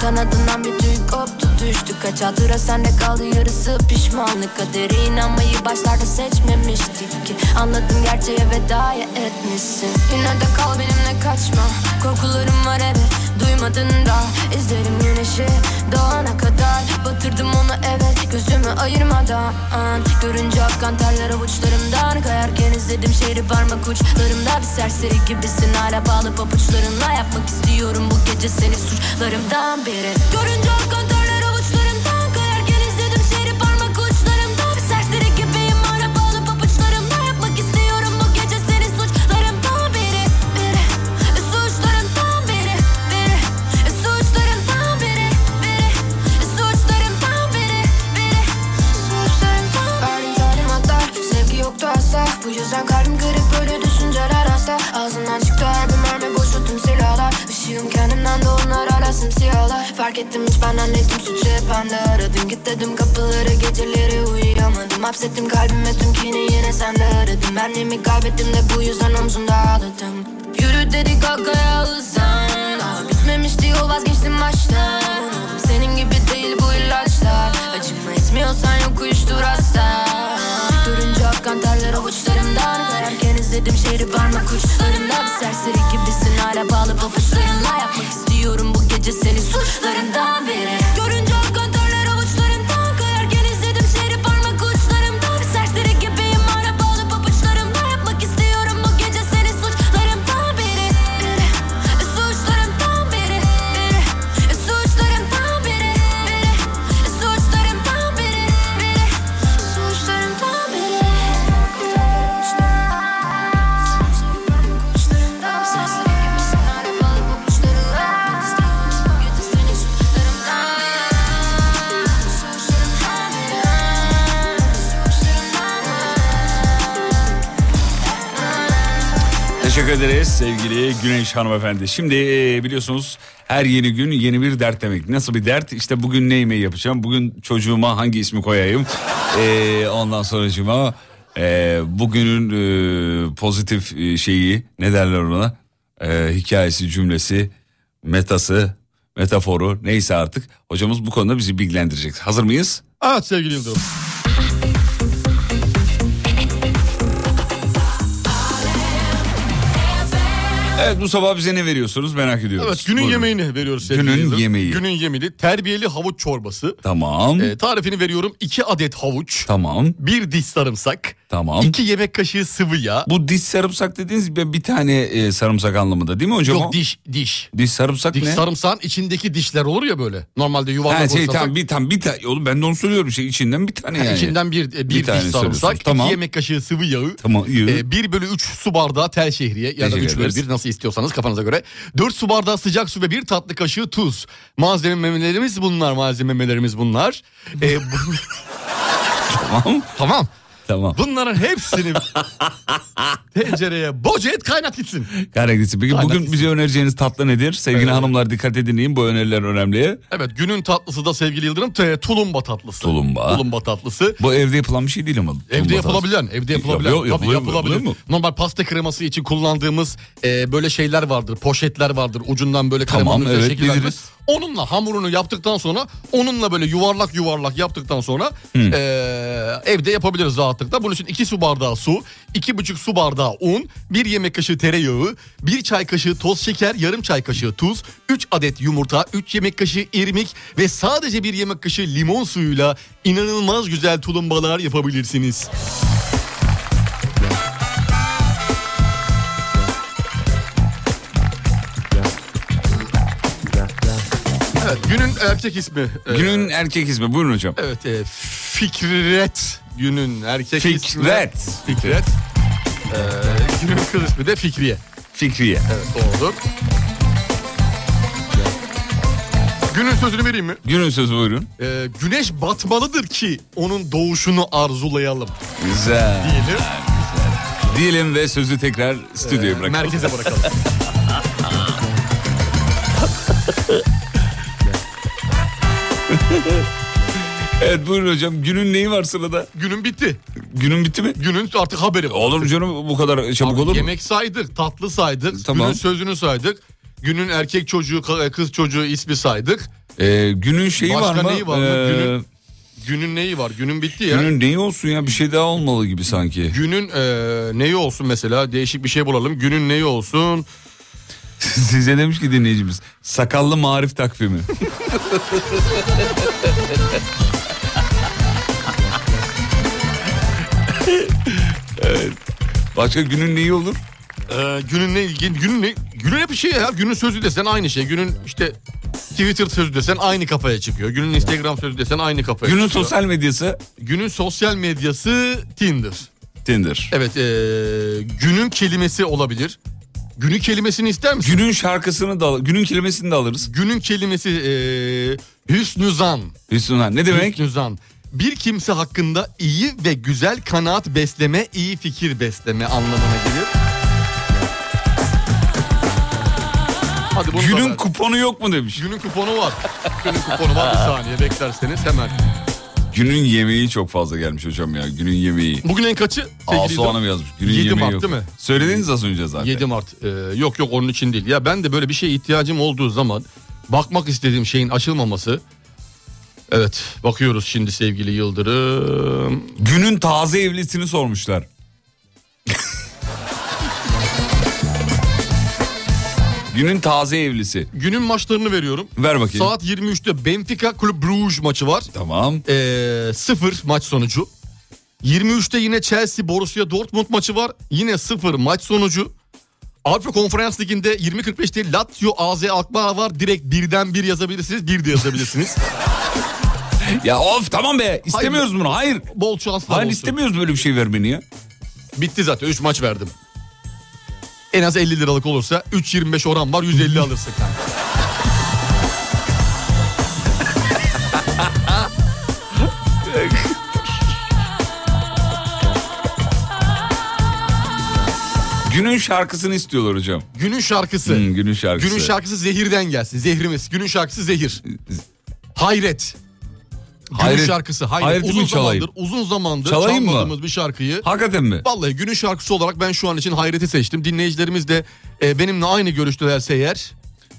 Speaker 10: Kanadından bir tüy koptu düştü Kaç hatıra sende kaldı yarısı pişmanlık Kaderi inanmayı başlarda seçmemiştik ki Anladım gerçeğe vedaya etmişsin Yine de kal benimle kaçma Korkularım var evet duymadın da İzlerim güneşi doğana kadar Batırdım onu evet gözümü ayırmadan Görünce akan terler avuçlarımdan Kayarken izledim şehri parmak uçlarımda Bir serseri gibisin hala bağlı papuçlarımla Yapmak istiyorum bu gece seni suçlarımdan beri Görünce akan terler avuçlarımdan Kayarken izledim şehri parmak uçlarımda Bir serseri gibiyim hala bağlı papuçlarımla Yapmak istiyorum bu gece seni suçlarımdan beri Beri Suçlarımdan beri Beri Suçlarımdan beri Beri Suçlarımdan beri Beri Suçlarımdan beri Verdim zalim hatlar Sevgi yoktu asla Bu yüzden kalbim kırık böyle düşünceler asla Ağzından çıktı her bir mermi boşu tüm silahlar Işığım kendimden de onlar hala simsiyahlar Fark ettim hiç benden ettim suçu hep bende aradım Git dedim kapıları geceleri uyuyamadım Hapsettim kalbime tüm kini yine sende aradım Benliğimi kaybettim de bu yüzden omzumda ağladım Yürü dedik kalkaya hızlan Daha bitmemişti o vazgeçtim baştan Oğlum Senin gibi değil bu ilaçlar Acıma etmiyorsan yok uyuştur hasta Durunca akan terler avuçlarımdan Kayarken izledim şehri parmak uçlarımda Bir serseri gibisin hala bağlı papuçlarımla Yapmak istiyorum bu gece seni suçlarımdan beri Görünce akan terler avuçlarımdan Kayarken izledim şehri parmak uçlarımda Bir serseri gibiyim hala bağlı papuçlarımla Yapmak istiyorum bu gece seni suçlarımdan beri Beri Suçlarımdan beri Beri Suçlarımdan beri Beri Suçlarımdan beri Beri Suçlarımdan beri
Speaker 4: Teşekkür ederiz sevgili Güneş hanımefendi. Şimdi e, biliyorsunuz her yeni gün yeni bir dert demek. Nasıl bir dert? İşte bugün ne yemeği yapacağım? Bugün çocuğuma hangi ismi koyayım? E, ondan sonracığıma e, bugünün e, pozitif e, şeyi ne derler ona? E, hikayesi, cümlesi, metası, metaforu neyse artık. Hocamız bu konuda bizi bilgilendirecek. Hazır mıyız?
Speaker 5: Evet sevgili Yıldırım.
Speaker 4: Evet bu sabah bize ne veriyorsunuz merak ediyoruz.
Speaker 5: Evet günün
Speaker 4: Buyurun.
Speaker 5: yemeğini veriyoruz sevgili
Speaker 4: Günün
Speaker 5: Yıldırım.
Speaker 4: yemeği.
Speaker 5: Günün yemeği terbiyeli havuç çorbası.
Speaker 4: Tamam.
Speaker 5: Ee, tarifini veriyorum 2 adet havuç.
Speaker 4: Tamam.
Speaker 5: Bir diş sarımsak.
Speaker 4: Tamam.
Speaker 5: 2 yemek kaşığı sıvı yağ.
Speaker 4: Bu diş sarımsak dediğiniz bir, bir tane e, sarımsak anlamında değil mi hocam?
Speaker 5: Yok
Speaker 4: o?
Speaker 5: diş diş.
Speaker 4: Diş sarımsak
Speaker 5: Diş
Speaker 4: ne?
Speaker 5: sarımsağın içindeki dişler olur ya böyle. Normalde yuvarlak
Speaker 4: ha, şey
Speaker 5: olsa-
Speaker 4: tam bir tam bir tane oğlum ben de onu söylüyorum şey içinden bir tane
Speaker 5: Ha,
Speaker 4: yani.
Speaker 5: İçinden bir, e, bir, diş
Speaker 4: tane söylüyorsunuz.
Speaker 5: sarımsak, iki
Speaker 4: Tamam.
Speaker 5: yemek kaşığı sıvı yağı,
Speaker 4: Tamam, iyi.
Speaker 5: e, 1 bölü 3 su bardağı tel şehriye ya da
Speaker 4: Teşekkür
Speaker 5: 3 bölü
Speaker 4: ederiz.
Speaker 5: 1 nasıl istiyorsanız kafanıza göre. 4 su bardağı sıcak su ve 1 tatlı kaşığı tuz. Malzemelerimiz bunlar, malzemelerimiz bunlar. E, bu-
Speaker 4: Tamam.
Speaker 5: tamam.
Speaker 4: Tamam.
Speaker 5: Bunların hepsini tencereye boca et kaynat gitsin.
Speaker 4: Karakterisi. Peki
Speaker 5: Aynen.
Speaker 4: bugün bize önereceğiniz tatlı nedir? Sevgili
Speaker 5: Evet.
Speaker 4: hanımlar dikkat edin bu öneriler önemli.
Speaker 5: Ee, Evet günün tatlısı da sevgili Yıldırım te- tulumba tatlısı.
Speaker 4: Tulumba.
Speaker 5: Tulumba tatlısı.
Speaker 4: Bu evde yapılan bir şey değil ama.
Speaker 5: Evde
Speaker 4: Tulumba tatlısı.
Speaker 5: yapılabilen, evde yapılabilen.
Speaker 4: Yapıyor-
Speaker 5: Tabii
Speaker 4: yapılıyor mu?
Speaker 5: yapılabilir.
Speaker 4: Yapılıyor mu?
Speaker 5: Normal pasta kreması için kullandığımız e, böyle şeyler vardır, poşetler vardır. Ucundan böyle
Speaker 4: Tamam,
Speaker 5: kremanın üzerine
Speaker 4: evet,
Speaker 5: şekil vermez.
Speaker 4: biliriz.
Speaker 5: Onunla hamurunu yaptıktan sonra, onunla böyle yuvarlak yuvarlak yaptıktan sonra e, evde yapabiliriz rahatlıkla. Bunun için iki su bardağı su, iki buçuk su bardağı un, bir yemek kaşığı tereyağı, bir çay kaşığı toz şeker, yarım çay kaşığı tuz, 3 adet yumurta, 3 yemek kaşığı irmik ve sadece bir yemek kaşığı limon suyuyla inanılmaz güzel tulumbalar yapabilirsiniz. Evet günün erkek ismi. Ee,
Speaker 4: Günün erkek ismi buyurun hocam.
Speaker 5: Evet e, Fikret günün erkek ismi.
Speaker 4: Fikret.
Speaker 5: Fikret. Ee, günün kız ismi de Fikriye.
Speaker 4: Fikriye.
Speaker 5: Evet doğru. Günün sözünü vereyim mi?
Speaker 4: Günün sözü buyurun.
Speaker 5: Ee, güneş batmalıdır ki onun doğuşunu arzulayalım
Speaker 4: Güzel.
Speaker 5: diyelim.
Speaker 4: Diyelim ve sözü tekrar stüdyoya
Speaker 5: Ee,
Speaker 4: bırakalım.
Speaker 5: Merkeze bırakalım.
Speaker 4: Evet buyurun hocam. Günün neyi var sırada?
Speaker 5: Günün bitti.
Speaker 4: Günün bitti mi?
Speaker 5: Günün artık haberi var.
Speaker 4: Olur mu canım bu kadar çabuk
Speaker 5: Abi
Speaker 4: olur mu?
Speaker 5: Yemek saydık, tatlı saydık,
Speaker 4: Tamam.
Speaker 5: günün sözünü saydık. Günün erkek çocuğu, ka- e, kız çocuğu ismi saydık.
Speaker 4: Ee, günün şeyi
Speaker 5: Başka
Speaker 4: var mı?
Speaker 5: neyi var mı?
Speaker 4: Ee,
Speaker 5: Günün- Günün neyi var? Günün bitti ya. Günün,
Speaker 4: günün neyi olsun ya bir şey daha olmalı gibi sanki.
Speaker 5: eee, e, neyi olsun mesela? Değişik bir şey bulalım. Günün neyi olsun?
Speaker 4: Size demiş ki dinleyicimiz sakallı marif takvimi. Evet. Başka günün neyi olur?
Speaker 5: Eee, E, günün ne ilgin? Günün ne? Günün hep bir şey ya. Günün sözü desen aynı şey. Günün işte Twitter sözü desen aynı kafaya çıkıyor. Günün Instagram sözü desen aynı kafaya
Speaker 4: Günün
Speaker 5: çıkıyor.
Speaker 4: sosyal medyası
Speaker 5: Günün sosyal medyası Tinder.
Speaker 4: Tinder.
Speaker 5: Evet, eee, günün kelimesi olabilir. Günün kelimesini ister misin?
Speaker 4: Günün şarkısını da al- günün kelimesini de alırız.
Speaker 5: Günün kelimesi eee hüsnü zan.
Speaker 4: Hüsnü Han, Ne demek?
Speaker 5: Hüsnü zan. Bir kimse hakkında iyi ve güzel kanaat besleme, iyi fikir besleme anlamına gelir. Hadi bunu da
Speaker 4: Günün
Speaker 5: ver.
Speaker 4: kuponu yok mu demiş.
Speaker 5: günün kuponu var. günün kuponu var bir saniye beklerseniz hemen.
Speaker 4: Günün yemeği çok fazla gelmiş hocam ya. Günün yemeği.
Speaker 5: Bugün en kaçı?
Speaker 4: Asu Hanım yazmış. Günün
Speaker 5: 7
Speaker 4: yemeği
Speaker 5: Mart
Speaker 4: yok.
Speaker 5: değil mi?
Speaker 4: Söylediniz az önce zaten.
Speaker 5: 7 Mart. Ee, yok yok onun için değil. Ya ben de böyle bir şeye ihtiyacım olduğu zaman bakmak istediğim şeyin açılmaması. Evet bakıyoruz şimdi sevgili Yıldırım.
Speaker 4: Günün taze evlisini sormuşlar. Günün taze evlisi.
Speaker 5: Günün maçlarını veriyorum.
Speaker 4: Ver bakayım.
Speaker 5: Saat 23'te Benfica Club Brugge maçı var.
Speaker 4: Tamam.
Speaker 5: Ee, 0 maç sonucu. 23'te yine Chelsea Borussia Dortmund maçı var. Yine 0 maç sonucu. Avrupa Konferans Ligi'nde 20.45'te Lazio AZ Alkmaar var. Direkt birden bir yazabilirsiniz. Bir de yazabilirsiniz.
Speaker 4: Ya of tamam be. İstemiyoruz
Speaker 5: Hayır.
Speaker 4: bunu. Hayır.
Speaker 5: Bol şanslar
Speaker 4: Hayır
Speaker 5: olsun.
Speaker 4: istemiyoruz böyle bir şey vermeni ya.
Speaker 5: Bitti zaten 3 maç verdim. En az 50 liralık olursa 3.25 oran var 150 alırsın kanka.
Speaker 4: Ee, Günün şarkısını istiyorlar hocam.
Speaker 5: Günün şarkısı.
Speaker 4: Hmm, günün şarkısı.
Speaker 5: Günün şarkısı zehirden gelsin. Zehrimiz. Günün şarkısı zehir. Hayret. Günün
Speaker 4: Hayret.
Speaker 5: şarkısı hayret.
Speaker 4: Hayret'i
Speaker 5: uzun
Speaker 4: mi çalayım?
Speaker 5: zamandır, uzun zamandır
Speaker 4: Çalayım mı?
Speaker 5: çalmadığımız bir şarkıyı.
Speaker 4: Hakikaten mi?
Speaker 5: Vallahi günün şarkısı olarak ben şu an için hayreti seçtim. Dinleyicilerimiz de e, benimle aynı görüştelerse eğer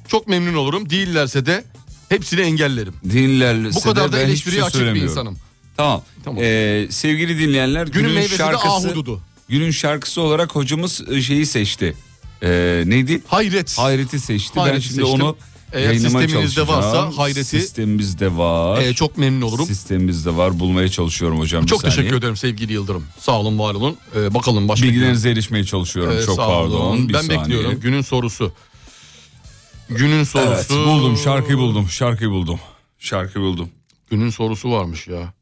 Speaker 5: çok memnun olurum. Değillerse de hepsini engellerim.
Speaker 4: Dinlerse
Speaker 5: Bu kadar
Speaker 4: de ben
Speaker 5: da
Speaker 4: hiçbir
Speaker 5: eleştiriye
Speaker 4: şey
Speaker 5: açık bir
Speaker 4: söylemiyorum.
Speaker 5: insanım.
Speaker 4: Tamam.
Speaker 5: Tamam.
Speaker 4: Ee, sevgili dinleyenler
Speaker 5: Günün
Speaker 4: günün,
Speaker 5: meyvesi de
Speaker 4: şarkısı
Speaker 5: ahududu.
Speaker 4: Günün şarkısı olarak hocamız e, şeyi seçti. Ee, neydi?
Speaker 5: Hayret.
Speaker 4: Hayreti seçti. ben
Speaker 5: Hayreti
Speaker 4: şimdi
Speaker 5: seçtim.
Speaker 4: onu
Speaker 5: Eğer
Speaker 4: yayınlamaya
Speaker 5: sisteminizde
Speaker 4: çalışacağım.
Speaker 5: varsa Hayreti-
Speaker 4: Sistemimizde var.
Speaker 5: E, çok memnun olurum.
Speaker 4: Sistemimizde var. Bulmaya çalışıyorum hocam. bir
Speaker 5: Çok
Speaker 4: saniye.
Speaker 5: teşekkür ederim sevgili Yıldırım. Sağ olun, var olun. Ee, bakalım başka
Speaker 4: Bilgilerinize erişmeye çalışıyorum.
Speaker 5: Ee,
Speaker 4: Çok
Speaker 5: sağ olun.
Speaker 4: pardon. Bir
Speaker 5: ben
Speaker 4: saniye.
Speaker 5: bekliyorum günün sorusu. Günün sorusu.
Speaker 4: Evet, buldum şarkıyı buldum. Şarkıyı buldum. Şarkıyı buldum.
Speaker 5: Günün sorusu varmış ya.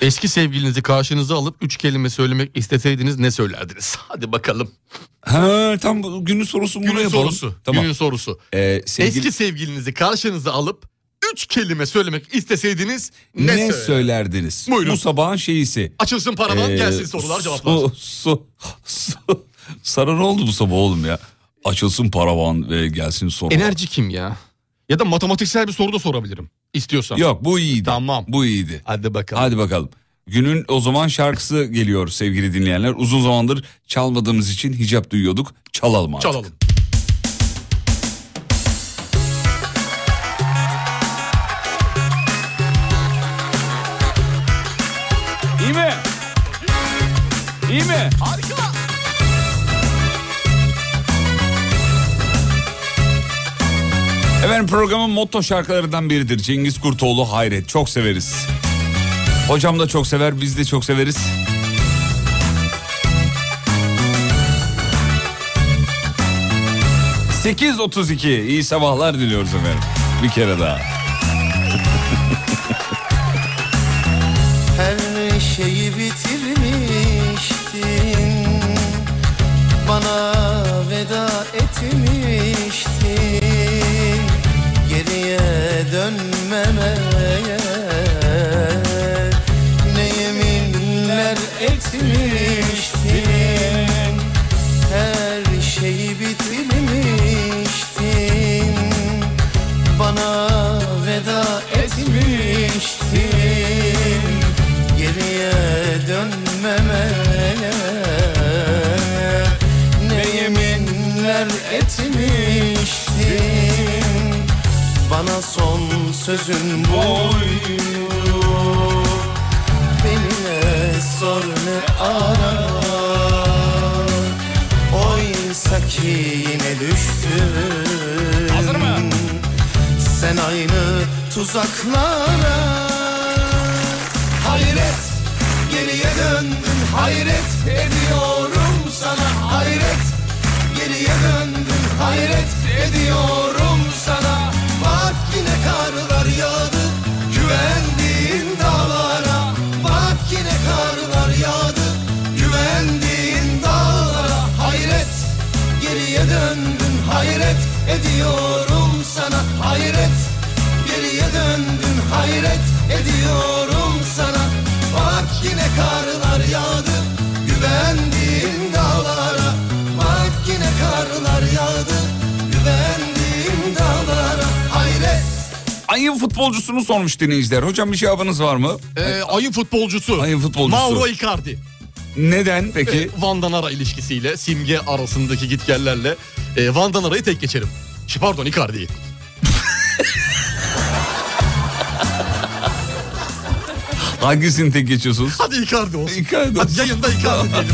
Speaker 5: Eski sevgilinizi karşınıza alıp üç kelime söylemek isteseydiniz ne söylerdiniz? Hadi bakalım.
Speaker 4: Ha, tam bu- günün sorusu bunu
Speaker 5: Günün
Speaker 4: yapalım.
Speaker 5: sorusu.
Speaker 4: Tamam.
Speaker 5: Günün sorusu.
Speaker 4: Ee, sevgili-
Speaker 5: Eski sevgilinizi karşınıza alıp üç kelime söylemek isteseydiniz ne,
Speaker 4: ne,
Speaker 5: söylerdiniz?
Speaker 4: söylerdiniz?
Speaker 5: Buyurun.
Speaker 4: Bu sabahın şeyisi.
Speaker 5: Açılsın paravan
Speaker 4: Ee,
Speaker 5: gelsin sorular cevaplar.
Speaker 4: Su, su, su. Sana ne oldu bu sabah oğlum ya? Açılsın paravan ve gelsin sorular.
Speaker 5: Enerji kim ya? Ya da matematiksel bir soru da sorabilirim istiyorsan.
Speaker 4: Yok bu iyiydi.
Speaker 5: Tamam.
Speaker 4: Bu iyiydi.
Speaker 5: Hadi bakalım.
Speaker 4: Hadi bakalım. Günün o zaman şarkısı geliyor sevgili dinleyenler. Uzun zamandır çalmadığımız için hicap duyuyorduk. Çalalım artık.
Speaker 5: Çalalım.
Speaker 4: İyi mi? İyi mi? Harika. Efendim programın motto şarkılarından biridir. Cengiz Kurtoğlu Hayret. Çok severiz. Hocam da çok sever, biz de çok severiz. ...8.32... ...iyi sabahlar diliyoruz efendim. Bir kere daha.
Speaker 11: Her şeyi bitirmiştin Bana veda etmiştin Geriye dönmemeye Ne yeminler etmiştin Her şeyi bitirmiştin Bana veda etmiştin Geriye dönmemeye Ne yeminler etmiştin Bana son sözün buydu Beni ne sor ne ara Oysa ki yine düştün Hazır mı? Sen aynı tuzaklara Hayret geriye döndüm hayret ediyorum sana hayret geriye döndüm hayret ediyorum sana bak yine karlar yağdı güvendiğin dağlara bak yine karlar yağdı güvendiğin dağlara hayret geriye döndüm hayret ediyorum sana hayret geriye döndüm hayret ediyorum sana Bak yine karlar yağdı güvendiğim dağlara Bak yine karlar yağdı güvendiğim dağlara Hayret
Speaker 4: Ayın futbolcusunu sormuş dinleyiciler. Hocam bir cevabınız var mı?
Speaker 5: Ee, ayın futbolcusu.
Speaker 4: Ayın futbolcusu.
Speaker 5: Mauro Icardi.
Speaker 4: Neden peki?
Speaker 5: Ee, Van Danara ilişkisiyle simge arasındaki gitgellerle e, Van Danara'yı tek geçerim. Şey, Pardon Icardi'yi.
Speaker 4: Hangisini tek geçiyorsunuz?
Speaker 5: Hadi Icardi olsun.
Speaker 4: Icardi
Speaker 5: Hadi
Speaker 4: olsun.
Speaker 5: yayında Icardi diyelim.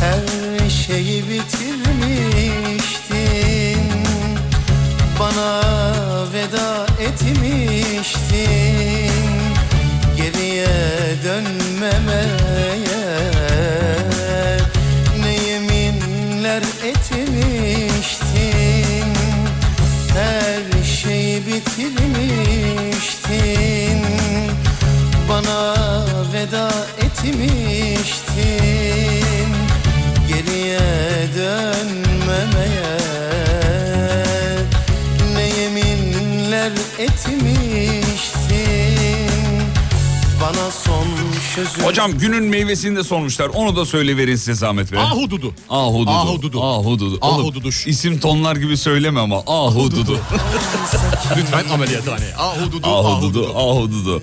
Speaker 11: Her şeyi bitirmiştin Bana veda etmiştin Geriye dönmemeye Ne yeminler etmiştin Her şeyi bitirmiştin bana veda etmiştin Geriye dönmemeye Ne yeminler etmiştin Bana son sözü
Speaker 4: Hocam günün meyvesini de sormuşlar. Onu da söyleverin size zahmet verin.
Speaker 5: Ahududu.
Speaker 4: Ahududu.
Speaker 5: Ahududu.
Speaker 4: Ahududu. Oğlum,
Speaker 5: Ahududuş.
Speaker 4: İsim tonlar gibi söyleme ama. Ahududu.
Speaker 5: Lütfen ameliyathaneye. Ahududu. Ahududu.
Speaker 4: Ahududu. Ahududu.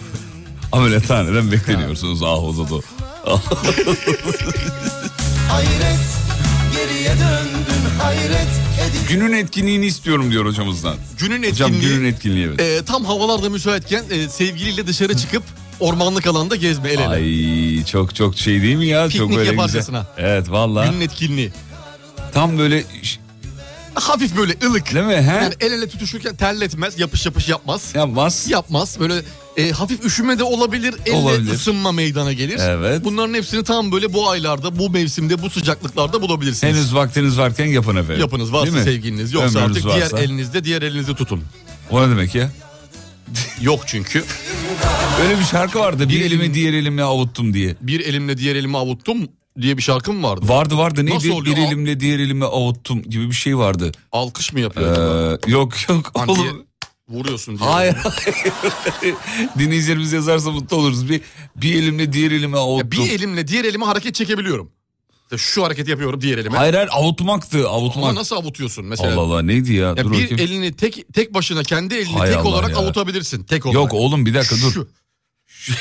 Speaker 4: Ameliyathaneden bekleniyorsunuz ahududu.
Speaker 11: Hayret geriye döndün hayret edip
Speaker 4: Günün etkinliğini istiyorum diyor hocamızdan.
Speaker 5: Günün etkinliği.
Speaker 4: Hocam günün etkinliği evet.
Speaker 5: e, tam havalarda müsaitken e, sevgiliyle dışarı çıkıp ormanlık alanda gezme el ele.
Speaker 4: Ay çok çok şey değil mi ya? çok
Speaker 5: Piknik
Speaker 4: böyle güzel.
Speaker 5: yaparcasına.
Speaker 4: Evet valla.
Speaker 5: Günün etkinliği.
Speaker 4: Tam böyle ş-
Speaker 5: Hafif böyle ılık.
Speaker 4: değil mi he?
Speaker 5: Yani el ele tutuşurken terletmez, yapış yapış yapmaz.
Speaker 4: Yapmaz.
Speaker 5: Yapmaz. Böyle e, hafif üşüme de olabilir, elle
Speaker 4: Olabilir.
Speaker 5: ısınma meydana gelir.
Speaker 4: Evet.
Speaker 5: Bunların hepsini tam böyle bu aylarda, bu mevsimde, bu sıcaklıklarda bulabilirsiniz.
Speaker 4: Henüz vaktiniz varken yapın efendim.
Speaker 5: Yapınız
Speaker 4: Değil
Speaker 5: varsa
Speaker 4: mi?
Speaker 5: sevgiliniz yoksa
Speaker 4: Ömrünüz
Speaker 5: artık
Speaker 4: varsa.
Speaker 5: diğer elinizde diğer elinizi tutun.
Speaker 4: O ne demek ya?
Speaker 5: Yok çünkü.
Speaker 4: Öyle bir şarkı vardı. Bir
Speaker 5: Bir
Speaker 4: elimi
Speaker 5: elim-
Speaker 4: diğer elimle avuttum diye.
Speaker 5: Bir elimle diğer elimi avuttum diye bir şarkım vardı.
Speaker 4: Vardı vardı neydi?
Speaker 5: Nasıl
Speaker 4: bir
Speaker 5: oluyor? Al-
Speaker 4: elimle diğer elimi avuttum gibi bir şey vardı.
Speaker 5: Alkış mı
Speaker 4: Ee,
Speaker 5: yapıyor acaba?
Speaker 4: yok yok
Speaker 5: Hani
Speaker 4: oğlum.
Speaker 5: Vuruyorsun diye.
Speaker 4: Hayır hayır. Dinleyicilerimiz yazarsa mutlu oluruz. Bir, bir elimle diğer elimi avuttum.
Speaker 5: Ya bir elimle diğer elime hareket çekebiliyorum. İşte şu hareketi yapıyorum diğer elime.
Speaker 4: Hayır hayır avutmaktı
Speaker 5: Ama
Speaker 4: avutmak.
Speaker 5: nasıl avutuyorsun mesela?
Speaker 4: Allah Allah neydi ya?
Speaker 5: Ya
Speaker 4: Dur
Speaker 5: bir
Speaker 4: bakayım.
Speaker 5: elini tek tek başına kendi elini
Speaker 4: Hay
Speaker 5: tek
Speaker 4: Allah
Speaker 5: olarak
Speaker 4: ya.
Speaker 5: avutabilirsin. Tek olarak.
Speaker 4: Yok oğlum bir dakika dur.
Speaker 5: Şu.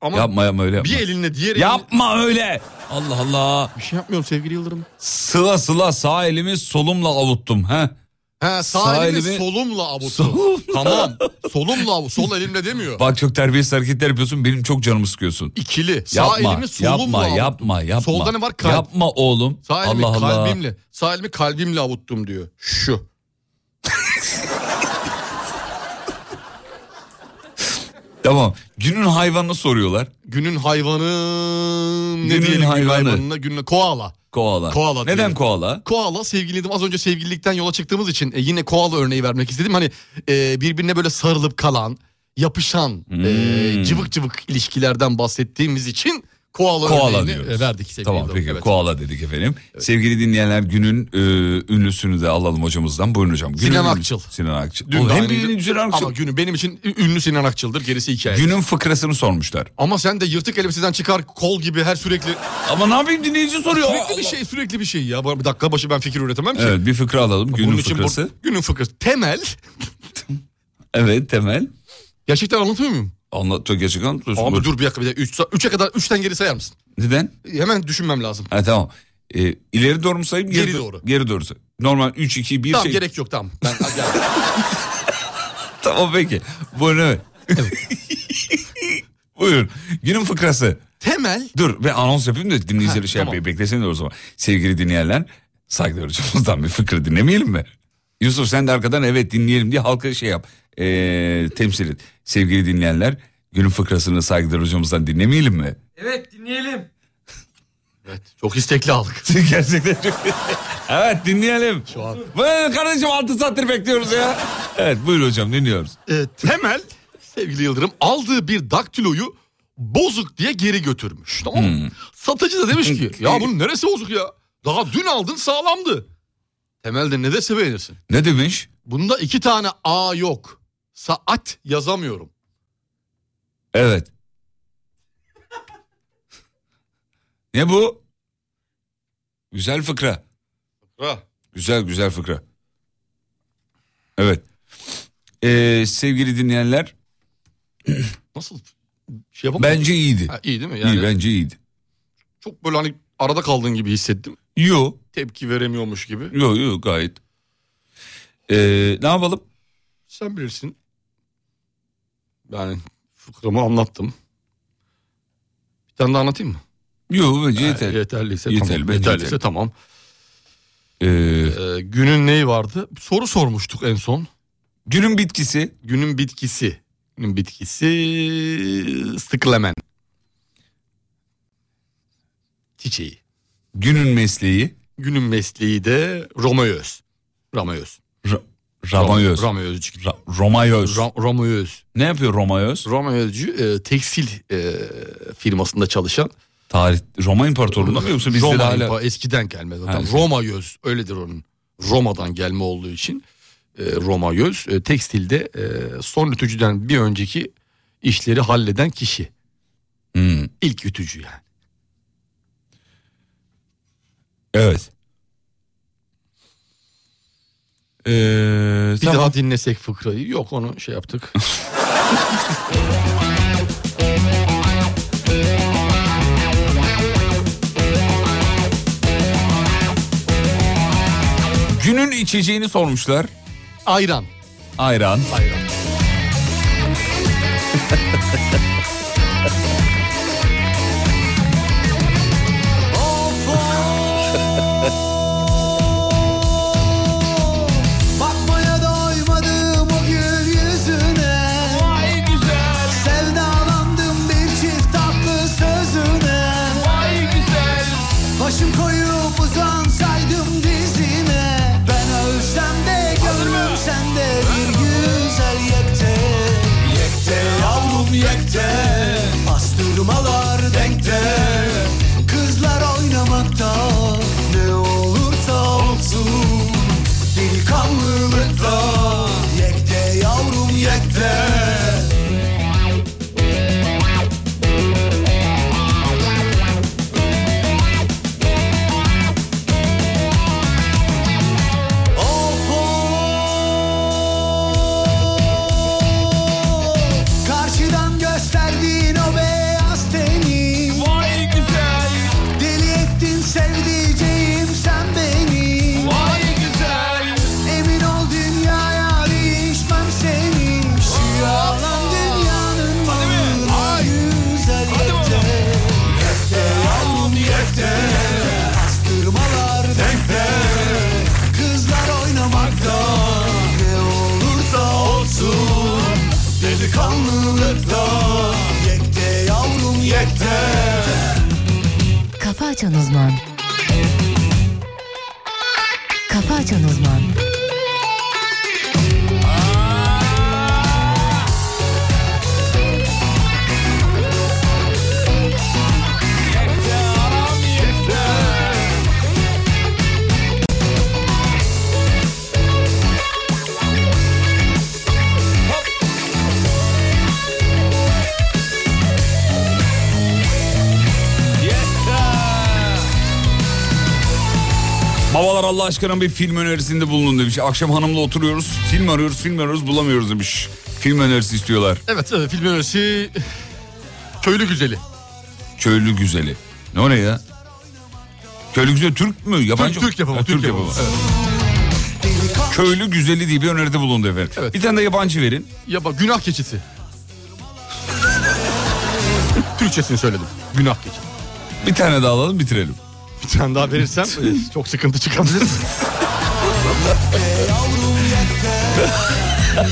Speaker 5: Ama
Speaker 4: Yapma yapma öyle yapma.
Speaker 5: bir elinle diğer elini...
Speaker 4: Yapma öyle. Allah Allah.
Speaker 5: Bir şey yapmıyorum sevgili Yıldırım.
Speaker 4: Sıla sıla sağ elimi solumla avuttum. He?
Speaker 5: Ha, sağ,
Speaker 4: Sağ
Speaker 5: elimi,
Speaker 4: elimi-
Speaker 5: solumla avuttu.
Speaker 4: Solumla.
Speaker 5: Tamam. Solumla avut. Sol elimle demiyor.
Speaker 4: Bak çok terbiyesiz hareketler yapıyorsun. Benim çok canımı sıkıyorsun.
Speaker 5: İkili. Sağ
Speaker 4: Yapma,
Speaker 5: elimi solumla
Speaker 4: yapma,
Speaker 5: avuttum.
Speaker 4: yapma, yapma.
Speaker 5: Solda ne var? Kalp.
Speaker 4: Yapma oğlum.
Speaker 5: Sağ elimi
Speaker 4: Allah Allah.
Speaker 5: kalbimle. Sağ elimi kalbimle avuttum diyor. Şu.
Speaker 4: Tamam. Günün hayvanını soruyorlar.
Speaker 5: Günün hayvanı Hmm, ne
Speaker 4: Günün
Speaker 5: diyelim
Speaker 4: hayvanı.
Speaker 5: günün hayvanına günün koala.
Speaker 4: Koala.
Speaker 5: Koala
Speaker 4: Neden
Speaker 5: diyelim.
Speaker 4: koala?
Speaker 5: Koala sevgiliydim az önce sevgililikten yola çıktığımız için e, yine koala örneği vermek istedim. Hani e, birbirine böyle sarılıp kalan, yapışan,
Speaker 4: Hmm.
Speaker 5: e, cıvık cıvık ilişkilerden bahsettiğimiz için koala,
Speaker 4: Koala
Speaker 5: örneğini
Speaker 4: diyoruz.
Speaker 5: e, verdik sevgili
Speaker 4: Tamam
Speaker 5: dostum,
Speaker 4: peki
Speaker 5: evet.
Speaker 4: koala dedik efendim. Sevgili dinleyenler günün e, ünlüsünü de alalım hocamızdan. Buyurun hocam. Günün
Speaker 5: Sinan
Speaker 4: ünlüsü-
Speaker 5: Akçıl.
Speaker 4: Sinan Akçıl.
Speaker 5: Dün
Speaker 4: Oğlum,
Speaker 5: daha
Speaker 4: hem
Speaker 5: yeni-
Speaker 4: günün Sinan Akçıl.
Speaker 5: Ama günü benim için ü- ünlü Sinan Akçıl'dır gerisi hikaye.
Speaker 4: Günün fıkrasını sormuşlar.
Speaker 5: Ama sen de yırtık elbiseden çıkar kol gibi her sürekli
Speaker 4: Ama ne yapayım dinleyici soruyor.
Speaker 5: sürekli bir şey sürekli bir şey ya. Bir dakika başı ben fikir üretemem ki.
Speaker 4: Evet bir fıkra alalım günün
Speaker 5: bu-
Speaker 4: fıkrası.
Speaker 5: günün fıkrası. Temel.
Speaker 4: Evet temel.
Speaker 5: Gerçekten anlatıyor muyum?
Speaker 4: Anlat gerçekten.
Speaker 5: Abi dur bir dakika bir dakika. 3'e kadar 3'ten geri sayar mısın?
Speaker 4: Neden?
Speaker 5: Hemen düşünmem lazım.
Speaker 4: Ha tamam. E, ileri doğru mu sayayım?
Speaker 5: Geri
Speaker 4: do-
Speaker 5: doğru.
Speaker 4: Geri doğru say- Normal 3 2 1
Speaker 5: tamam
Speaker 4: şey.
Speaker 5: gerek yok tamam. Ben,
Speaker 4: Tamam peki. Buyurun evet. Buyurun. Günün fıkrası.
Speaker 5: temel
Speaker 4: Dur ve anons yapayım da dinleyicileri
Speaker 5: Ha,
Speaker 4: şey
Speaker 5: tamam.
Speaker 4: yapayım. Beklesin de o zaman. Sevgili dinleyenler saygılar hocamızdan bir fıkra dinlemeyelim mi? Yusuf sen de arkadan evet dinleyelim diye halka şey yap. Ee, temsil et. Sevgili dinleyenler günün fıkrasını saygılar hocamızdan dinlemeyelim mi?
Speaker 12: Evet dinleyelim.
Speaker 5: çok istekli aldık.
Speaker 4: Gerçekten çok... evet dinleyelim.
Speaker 5: Şu an.
Speaker 4: Buyurun kardeşim 6 saattir bekliyoruz ya. Evet buyur hocam dinliyoruz.
Speaker 5: Ee, temel sevgili Yıldırım aldığı bir daktiloyu bozuk diye geri
Speaker 4: Hmm.
Speaker 5: götürmüş. Tamam mı? Satıcı da demiş ki ya bunun neresi bozuk ya? Daha dün aldın sağlamdı. Temel de ne dese beğenirsin.
Speaker 4: Ne demiş?
Speaker 5: Bunda iki tane A yok. Saat yazamıyorum.
Speaker 4: Evet. ne bu? Güzel fıkra.
Speaker 5: Ra.
Speaker 4: Güzel güzel fıkra. Evet. Ee, sevgili dinleyenler
Speaker 5: Nasıl şey yapamadım?
Speaker 4: bence iyiydi.
Speaker 5: Ha, iyi değil mi? Yani
Speaker 4: İyi bence iyiydi.
Speaker 5: çok böyle hani arada kaldığın gibi hissettim.
Speaker 4: Yo
Speaker 5: Tepki veremiyormuş gibi.
Speaker 4: yo yo gayet. Ee, ne yapalım?
Speaker 5: Sen bilirsin. Yani fıkramı anlattım. Bir tane daha anlatayım mı?
Speaker 4: Yo bence yeter.
Speaker 5: Ha, Yeterliyse
Speaker 4: Yeterli,
Speaker 5: tamam.
Speaker 4: bence
Speaker 5: Yeterliyse
Speaker 4: yeterli.
Speaker 5: tamam.
Speaker 4: Ee,
Speaker 5: Ee, günün neyi vardı? Soru sormuştuk en son.
Speaker 4: günün bitkisi
Speaker 5: Günün bitkisi. Günün bitkisi sıklamen. Çiçeği.
Speaker 4: günün mesleği
Speaker 5: Günün mesleği de Romaöz. Romaöz.
Speaker 4: ra- Ramayöz.
Speaker 5: Romaözcü.
Speaker 4: Ra- Romayöz.
Speaker 5: Ra- Romaöz.
Speaker 4: ne yapıyor Romayöz?
Speaker 5: Romaözcü e, tekstil e, firmasında çalışan.
Speaker 4: Tarih Roma İmparatorluğu'nda mı yoksa bizde
Speaker 5: Roma
Speaker 4: de hala
Speaker 5: İmpa- eskiden gelme zaten.
Speaker 4: Ha.
Speaker 5: Roma göz öyledir onun. Roma'dan gelme olduğu için e, Roma göz e, tekstilde e, son ütücüden bir önceki işleri halleden kişi.
Speaker 4: Hmm,
Speaker 5: İlk ütücü yani.
Speaker 4: evet. Ee,
Speaker 5: Bir
Speaker 4: tamam.
Speaker 5: daha dinlesek fıkrayı. Yok onu şey yaptık.
Speaker 4: Günün içeceğini sormuşlar.
Speaker 5: Ayran.
Speaker 4: Ayran.
Speaker 5: Ayran.
Speaker 6: Bakmaya doymadım o gül yüzüne Vay güzel Sevdalandım bir çift tatlı sözüne Vay güzel Başım koyup uzansaydım dizine Ben ölsem de gönlüm sende bir güzel yekte Yekte yavrum yekte Pastırmalar denkte Kızlar oynamakta ne olursa olsun Delikanlılıkta Yekte yavrum yekte Of of Karşıdan gösterdiğin o beyaz teni Vay güzel Deli ettin sevdiceğim sen beni Vay güzel Emin ol dünyaya değişmem seni Şu yalan dünyanın malına güzel yekte Yekte yavrum yekte Astırmalar denkte Kızlar oynamakta Ne olursa olsun Delikanlılıkta
Speaker 3: Açan Uzman Kafa Açan Uzman
Speaker 4: Babalar Allah aşkına bir film önerisinde bulunun demiş. Akşam hanımla oturuyoruz. Film arıyoruz, film arıyoruz bulamıyoruz demiş. Film önerisi istiyorlar.
Speaker 5: Evet e, film önerisi Köylü Güzeli.
Speaker 4: Köylü güzeli. Ne o ne ya? Köylü güzeli Türk mü? Yabancı
Speaker 5: Türk,
Speaker 4: mı?
Speaker 5: Türk yapımı.
Speaker 4: Ha,
Speaker 5: Türk, yapımı. Evet.
Speaker 4: Köylü güzeli diye bir öneride bulundu efendim.
Speaker 5: Evet.
Speaker 4: Bir tane de yabancı verin.
Speaker 5: Yaba, günah keçisi. Türkçesini söyledim. Günah keçisi.
Speaker 4: Bir tane daha alalım bitirelim.
Speaker 5: Bir tane daha verirsem e, çok sıkıntı çıkabilir.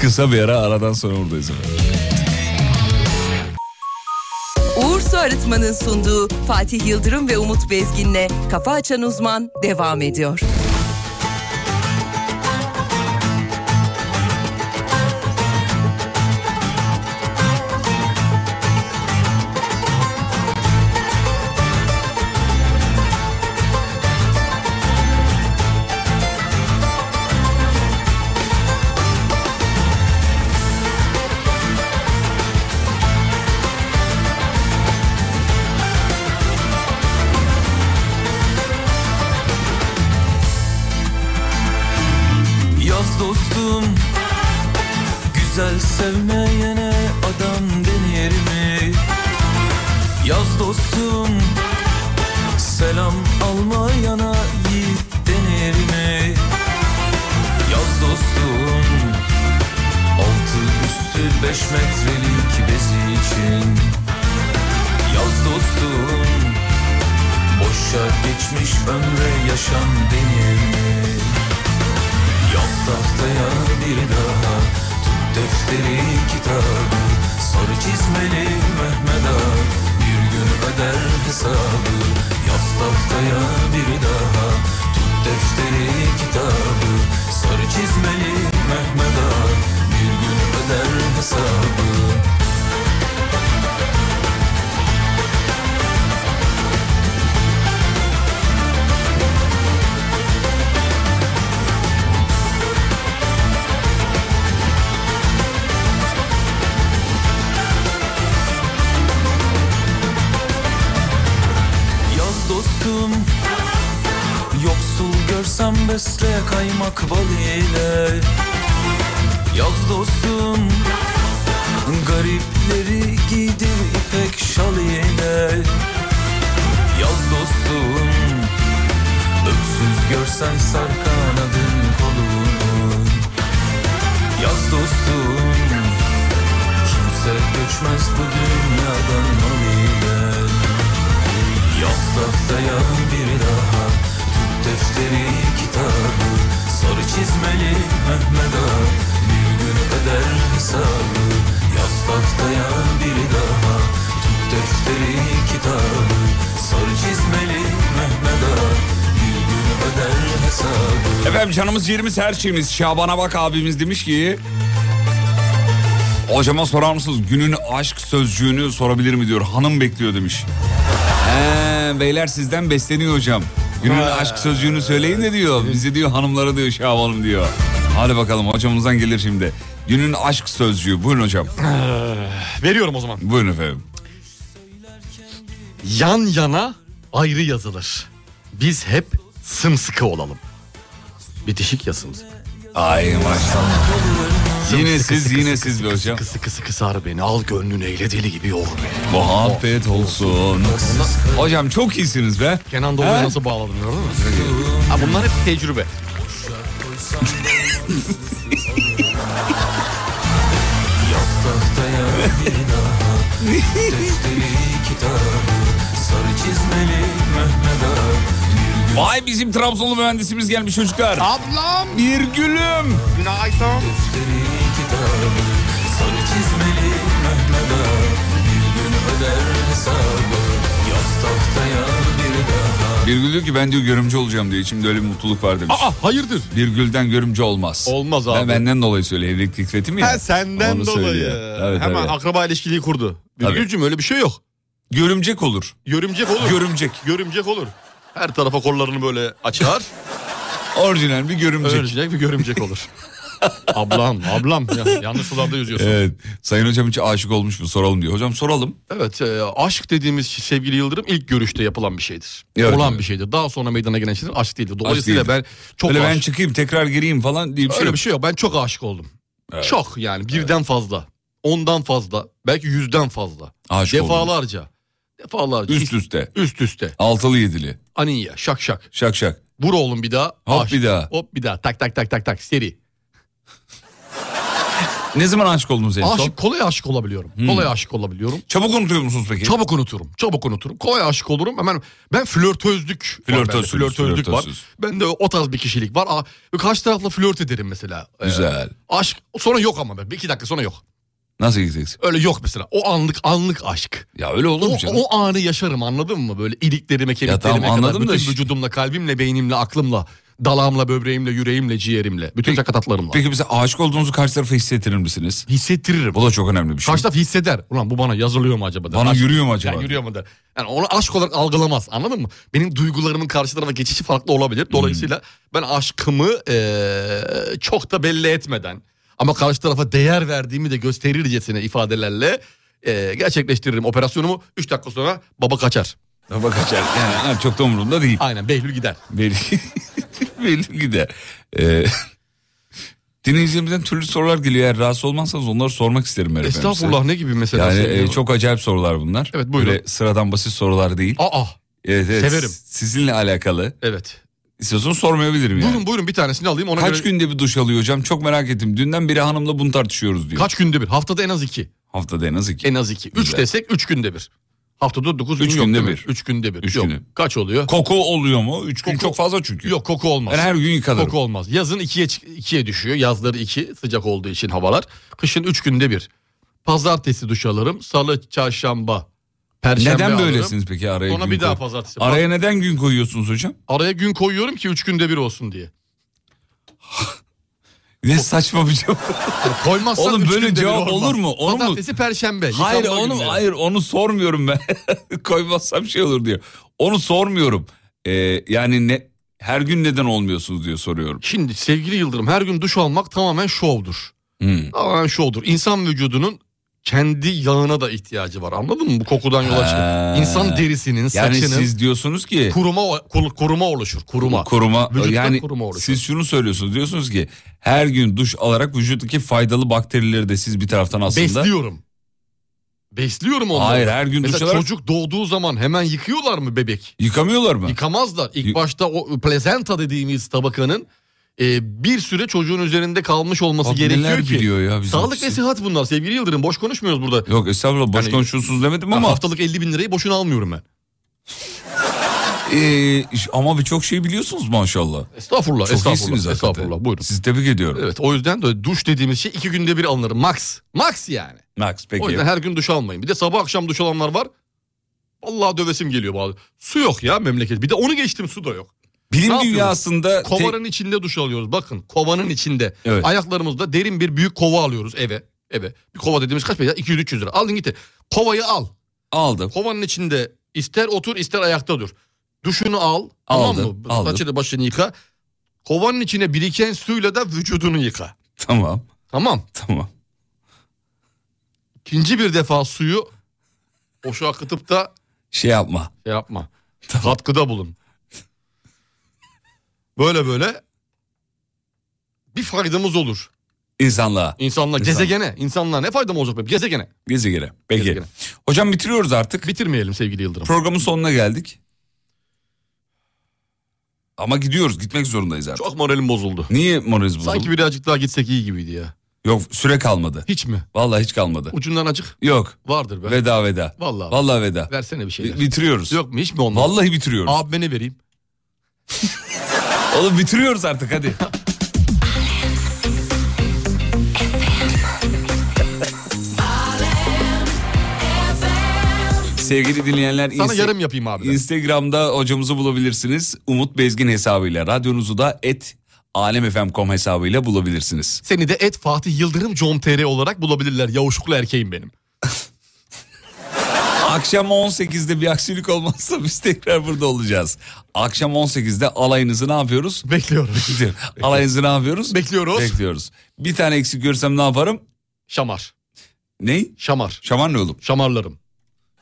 Speaker 4: Kısa bir ara aradan sonra buradayız. efendim.
Speaker 1: Uğur Su Arıtma'nın sunduğu Fatih Yıldırım ve Umut Bezgin'le Kafa Açan Uzman devam ediyor.
Speaker 12: Yaz dostum Güzel sevmeyene adam denir mi? Yaz dostum Selam almayana yiğit denir mi? Yaz dostum Altı üstü beş metrelik bezi için Yaz dostum Boşa geçmiş ömre yaşam denir mi? Yap tahtaya bir daha Tut defteri kitabı Sarı çizmeli Mehmet Ağa Bir gün öder hesabı Yaz tahtaya bir daha Tut defteri kitabı Sarı çizmeli Mehmet Ağa Bir gün öder hesabı Yaz dostum Yoksul görsem besle kaymak bal ile Yaz dostum Garipleri giydir ipek şal ile Yaz dostum Öksüz görsen sar kanadın kolunu Yaz dostum Kimse göçmez bu dünyadan mal ile Yaz tahtaya bir daha Tut defteri kitabı Sarı çizmeli Mehmet Ağa Bir gün öder hesabı Yaz tahtaya bir daha Tut defteri kitabı Sarı çizmeli Mehmet Ağa Bir gün öder hesabı
Speaker 4: Efendim canımız yerimiz her şeyimiz. Şaban'a bak abimiz demiş ki... Hocama sorar mısınız günün aşk sözcüğünü sorabilir mi diyor. Hanım bekliyor demiş. He, beyler sizden besleniyor hocam. Günün aşk sözcüğünü söyleyin de diyor. Bizi diyor hanımlara diyor Şaban'ım diyor. Hadi bakalım hocamızdan gelir şimdi. Günün aşk sözcüğü buyurun hocam.
Speaker 5: Veriyorum o zaman.
Speaker 4: Buyurun efendim.
Speaker 5: Yan yana ayrı yazılır. Biz hep sımsıkı olalım. Bitişik ya sımsıkı.
Speaker 4: Ay maşallah. Yine
Speaker 5: Sımsıkı,
Speaker 4: siz
Speaker 5: sıkı,
Speaker 4: yine
Speaker 5: sıkı,
Speaker 4: siz
Speaker 5: sıkı,
Speaker 4: be hocam.
Speaker 5: Sıkı sıkı sıkı sar beni al gönlün eyle deli gibi yoğur beni.
Speaker 4: Muhabbet olsun. Hocam çok iyisiniz be.
Speaker 5: Kenan Doğulu'yu
Speaker 4: He?
Speaker 5: nasıl bağladım gördün mü? Ha, bunlar hep tecrübe.
Speaker 12: Tahtaya bir daha Tut defteri kitabı Sarı çizmeli Mehmet Ağa
Speaker 4: Vay bizim Trabzonlu mühendisimiz gelmiş çocuklar.
Speaker 5: Ablam
Speaker 4: Bir gülüm.
Speaker 5: günaydın.
Speaker 12: Defteri kitabı Sarı çizmeli Mehmet Ağa Bir gün öder hesabı Yaz tahtaya
Speaker 4: Birgül diyor ki ben diyor görümcü olacağım diyor. İçimde öyle bir mutluluk var demiş.
Speaker 5: Aa hayırdır?
Speaker 4: Birgül'den görümcü olmaz.
Speaker 5: Olmaz abi.
Speaker 4: Ben benden dolayı söylüyor. Evlilik fikretim ya.
Speaker 5: Ha, senden
Speaker 4: Onu
Speaker 5: dolayı.
Speaker 4: söylüyor. Evet,
Speaker 5: Hemen
Speaker 4: evet.
Speaker 5: akraba ilişkiliği kurdu. Gülcüm öyle bir şey yok.
Speaker 4: Görümcek olur.
Speaker 5: Görümcek olur.
Speaker 4: Görümcek.
Speaker 5: Görümcek olur. Her tarafa kollarını böyle açar.
Speaker 4: Orijinal bir görümcek.
Speaker 5: Örümcek bir görümcek olur. ablam, ablam. Ya, yanlış sularda yüzüyorsun. Evet,
Speaker 4: Evet. Sayın hocam hiç aşık olmuş mu soralım diyor. Hocam soralım.
Speaker 5: e, aşk dediğimiz şey, sevgili Yıldırım ilk görüşte yapılan bir şeydir.
Speaker 4: Evet,
Speaker 5: Olan
Speaker 4: evet.
Speaker 5: bir şeydir. Daha sonra meydana gelen şeyler aşk değildir. Dolayısıyla
Speaker 4: değildir.
Speaker 5: ben çok
Speaker 4: Öyle ben
Speaker 5: aşık,
Speaker 4: çıkayım tekrar gireyim falan diye bir şey
Speaker 5: öyle
Speaker 4: yok.
Speaker 5: bir şey yok. Ben çok aşık oldum. Çok yani birden fazla. Ondan fazla. Belki yüzden fazla.
Speaker 4: Aşık oldum.
Speaker 5: defalarca. Defalarca.
Speaker 4: Üst üste.
Speaker 5: Üst üste.
Speaker 4: Altılı yedili.
Speaker 5: Aniye. Şak şak.
Speaker 4: Şak şak.
Speaker 5: Vur oğlum bir daha.
Speaker 4: Hop
Speaker 5: aşk.
Speaker 4: bir daha.
Speaker 5: Hop bir daha. Tak tak tak tak tak. Seri.
Speaker 4: Ne zaman aşık oldunuz en son?
Speaker 5: Aşık, kolay aşık olabiliyorum. Kolay aşık olabiliyorum.
Speaker 4: Hmm. Çabuk unutuyor musunuz peki?
Speaker 5: Çabuk unuturum. Çabuk unuturum. Kolay aşık olurum. Hemen ben flörtözlük. var bende,
Speaker 4: Flörtözsünüz,
Speaker 5: Flörtözlük var.
Speaker 4: flörtözsünüz.
Speaker 5: Bende o tarz bir kişilik var. Aa, Karşı tarafla flört ederim mesela. Ee,
Speaker 4: Güzel.
Speaker 5: aşk sonra yok ama ben. Bir iki dakika sonra yok.
Speaker 4: Nasıl gideceksin?
Speaker 5: Öyle yok mesela. O anlık anlık aşk.
Speaker 4: Ya öyle olur mu
Speaker 5: O,
Speaker 4: canım?
Speaker 5: o anı yaşarım anladın mı? Böyle iliklerime, kemiklerime
Speaker 4: tamam,
Speaker 5: kadar.
Speaker 4: anladım da
Speaker 5: Bütün
Speaker 4: işte-
Speaker 5: vücudumla, kalbimle, beynimle, aklımla, dalağımla, böbreğimle, yüreğimle, ciğerimle. Bütün
Speaker 4: Peki-
Speaker 5: sakatatlarımla.
Speaker 4: Peki mesela aşık olduğunuzu karşı tarafa hissettirir misiniz?
Speaker 5: Hissettiririm.
Speaker 4: Bu da çok önemli bir şey.
Speaker 5: Karşı taraf hisseder. Ulan bu bana yazılıyor mu acaba? der.
Speaker 4: Bana
Speaker 5: Aşk-
Speaker 4: yürüyor mu acaba?
Speaker 5: Yani yürüyor mu der. Yani onu aşk olarak algılamaz anladın mı? Benim duygularımın karşı tarafa geçişi farklı olabilir. Dolayısıyla ben aşkımı eee, çok da belli etmeden ama karşı tarafa değer verdiğimi de gösterircesine ifadelerle eee, gerçekleştiririm operasyonumu. 3 dakika sonra baba kaçar.
Speaker 4: Bak açar. Yani ha, çok da umurumda değil.
Speaker 5: Aynen Behlül gider.
Speaker 4: Belli, belli gider. Ee, dinleyicilerimizden türlü sorular geliyor. Eğer rahatsız olmazsanız onları sormak isterim. ben efendim size.
Speaker 5: Estağfurullah ne gibi mesela?
Speaker 4: Yani
Speaker 5: sevgili-
Speaker 4: e, çok acayip sorular bunlar.
Speaker 5: Evet, buyurun.
Speaker 4: Böyle sıradan basit sorular değil.
Speaker 5: Aa
Speaker 4: Evet, evet.
Speaker 5: Severim.
Speaker 4: Sizinle alakalı.
Speaker 5: evet.
Speaker 4: İstiyorsanız sormayabilirim yani.
Speaker 5: Buyurun buyurun bir tanesini alayım ona
Speaker 4: Kaç
Speaker 5: göre.
Speaker 4: günde bir duş alıyor hocam? Çok merak ettim. Dünden beri hanımla bunu tartışıyoruz diyor.
Speaker 5: Kaç günde bir? Haftada en az iki.
Speaker 4: Haftada en az iki.
Speaker 5: En az iki. Üç
Speaker 4: Güzel.
Speaker 5: desek üç günde bir. Haftada dokuz
Speaker 4: Üç
Speaker 5: gün yok
Speaker 4: günde
Speaker 5: değil mi?
Speaker 4: bir.
Speaker 5: Üç günde bir.
Speaker 4: Üç
Speaker 5: yok.
Speaker 4: günde.
Speaker 5: Kaç oluyor?
Speaker 4: Koku oluyor mu? Üç gün
Speaker 5: Koku-
Speaker 4: çok fazla çünkü.
Speaker 5: yok koku olmaz.
Speaker 4: Ben her gün yıkanırım.
Speaker 5: Koku olmaz. Yazın ikiye, çık- ikiye düşüyor. Yazları iki sıcak olduğu için havalar. Kışın üç günde bir. Pazartesi duş alırım. Salı, çarşamba, perşembe
Speaker 4: Neden
Speaker 5: alırım.
Speaker 4: böylesiniz peki araya
Speaker 5: Ona
Speaker 4: gün
Speaker 5: bir daha
Speaker 4: koy-
Speaker 5: pazartesi.
Speaker 4: Araya neden gün koyuyorsunuz hocam?
Speaker 5: Araya gün koyuyorum ki üç günde bir olsun diye.
Speaker 4: Ne saçma bir cevap.
Speaker 5: Koymazsan
Speaker 4: Oğlum
Speaker 5: üç
Speaker 4: böyle
Speaker 5: günde bir
Speaker 4: cevap olur mu? Onu mu-
Speaker 5: Pazartesi, perşembe.
Speaker 4: Hayır
Speaker 5: yıkanma
Speaker 4: onu
Speaker 5: günleri.
Speaker 4: hayır onu sormuyorum ben. Koymazsam şey olur diyor. Onu sormuyorum. Ee, yani ne her gün neden olmuyorsunuz diye soruyorum.
Speaker 5: Şimdi sevgili Yıldırım her gün duş almak tamamen şovdur.
Speaker 4: Hmm.
Speaker 5: Tamamen şovdur. İnsan vücudunun kendi yağına da ihtiyacı var anladın mı? Bu kokudan
Speaker 4: Ha.
Speaker 5: yola çıkıp. İnsan derisinin,
Speaker 4: Ee, Yani
Speaker 5: saçının
Speaker 4: siz diyorsunuz ki
Speaker 5: kuruma, kul- kuruma oluşur. Kuruma.
Speaker 4: koruma
Speaker 5: Vücutta
Speaker 4: yani
Speaker 5: kuruma oluşuyor.
Speaker 4: siz şunu söylüyorsunuz diyorsunuz ki her gün duş alarak vücuttaki faydalı bakterileri de siz bir taraftan aslında
Speaker 5: Besliyorum. Besliyorum onları.
Speaker 4: Hayır, her gün duş
Speaker 5: Mesela
Speaker 4: alarak-
Speaker 5: çocuk doğduğu zaman hemen yıkıyorlar mı bebek?
Speaker 4: yıkamıyorlar mı?
Speaker 5: Yıkamazlar. İlk
Speaker 4: Yı-
Speaker 5: başta o plezenta dediğimiz tabakanın e, bir süre çocuğun üzerinde kalmış olması
Speaker 4: Bak
Speaker 5: gerekiyor
Speaker 4: neler
Speaker 5: ki.
Speaker 4: biliyor ya bizim
Speaker 5: Sağlık
Speaker 4: kişi.
Speaker 5: ve sıhhat bunlar sevgili Yıldırım. Boş konuşmuyoruz burada.
Speaker 4: Yok estağfurullah boş
Speaker 5: Yani-
Speaker 4: konuşuyorsunuz demedim
Speaker 5: Ama
Speaker 4: ama
Speaker 5: haftalık 50 bin lirayı boşuna almıyorum ben.
Speaker 4: Ee, ama birçok şey biliyorsunuz maşallah.
Speaker 5: Estağfurullah,
Speaker 4: Çok iyisiniz
Speaker 5: estağfurullah,
Speaker 4: hakikaten.
Speaker 5: estağfurullah. Buyurun.
Speaker 4: Sizi tebrik ediyorum.
Speaker 5: Evet, o yüzden de duş dediğimiz şey iki günde bir alınır max. Max yani.
Speaker 4: Max
Speaker 5: O
Speaker 4: peki.
Speaker 5: yüzden her gün duş almayın. Bir de sabah akşam duş alanlar var. Vallahi dövesim geliyor bazı. Su yok ya memleket. Bir de onu geçtim su da yok.
Speaker 4: Bilim
Speaker 5: Ne
Speaker 4: dünyasında tek-
Speaker 5: Kovanın içinde duş alıyoruz. Bakın kovanın içinde.
Speaker 4: Evet.
Speaker 5: Ayaklarımızda derin bir büyük kova alıyoruz eve. Eve. Bir kova dediğimiz kaç para? 200-300 lira. Aldın gitti. Kovayı al.
Speaker 4: aldım.
Speaker 5: Kovanın içinde ister otur ister ayakta dur. Duşunu al.
Speaker 4: Aldım,
Speaker 5: tamam mı?
Speaker 4: aldım.
Speaker 5: Saçını başını yıka. Kovanın içine biriken suyla da vücudunu yıka.
Speaker 4: Tamam.
Speaker 5: Tamam.
Speaker 4: Tamam.
Speaker 5: İkinci bir defa suyu boşa akıtıp da
Speaker 4: Şey yapma.
Speaker 5: şey yapma. Katkıda bulun. Böyle böyle bir faydamız olur.
Speaker 4: İnsanlığa.
Speaker 5: İnsanlar,
Speaker 4: İnsan.
Speaker 5: gezegene, insanlığa ne faydam olacak benim? Gezegene.
Speaker 4: Gezegene. Peki.
Speaker 5: Gezegene.
Speaker 4: Hocam bitiriyoruz artık.
Speaker 5: Bitirmeyelim sevgili Yıldırım.
Speaker 4: Programın sonuna geldik. Ama gidiyoruz. Gitmek zorundayız artık.
Speaker 5: Çok moralim bozuldu.
Speaker 4: Niye moraliz bozuldu?
Speaker 5: Sanki birazcık daha gitsek iyi gibiydi ya.
Speaker 4: Yok süre kalmadı.
Speaker 5: Hiç mi?
Speaker 4: Vallahi hiç kalmadı.
Speaker 5: Ucundan acık
Speaker 4: Yok.
Speaker 5: vardır be.
Speaker 4: Veda veda.
Speaker 5: Vallahi.
Speaker 4: Vallahi veda.
Speaker 5: Versene bir şeyler.
Speaker 4: Bi- Bitiriyoruz.
Speaker 5: Yok mu hiç mi olmaz?
Speaker 4: Vallahi bitiriyoruz.
Speaker 5: Abi ne vereyim?
Speaker 4: Oğlum bitiriyoruz artık hadi. Sevgili dinleyenler
Speaker 5: Sana
Speaker 4: Insta-
Speaker 5: yarım yapayım abi.
Speaker 4: Instagram'da hocamızı bulabilirsiniz. Umut Bezgin hesabıyla. Radyonuzu da et alemfm.com hesabıyla bulabilirsiniz.
Speaker 5: Seni de et Fatih Yıldırım com.tr olarak bulabilirler. Yavuşuklu erkeğim benim.
Speaker 4: Akşam 18'de bir aksilik olmazsa biz tekrar burada olacağız. Akşam 18'de alayınızı ne yapıyoruz?
Speaker 5: Bekliyoruz.
Speaker 4: alayınızı ne yapıyoruz?
Speaker 5: Bekliyoruz.
Speaker 4: Bekliyoruz. Bir tane eksik görsem ne yaparım?
Speaker 5: Şamar.
Speaker 4: Ney?
Speaker 5: Şamar.
Speaker 4: Şamar ne oğlum?
Speaker 5: Şamarlarım.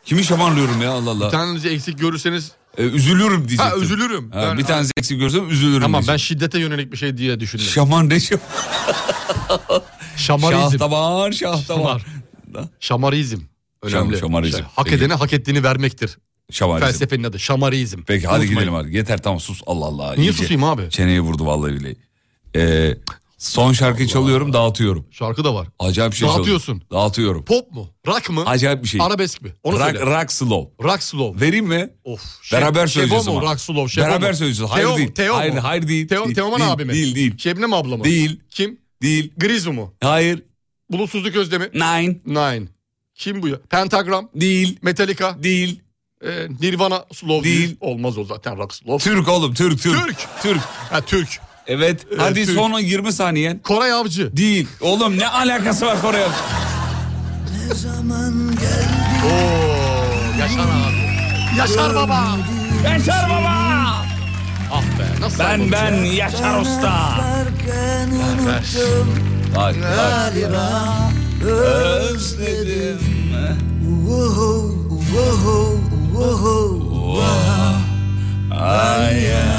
Speaker 4: Kimi şamarlıyorum ya Allah Allah.
Speaker 5: Bir tanenizi eksik görürseniz
Speaker 4: Ee, üzülürüm diyecektim.
Speaker 5: Ha, üzülürüm.
Speaker 4: Ha,
Speaker 5: Ben-
Speaker 4: bir tanesi eksik görsem üzülürüm
Speaker 5: tamam ben
Speaker 4: diyecektim.
Speaker 5: şiddete yönelik bir şey diye düşündüm.
Speaker 4: Şamar ne şamar?
Speaker 5: Şamarizm.
Speaker 4: Şahtabar, şahtabar.
Speaker 5: Şamar. Şamarizm. Önemli.
Speaker 4: şamarizm.
Speaker 5: Şey, hak edene hak ettiğini vermektir.
Speaker 4: Şamarizm.
Speaker 5: Felsefenin adı şamarizm.
Speaker 4: Peki hadi
Speaker 5: Unutmayın.
Speaker 4: gidelim hadi. Yeter tamam sus Allah Allah.
Speaker 5: Niye susayım abi?
Speaker 4: Çeneye vurdu vallahi billahi. Ee, son şarkıyı çalıyorum dağıtıyorum.
Speaker 5: Şarkı da var.
Speaker 4: Acayip bir şey çalıyorum.
Speaker 5: Dağıtıyorsun.
Speaker 4: Dağıtıyorum.
Speaker 5: Pop mu? Rock mı?
Speaker 4: Acayip bir şey.
Speaker 5: Arabesk mi? Onu
Speaker 4: rock,
Speaker 5: söyle.
Speaker 4: rock slow.
Speaker 5: Rock slow.
Speaker 4: Vereyim mi?
Speaker 5: Of.
Speaker 4: Beraber söyleyeceğiz
Speaker 5: Şebo mu?
Speaker 4: ama.
Speaker 5: Rock slow. Şebo
Speaker 4: Beraber
Speaker 5: mu?
Speaker 4: söyleyeceğiz. Hayır
Speaker 5: Teo mu?
Speaker 4: değil.
Speaker 5: Teo
Speaker 4: Hayır,
Speaker 5: mu?
Speaker 4: hayır değil.
Speaker 5: Teo,
Speaker 4: Değil,
Speaker 5: Teoman
Speaker 4: değil,
Speaker 5: abi mi?
Speaker 4: değil, değil.
Speaker 5: Şebnem abla mı?
Speaker 4: Değil.
Speaker 5: Kim?
Speaker 4: Değil.
Speaker 5: Grizu mu?
Speaker 4: Hayır.
Speaker 5: Bulutsuzluk özlemi.
Speaker 4: Nine.
Speaker 5: Nine. Kim bu ya? Pentagram.
Speaker 4: Değil.
Speaker 5: Metallica.
Speaker 4: Değil.
Speaker 5: e, Nirvana slow
Speaker 4: Değil.
Speaker 5: değil. Olmaz o zaten rock slow.
Speaker 4: Türk oğlum Türk Türk.
Speaker 5: Türk. Ha, Türk.
Speaker 4: Evet. Hadi
Speaker 5: Türk.
Speaker 4: son 20 saniyen.
Speaker 5: Koray Avcı.
Speaker 4: Değil. Oğlum ne alakası var Kore'ye?
Speaker 5: Yaşar abi. Yaşar baba.
Speaker 4: Yaşar baba.
Speaker 5: Ah be nasıl
Speaker 4: Ben
Speaker 5: ayrıldı?
Speaker 4: ben Yaşar Usta.
Speaker 5: Ver.
Speaker 4: Bak, bak. Ee, Özledim. Oh. Ay ya.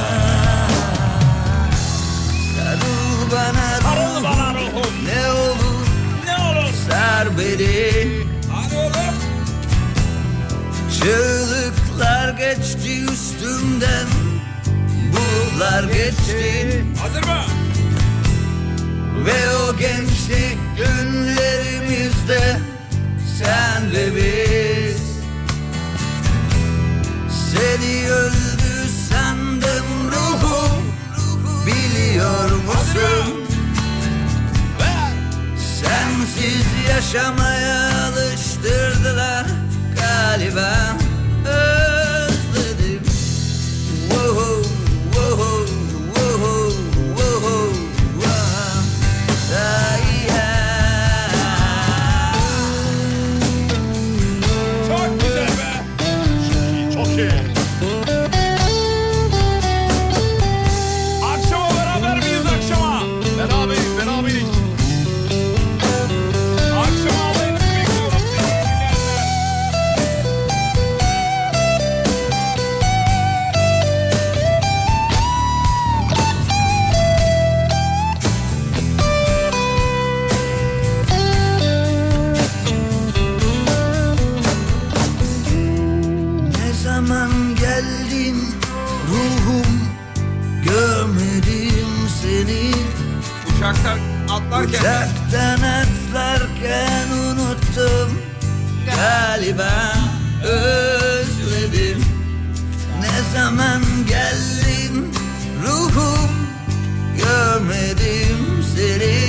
Speaker 4: Sarıl bana ruhum.
Speaker 13: Ne olur
Speaker 4: Ne olur.
Speaker 13: der beni
Speaker 4: Hadi oğlum.
Speaker 13: Çığlıklar geçti üstümden Bulutlar geçti
Speaker 4: Hazır mı?
Speaker 13: Ve o gençlik günlerimizde Sen ve biz Seni öldü sandım ruhum Biliyor musun? Sensiz yaşamaya alıştırdılar galiba Özledim Woho, woho, woho, woho, woho. Ay, ay.
Speaker 4: Çok güzel be.
Speaker 5: Çok iyi.
Speaker 4: Akşama beraber miyiz akşama?
Speaker 5: Beraberiz beraberiz.
Speaker 4: Akşama alayınızı bekliyorum.
Speaker 13: Ne zaman geldin ruhum Görmedim seni
Speaker 4: Uçaktan atlarken.
Speaker 13: Uçaktan atlarken unuttum Galiba özledim Ne zaman geldin ruhum Görmedim seni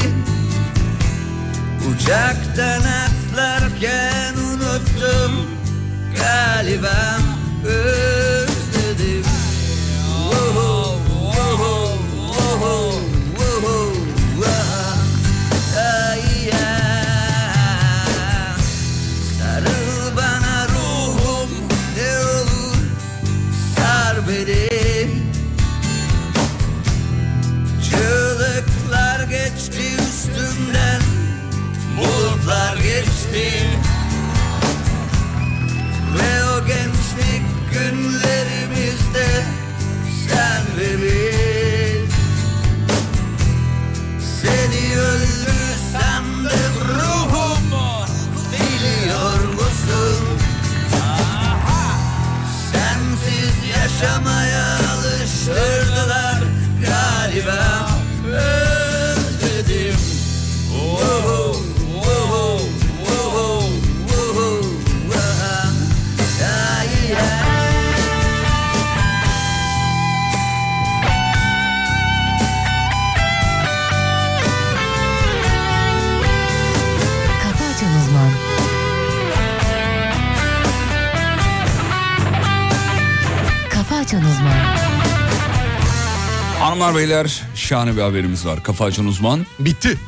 Speaker 13: Uçaktan atlarken unuttum Galiba özledim Woho, woho, woho, woho, woho. Ay, ya. Sarıl bana ruhum ne olur sar beni Çığlıklar geçti üstümden bulutlar geçti ve o gençlik günlerimizde sen ve biz Seni öldü sandım ruhum Biliyor musun? Sensiz yaşamaya alıştırdılar galiba Özledim Oh, Woho, woho, woho, woho, woho. Ay, ay.
Speaker 3: Kafa Açan Uzman.
Speaker 4: Hanımlar beyler şahane bir haberimiz var. Kafa açan uzman.
Speaker 5: Bitti.